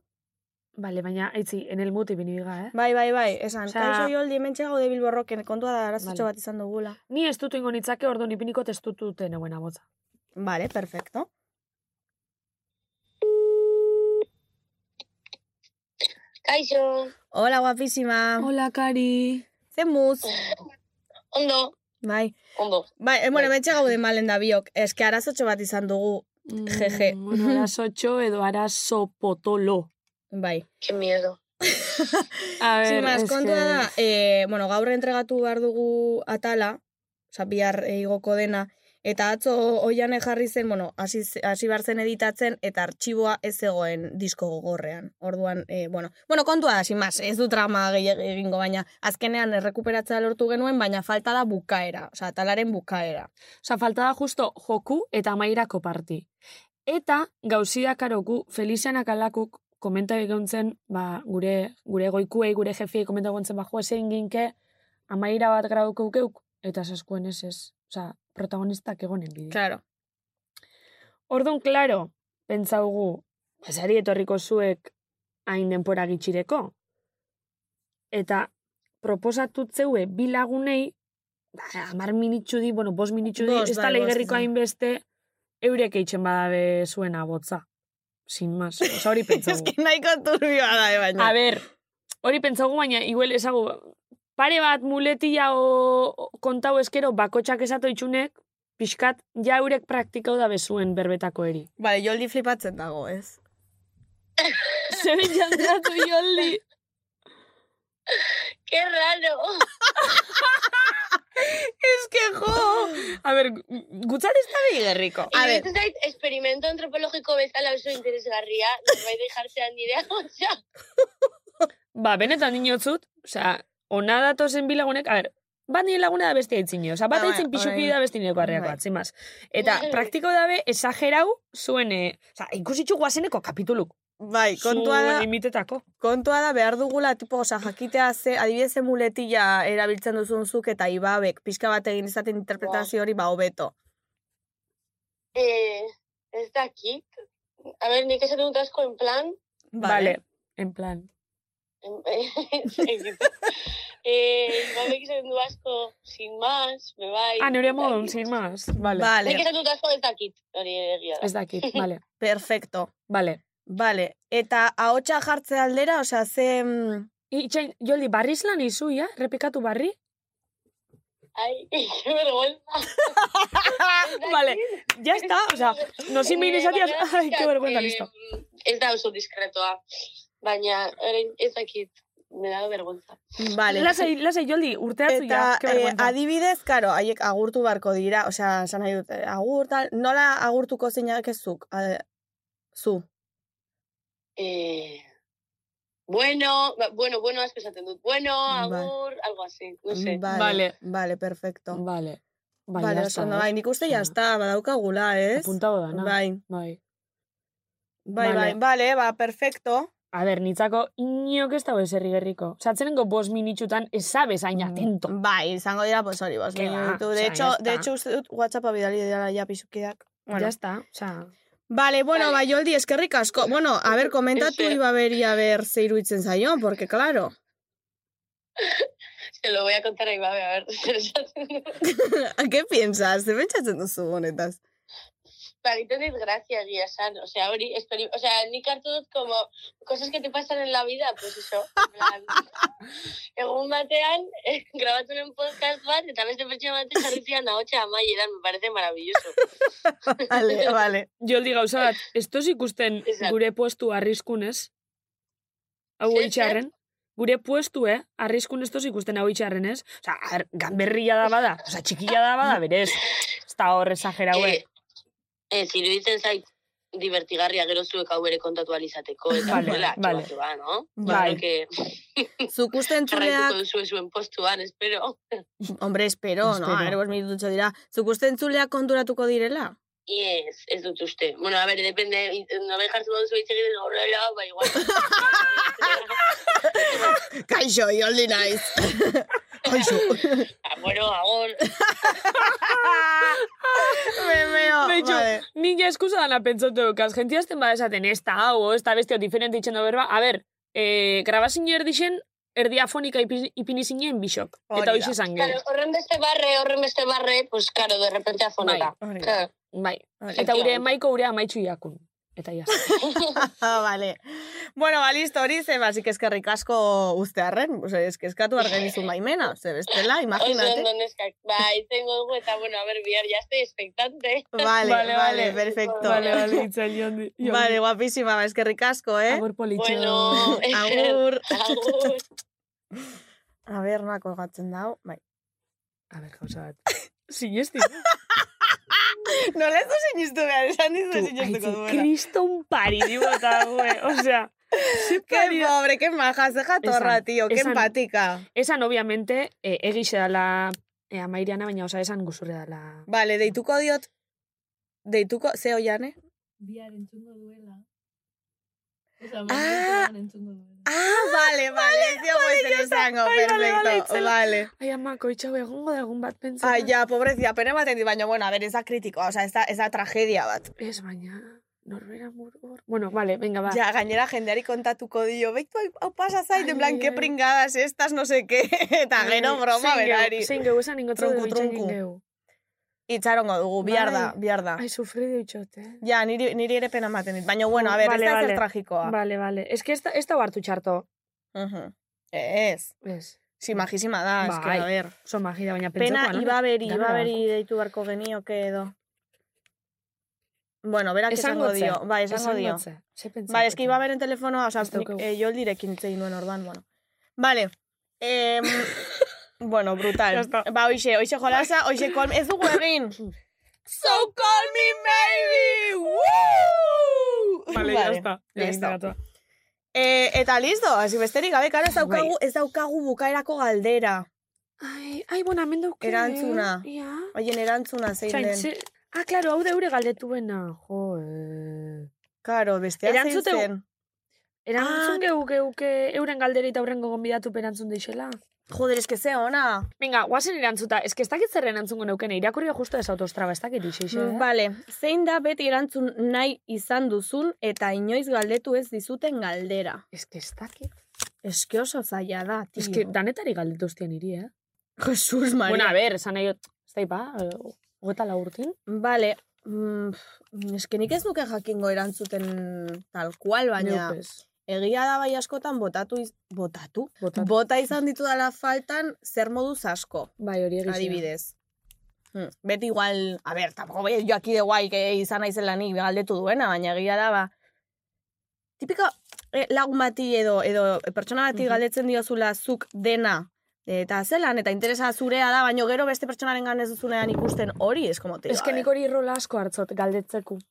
G: Vale, baina, aitzi, enel muti binibiga, eh?
B: Bai, bai, bai, esan.
G: Osea-
B: Kaixo joldi, hemen txegaude bilborroken, kontua da arazotxo
G: Vale.
B: bat izan dugula.
G: Ni ez dutu ingo nitzake, ordo nipiniko testutu dute neuen abotza.
B: Vale, perfecto.
L: Kaixo.
B: Hola, guapísima.
G: Hola, Kari.
B: Zemuz.
L: Ondo.
B: Bai.
L: Ondo.
B: Bai, eh, bueno, bai. gaude malen da biok. Ez que arazotxo bat izan dugu. Jeje.
G: Mm, Bueno, arazotxo edo arazo potolo.
B: Bai.
L: Qué miedo.
G: A ber,
B: Sin más,
G: es
B: kontua
G: que- mm,
B: da, eh, bueno, gaur entregatu behar dugu atala, oza, bihar eh, igoko dena, eta atzo oian jarri zen, bueno, hasi ze- hasi behar zen editatzen, eta artxiboa ez zegoen disko gogorrean. Orduan, eh, bueno, bueno, kontua da, sin más, ez du trama gehiago egingo, baina azkenean errekuperatzea lortu genuen, baina falta da bukaera, oza, atalaren bukaera.
G: Osa, falta da justo joku eta amairako parti. Eta gauzia karoku, Felizianak alakuk komenta egontzen, ba, gure, gure goikuei, gure jefiei komenta egontzen, ba, jo, zein ginke, amaira bat grauko ukeuk, eta saskuen ez ez. Osa, protagonistak egonen bide.
B: Claro.
G: Orduan, klaro, pentsaugu, pasari etorriko zuek hain denpora gitxireko. Eta proposatu zeue bi lagunei, ba, amar minitxu di, bueno, bos minitxu di,
B: Bost,
G: ez da
B: bai, bost
G: leigerriko
B: izan.
G: hainbeste, eurek eitzen badabe zuena botza. Sin más. Osa hori pentsagu.
B: Eski nahiko turbioa da, eh, baina.
G: A ber, hori pentsagu baina, igual esagu, pare bat muletilla o o- kontau eskero bakotxak esato itxunek, pixkat, ja eurek praktikau da bezuen berbetako eri.
B: Bale, joldi flipatzen dago, ez?
G: Zeben jantzatu joldi.
L: Qué raro.
G: es que jo! A ber, gu- gutzat ez da bigerriko.
L: A ver. zait, experimento antropologiko bezala oso interesgarria, norbait jartzean nire agotxa.
G: Ba, benetan dinotzut, osea, ona datozen bi lagunek, a ber, bat nire laguna da beste aitzine, osea, bat
B: Ah, bai,
G: aitzin pixuki
B: bai.
G: da beste nire barriak
B: Bai.
G: bat, zin más. Eta
L: Bai.
G: praktiko dabe, esagerau, zuen, eh, osea, ikusitxu guazeneko kapituluk.
B: Bai, kontua da,
G: Zuen imitetako.
B: kontua da behar dugula, tipo, oza, jakitea ze, adibidez ze muletilla erabiltzen duzun zuk eta ibabek, pixka bat egin izaten interpretazio hori ba hobeto.
L: Eh, ez dakit. A ber, nik esaten dut asko en plan.
G: Vale. En plan.
L: en- eh, babek esaten du asko, sin más, me bai. Ba-
G: Ah, neure modun, sin más. Vale.
L: Nik esaten dut asko ez dakit, hori egia da.
G: Ez dakit, vale.
B: Perfecto.
G: Vale.
B: Vale, eta ahotsa jartze aldera, osea, ze... mm,
G: Itxain, joldi, barriz lan izu, ja? Repikatu barri?
L: Ai, qué vergüenza. Ah,
G: vale, ya está, o sea, no sin
L: Eh,
G: mire esatiaz,
L: baina,
G: ai, que vergüenza,
L: eh,
G: listo.
L: Ez da oso diskretoa, baina orain ez dakit, me da vergüenza.
B: Vale.
G: Lasai, lasai, joldi, urte hartu
B: Eta
G: ja, que
B: eh,
G: vergüenza.
B: adibidez, karo, haiek agurtu barko dira, osea, esan nahi dut, eh, agur, tal, nola agurtuko zeinak ez zuk? Eh, zu.
L: Eh, bueno, ba- bueno, bueno, asko esaten dut. Bueno,
B: Bai. Mm,
L: agur, algo así, no sé.
B: Vale, vale, perfecto.
G: Vale.
B: Bai,
G: Bai,
B: vale,
G: ya
B: oso,
G: está,
B: no,
G: eh?
B: bai, nik uste jazta, badaukagula, ez?
G: Apuntado dana.
B: Bai.
G: Bai.
B: Bai,
G: Vale.
B: bai, vale, ba, perfecto.
G: A ber, nitzako iniok ez dago eserri gerriko. Satzenengo bos minitxutan esabez hain atento.
B: Mm, Bai, izango dira, pues hori, bos,
G: Ke ba,
B: minutu.
G: osea,
B: De
G: ya
B: hecho, de
G: está.
B: hecho, uste dut WhatsAppa bidali dira ja pisukidak. Bueno.
G: Ya está, o sea...
B: Vale, bueno, ba, Joldi, eskerrik asko. Bueno, a ber, komentatu ibaberi, a ber, ze iruditzen zaion, porque, claro.
L: Se lo voy a contar a Ibabe, a ver. zer esaten duen.
B: ¿Qué piensas? Zer pentsatzen duzu honetaz?
L: Ba, egiten dit grazia egia esan. O sea, hori, esperi... o sea, nik hartu dut como cosas que te pasan en la vida, pues eso. en Plan, egun batean, eh, grabatu nuen podcast bat, eta beste pertsona batek jarri zidan ahotsa amaieran, me parece maravilloso.
B: Vale, vale.
G: Joldi gauza bat, ez toz ikusten gure puestu arriskunez? Hau
L: Zer,
G: itxarren? Gure puestu, eh? Arriskun ez toz ikusten hau itxarren, ez? Osa, ar, ganberria da bada, osa, txikia da bada, berez. Ez da hor esageraue.
L: Eh, Ez, iruditzen zait divertigarria gero zuek hau ere kontatu alizateko, eta
G: Vale,
L: vale, horrela,
G: vale.
L: vale. ba, no?
B: Bai.
L: Claro que
B: Zuk uste entzuleak...
L: jarraituko duzue zuen postuan, espero.
B: Hombre, espero, no?
L: Espero.
B: A ber, bos minututxo dira. Zuk uste entzuleak konturatuko direla?
L: Yes, ez dut uste. Bueno, a ver, depende, i- nobe jartzen baduzu hitz egiten horrela, ba, igual.
B: Kaixo, joldi naiz. Kaixo.
L: Ah, bueno, agur.
B: Memeo,
G: Betxu,
B: Ah, vale.
G: nik ja eskusa dana pentsatu dukaz. Jentia azten bada esaten, ez da hau, o ez da besteo diferente itxendo berba. A ber, eh, grabazin erdixen, erdiafonika ipi- ipini zinen bixok. Eta hoxe esan
L: Claro,
G: gero.
L: horren beste barre, horren beste barre, pues, claro, de repente afoneta.
B: Bai.
L: Claro.
G: Bai.
B: Hori da.
G: Eta gure maiko gure amaitxu jakun. Eta jazta.
B: vale. Bueno, ba, listo, hori ze, basik eskerrik asko uztearren, ose, eskatu argenizun baimena, ze bestela,
L: Oso
B: imaginate.
L: ondo neskak. Bai, tengo dugu, eta bueno, a ver, bihar, ya estoy expectante.
B: Vale, vale, perfecto.
G: Vale, vale, itzal, jondi. jondi.
B: Vale, guapísima, ba, eskerrik asko, eh?
G: Agur politxo.
L: Bueno,
B: Agur.
L: agur.
B: A ber, noa kolgatzen dau, bai.
G: A ber, gauza bat. Sinesti.
B: Nola ez du sinistu behar, esan dizu sinistuko
G: Aitzi,
B: duela.
G: kriston pari dibota, güe. Osea,
B: Qué pobre, qué maja, ze jatorra,
G: Esan,
B: tío, qué
G: esan.
B: empatika.
G: esan, obviamente, eh, egixe dala eh, amairiana, baina osa esan guzurre dala.
B: Vale, deituko diot, deituko, ze oiane?
J: Bihar entzungo duela. Osa,
B: Ah,
J: ah, entzungo duela.
B: ah, vale, vale, ez diogu ezer esango, perfecto, vale.
G: Ai, amako, itxau egongo da egun bat pentsa.
B: Ai, ja, pobrezia, pene baten dit, baina, bueno, a ver, ez da kritikoa, oza, ez da, ez da tragedia bat.
G: Ez, baina, norbera murgur. Bueno, vale, venga, ba.
B: Ja, gainera jendeari kontatuko dio, beitu, hau- hau pasa zaiten,
G: Ai,
B: blan, que
G: ai.
B: pringadas estas, no sé qué, eta gero broma
G: Bai, Zein geu,
B: berari.
G: Zein geu, esan ingotzu
B: Trunku,
G: dugu itxain
B: trunku.
G: geu.
B: itxarongo dugu, bihar da,
G: Bai.
B: bihar da.
G: Ai, sufridu itxot, eh?
B: Ja, niri, niri ere pena ematen dit, baina bueno, a ber, ez da ezer tragikoa.
G: Vale, vale. Ez que ez da, ez da hartu txarto.
B: Mhm. Ez.
G: Ez.
B: Si majísima da, ez que, a ber.
G: Oso magia, baina
B: Pena
G: pentsakoa, no?
B: ibaberi,
G: Dana
B: ibaberi
G: dago.
B: deitu beharko genioke edo. Bueno, berak esango
G: Esangotze.
B: dio. Bai, esango dio.
G: Esangotze. Ze pentsatu.
B: Bai, eski ibaberen telefonoa, oza,
G: Ez daukagu.
B: eh, joldirekin itzein nuen orduan, bueno. Vale. Em, bueno, brutal. ba, oixe, oixe jolasa, oixe kolm... Ez dugu egin! So call me maybe! Woo!
G: Vale, ya está.
B: ya
G: Egin
B: está.
G: datua.
B: Eh, eta listo, hasi besterik gabe, karo, ez daukagu,
G: Bai.
B: ez daukagu bukaerako galdera.
G: Ai, ai, bueno, hemen eh. dauke.
B: Erantzuna.
G: Ja.
B: Oien erantzuna zein
G: Zain,
B: den.
G: ze... Ah, klaro, hau da eure galdetuena. Jo, eh.
B: Karo, bestea zein
G: Erantzute-
B: zen.
G: Erantzun geu, geu, geu, euren galderita aurrengo gonbidatu erantzun deixela.
B: Joder, eske ze ona.
G: Venga, guazen erantzuta. Ez que ez dakit zer erantzungo neukene, irakurria justo ez autostraba, ez dakit ixe, eh? ixe.
B: Mm, Vale, zein da beti erantzun nahi izan duzun eta inoiz galdetu ez dizuten galdera.
G: Ez que ez dakit.
B: Ez que oso zaila da, tio.
G: Ez que danetari galdetu hostian iri, eh?
B: Jesus Maria.
G: Bueno, a ber, esan nahi, dut, ez da ba, ipa, gota lagurtin.
B: Vale, mm, pff, ez que nik ez nuke jakingo erantzuten tal cual, baina...
G: Neuk ez.
B: Egia da bai askotan botatu iz... botatu?
G: Botatu.
B: Bota izan ditudala faltan zer moduz asko.
G: Bai, hori egia.
B: Adibidez. Mm, Beti igual, a ber, tampoco bai, jo aquí de guai, que izan naizela nik galdetu duena, baina egia da, ba, tipiko eh, lagun bati edo, edo eh, pertsona bati galdetzen diozula zuk dena, eh, eta zelan, eta interesa zurea da, baino gero beste pertsonaren ganez duzunean ikusten hori eskomote.
G: Ez que nik hori rola asko hartzot galdetzeko.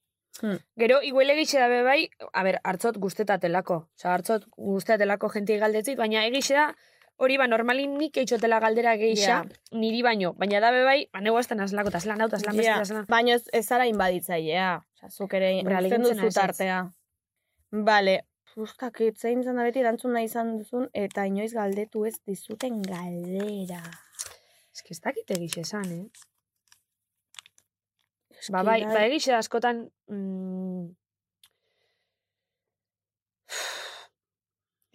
B: Hmm.
G: Gero, iguele da be bai, a ber, hartzot guztetatelako. Osa, hartzot guztetatelako jenti galdetzit, baina egixe da, hori ba, normalin nik eitxotela galdera geisha,
B: Ja.
G: niri baino. Baina da be bai, ba, neu azten azlako, taslan hau, taslan beste,
B: Ja,
G: taslan.
B: Baina ez, ez zara inbaditzailea. Osea, zuk ere
G: Hombre,
B: uzten
G: ahalegintzen
B: duzu
G: naiz, ez.
B: tartea. Vale, Uztak, zein izan da beti erantzun nahi izan duzun, eta inoiz galdetu ez dizuten galdera.
G: Ez que ez dakit egixe esan, eh?
B: Eski
G: Ba, bai,
B: da-
G: ba, egixe da askotan... Mm,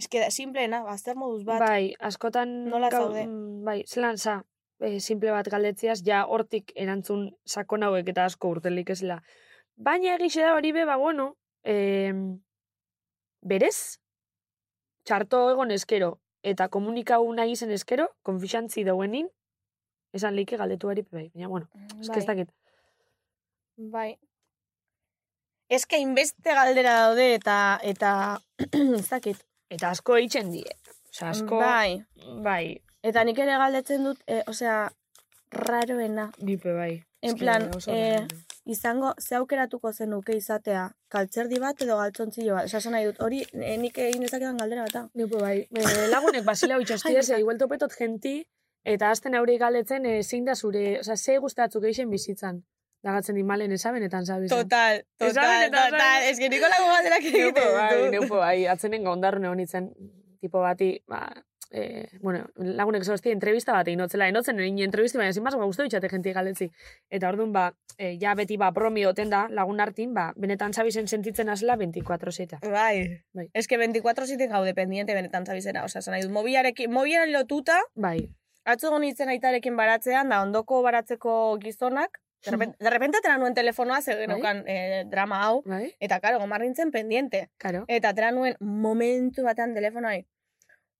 B: Ez que da, simpleena, bazter moduz bat.
G: bai, askotan...
B: Nola
G: gau-
B: zaude?
G: mm, Bai, zelan za, eh, simple bat galdetziaz, ja hortik erantzun sakon hauek eta asko urtelik ezela. Baina egixe da hori be, ba, bueno, eh, berez, txarto egon eskero, eta komunikau nahi izen eskero, konfixantzi dauenin, esan leike galdetu ari bai. Baina, bueno, ez que ez
B: Bai.
G: dakit.
B: Bai. Ez que inbeste galdera daude eta, eta, ez dakit.
G: Eta asko eitzen die. Osa, asko...
B: Bai.
G: Bai.
B: Eta nik ere galdetzen dut, e, osea, raroena.
G: Nipe, bai.
B: En
G: Eske
B: plan,
G: oso
B: eh,
G: ondo.
B: izango, ze aukeratuko zenuke izatea, kaltzerdi bat edo galtzontzilo bat. Osa, esan nahi dut, hori eh, nik egin dezakedan galdera bat da.
G: Nipe, bai. Eh, lagunek basilea itxastia, ze igual topetot jenti, eta azten haurei galdetzen eh, zein da zure, oza, ze gustatzuk geixen bizitzan. Dagatzen dimalen esaben, eta anzabizan.
B: Total,
G: Esaben eta esaben.
B: Ez que nikolako galdera
G: Neupo bai, neupo bai, atzenen gaundarrun egon itzen, tipo bati, ba, eh, bueno, lagunek zozti entrevista bat egin notzela, enotzen egin entrevista, baina zin ba, guztu ditxate jenti galetzi. Eta orduan, ba, eh, ja beti, ba, bromi oten da, lagun hartin, ba, benetan zabizen sentitzen azela 24 zeta.
B: Bai.
G: Bai.
B: Ez que 24-7 gaude pendiente benetan zabizena. Osa, esan nahi dut, mobilarekin, mobilan lotuta,
G: Bai,
B: atzo nintzen aitarekin baratzean, da ondoko baratzeko gizonak, de repen- de repente atera nuen telefonoa, ze geneukan eh, drama hau,
G: bai,
B: eta karo, gomar nintzen pendiente.
G: karo.
B: Eta atera nuen momentu batean telefonoai,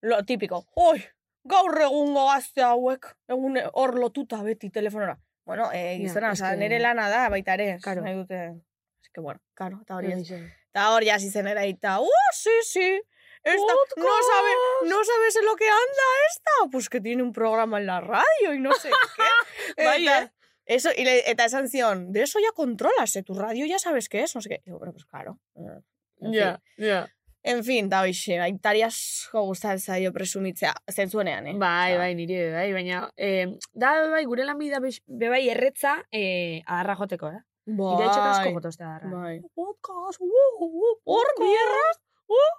B: lo tipiko, oi, gaur egungo gazte hauek, egun hor lotuta beti telefonora. Bueno, eh,
G: Ja,
B: gizona,
G: es
B: osa,
G: que-
B: nire lana da, baita ere,
G: Karo.
B: nahi dute... Es que, bueno, karo, eta hori ez.
G: Horixe.
B: Eta hor jasi zen eraita, ¡uh, sí, sí! Esta, no, sabe, no sabes en lo que anda esta. Pues que tiene un programa en la radio y no sé qué.
G: Vaya.
B: Eta- Eso, y le, eta esan zion, de eso ya controlas, eh, tu radio ya sabes qué es, no sé qué. Digo, pero pues claro. eh, en fin.
G: ja.
B: En fin, da hoxe, aitari asko gustatzen zaio presumitzea, zentzuenean, eh?
G: Bai, bai, niri, ere, bai, baina, eh, da, bai, gure lan bida, bai, erretza, eh, adarra joteko, eh?
B: bai.
G: Ire etxeko asko jotozte adarra.
B: Bai.
G: podcast, uh, uh,
B: Hor, bierraz,
G: uh,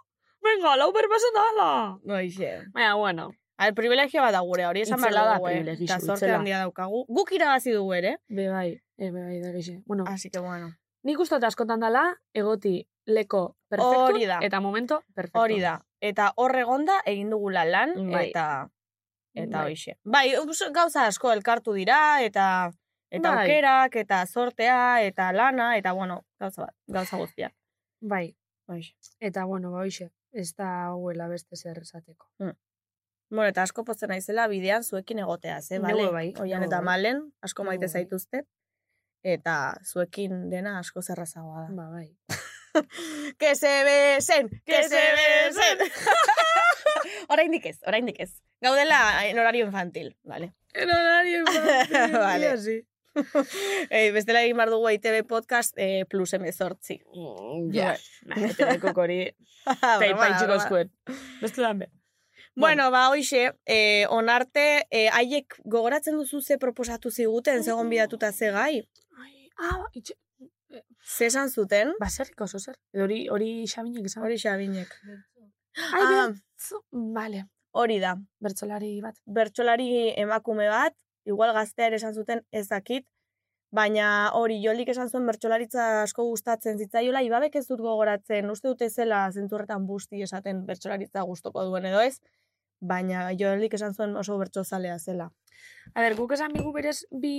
G: venga, lau berbasa dala.
B: Hoxe.
G: Baina, bueno,
B: Al privilegio bat da gure, hori esan
G: Itzela da
B: behar dugu, eh?
G: privilegio,
B: Eta zorte
G: itzela.
B: handia daukagu. Guk irabazi dugu ere,
G: be bai, eh, be bai, da gexe. Bueno,
B: así que bueno.
G: nik uste dut askotan dala, egoti leko perfektu,
B: Hori da.
G: eta momento perfektu.
B: Hori da. Eta horregonda egin dugula lan,
G: Bai.
B: eta e, eta
G: Bai.
B: hoxe. Bai, us- gauza asko elkartu dira, eta Eta
G: Bai.
B: aukerak, eta zortea, eta lana, eta bueno, gauza bat, gauza guztia.
G: Bai. Eta, bueno, ba, hoxe, ez da hauela beste zer esateko.
B: Bueno, eta asko pozten naizela bidean zuekin egoteaz, eh,
G: Neu
B: bale?
G: bai,
B: Oian
G: neu
B: eta
G: bai.
B: malen, asko
G: Neu
B: maite
G: bai.
B: zaituzte. Eta zuekin dena asko zerrazagoa da.
G: Ba, bai.
B: que se besen, que se besen. oraindik ez, oraindik ez. Gaudela en horario infantil, vale.
G: En horario infantil,
B: vale.
G: tía, sí.
B: eh, bestela egin bar dugu ITV podcast eh, plus emezortzi.
G: ja. Nah, eteneko hori taipa itxiko zuen. Beste lan be.
B: Bueno, ba, hoxe, eh, onarte, eh, haiek gogoratzen duzu ze proposatu ziguten, segon bidatuta ze gai?
G: Ah, itxe...
B: Ze esan zuten?
G: Baserrik oso zer. Hori, hori xabinek esan.
B: Hori xabinek.
G: Ai,
B: Ah.
G: bertzo. Vale.
B: Hori da.
G: Bertzolari bat.
B: Bertsolari emakume bat, igual gaztea ere esan zuten ez dakit, baina hori jolik esan zuen bertsolaritza asko gustatzen zitzaiola, ibabek ez dut gogoratzen, uste dute zela zenturretan busti esaten bertsolaritza gustoko duen edo ez, baina jolik esan zuen oso bertsozalea zela.
G: A ber, guk esan bigu berez bi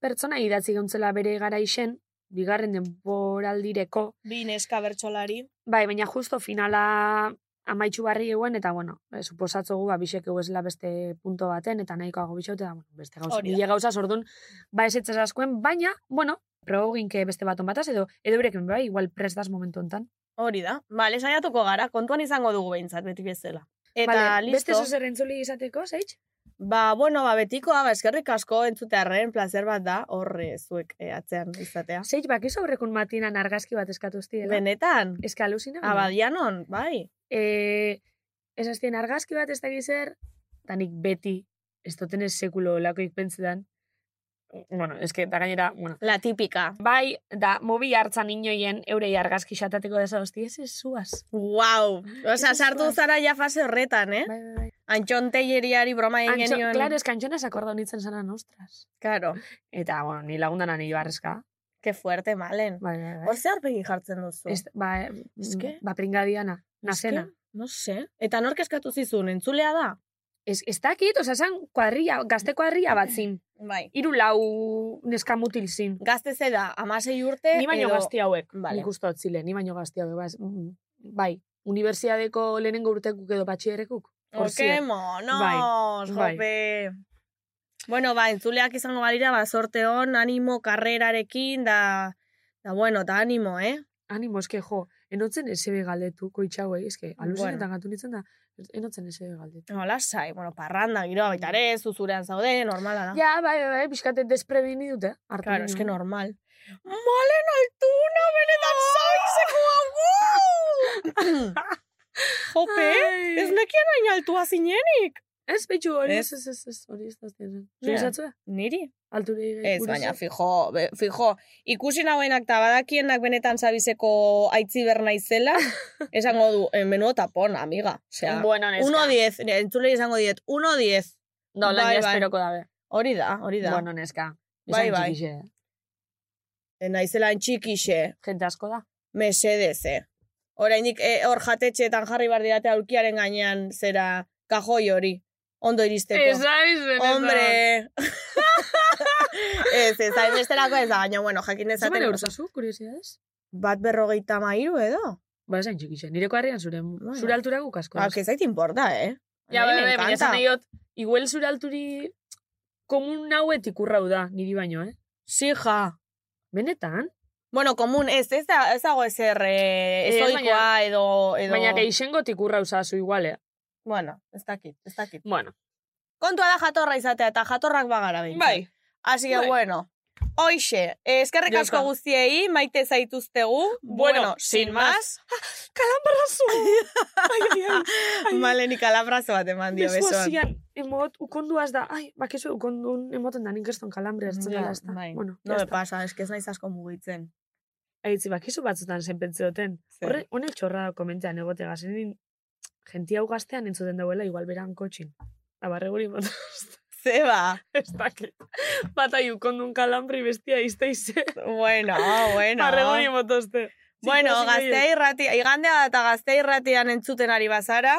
G: pertsona idatzi gauntzela bere garaixen, bigarren denboraldireko.
B: Bi neska bertsolari.
G: Bai, baina justo finala amaitxu barri eguen, eta bueno, eh, suposatzogu, ba, bisek egu ezela beste punto baten, eta nahikoago bisote, da, bueno, beste gauza.
J: Hori da.
G: Ile gauza, ordun ba ez askoen, baina, bueno, proboginke beste baton bataz, edo, edo berekin, bai, igual prestaz momentu enten.
B: Hori da. Bale, saiatuko gara, kontuan izango dugu behintzat, beti bezala. Eta
G: Vale,
B: listo.
G: beste zozer entzuli izateko, zeitz?
B: Ba, bueno, ba, betikoa, ba, eskerrik asko entzutearren, placer bat da, horre zuek eh, atzean izatea.
G: Zeitz, bakizu ba, aurrekun matinan argazki bat eskatuzti,
B: Benetan,
G: Ez que alusina.
B: abadianon, Ah, bai.
G: e, ez aztien argazki bat ez dakiz zer, eta nik beti, ez dotenez sekulo lakoik pentsetan, bueno, ez que, da gainera, bueno.
B: La típica.
G: Bai, da, mobi hartzan inoien eurei argazki xatateko desa hosti, ez ez zuaz.
B: Wow. Osa,
G: Ez
B: sartu
G: eskola.
B: zara ja fase horretan, eh?
G: Bai, bai, bai.
B: Antxon teieriari broma egin
G: Antxo,
B: genion.
G: claro, ez que antxonez akorda honitzen zanan, ostras.
B: Claro.
G: Eta, bueno, ni lagundan ani barrezka.
B: Que fuerte, malen.
G: Bai, bai, bai.
B: Hor ze aurpegi jartzen duzu?
G: Ez, ba,
B: Es que-
G: ba pringadiana, nazena.
B: Es que, no sé. Eta nork eskatu zizun, entzulea da?
G: Ez, ez dakit, oza, esan kuadrilla, gazte kuadrilla bat zin.
B: Bai.
G: Iru lau neska mutil zin.
B: Gazte ze da, amasei urte
G: Ni baino
B: edo-
G: gazti hauek,
B: Vale.
G: nik uste dut zile, ni baino gazti hauek, baz, mm, bai, unibertsiadeko lehenengo urtekuk edo batxierekuk. Hor
B: Horke
G: ziren.
B: monos,
G: Bai, bai.
B: jope. Bueno, ba, entzuleak izango balira, ba, sorte hon, animo karrerarekin, da, da bueno, da animo, eh?
G: Animo, eske jo, enotzen esebe galdetu, koitxauei, eske, aluzinetan
B: Bueno.
G: gatu nintzen da, enotzen esebe galdetu.
B: No, lasai, bueno, parranda, giroa baita ere, zuzurean zaude, normala da.
G: Mm. Ja, bai, bai, bai, pixkate desprebini dute. hartu
B: Claro,
G: nuen.
B: es que normal. Malen altuna, benetan zaizeko
G: Ah.
B: hau! Jope,
G: Ai.
B: ez nekien hain altua zinenik.
G: Ez, betxu, hori
B: Ez.
G: ez, ez, ez, ez, hori ez da ziren.
B: Ja.
G: Zuri zatzue?
B: Niri?
G: Alturei gai-
B: Ez,
G: gure
B: baina,
G: zat-
B: fijo, be, fijo, ikusi nauenak eta badakienak benetan zabizeko aitziber naizela, esango du, eh, menudo tapón, amiga. Osea,
G: Bueno, neska.
B: 1-10, nire entzulei esango diet, 1-10.
G: No, lan
B: Bai,
G: ja
B: bai.
G: esperoko dabe.
B: Hori da, hori da.
G: Bueno, neska.
B: Bai,
G: Esan
B: bai.
G: txikixe.
B: Eh, Naizela entxikixe,
G: Jente asko da.
B: mesedez, eh. Oraindik eh, hor jatetxeetan jarri bar didate aulkiaren gainean zera kajoi hori. Ondo iristeko.
G: aiz,
B: Hombre! ez, ez, hainbesterako ez da, baina, bueno, jakin dezaten.
G: Zemane urzazu, kuriosidades?
B: Bat berrogeita mairu edo?
G: Ba, esan txikixe. Nireko harrian zure, zure altura guk asko.
B: Ba, que zait importa, eh?
G: Ja,
B: A mí
G: bai,
B: me
G: bai,
B: encanta.
G: baina esan nahi dut, igual zure alturi komun nauetik urrau da, niri baino, eh?
B: Sí, ja.
G: Benetan?
B: Bueno, komun, ez, ez da, ez dago ezer eh, ezoikoa edo, edo...
G: Baina geixengotik urrau zazu igual, eh?
B: Bueno, ez dakit, ez dakit.
G: Bueno.
B: Kontua da jatorra izatea eta jatorrak bagara behin.
G: Bai.
B: Así que,
G: Bai.
B: bueno. Hoixe, eh, eskerrik
G: Joka.
B: asko guztiei, maite zaituztegu.
G: Bueno, sin más. Kalambrazu! ai, ai, ai. Ai.
B: Malenik alabrazo bat eman dio
G: Bezu
B: besoan.
G: hasian, emot, ukonduaz da, ai, bakizu ukondun emoten da, nik eston kalambre hartzen
B: Ja,
G: dela, ez da.
B: bai.
G: Bueno,
B: no
G: ya
B: me
G: está.
B: pasa, es que ez naiz asko mugitzen.
G: Aitzi, bakizu batzutan zenpentze duten.
B: Zer?
G: Horre, honek txorra komentean egote gazenin, jentia hau gaztean entzuten dauela, igual beran kotxin. Abarre guri bat,
B: Zeba,
G: ez dakit. Bata ukondun kalambri bestia izteize.
B: bueno, Ah, bueno.
G: Abarre guri motoste.
B: Bueno,
G: Zikoa, zikoa,
B: gaztea irrati, igandea eta gaztea irratian entzuten ari bazara,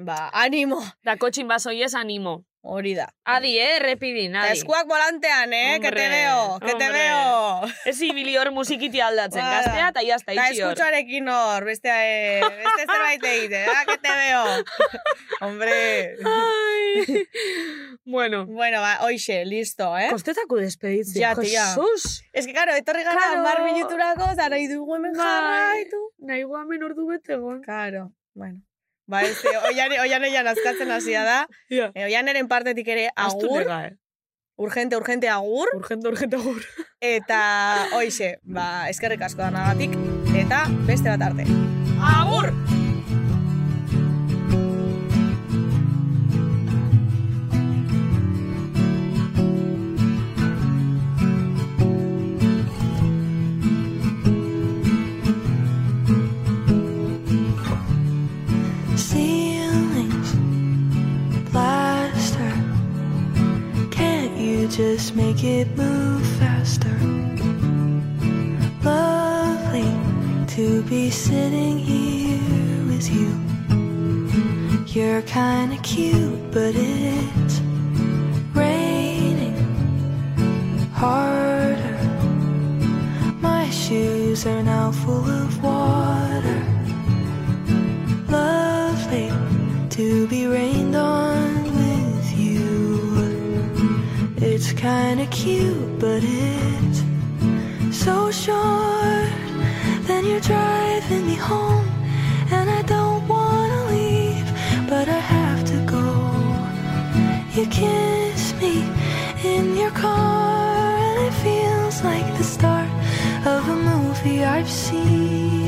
B: ba, animo.
G: Da kotxin baso ies animo.
B: Hori da.
G: Adi, eh, errepidin,
B: Eta
G: adi.
B: eskuak volantean, eh, que te
G: Hombre,
B: veo, que te
G: hombre.
B: veo.
G: Ez ibili hor musikitia aldatzen,
B: Ba.
G: gaztea eta jazta
B: Eta
G: itxi hor.
B: eskutxoarekin hor, beste, eh, beste zerbait egite, ah, que te veo. Hombre.
G: bueno.
B: Bueno, ba, oixe, listo, eh?
G: Kostetako despeditzea.
B: Ja, tia.
G: Jesus!
B: Ez que, karo, etorri gara,
G: Claro.
B: claro. mar minuturako, eta nahi dugu hemen
G: Bai.
B: jarraitu.
G: Nahi gu hemen ordu bete gon.
B: Karo, bueno. Ba, ez, eh, oian, oian, oian, azkatzen hasia da.
G: Yeah.
B: Eh, oianeren partetik ere agur.
G: eh?
B: Urgente, urgente agur.
G: Urgente, urgente agur.
B: Eta, oixe, ba, eskerrik asko danagatik. Eta, beste bat arte. Agur!
I: ceilings plaster can't you just make it move faster lovely to be sitting here with you you're kinda cute but it's raining harder my shoes are now full of water lovely to be rained on with you. It's kinda cute, but it's so short. Then you're driving me home, and I don't wanna leave, but I have to go. You kiss me in your car, and it feels like the start of a movie I've seen.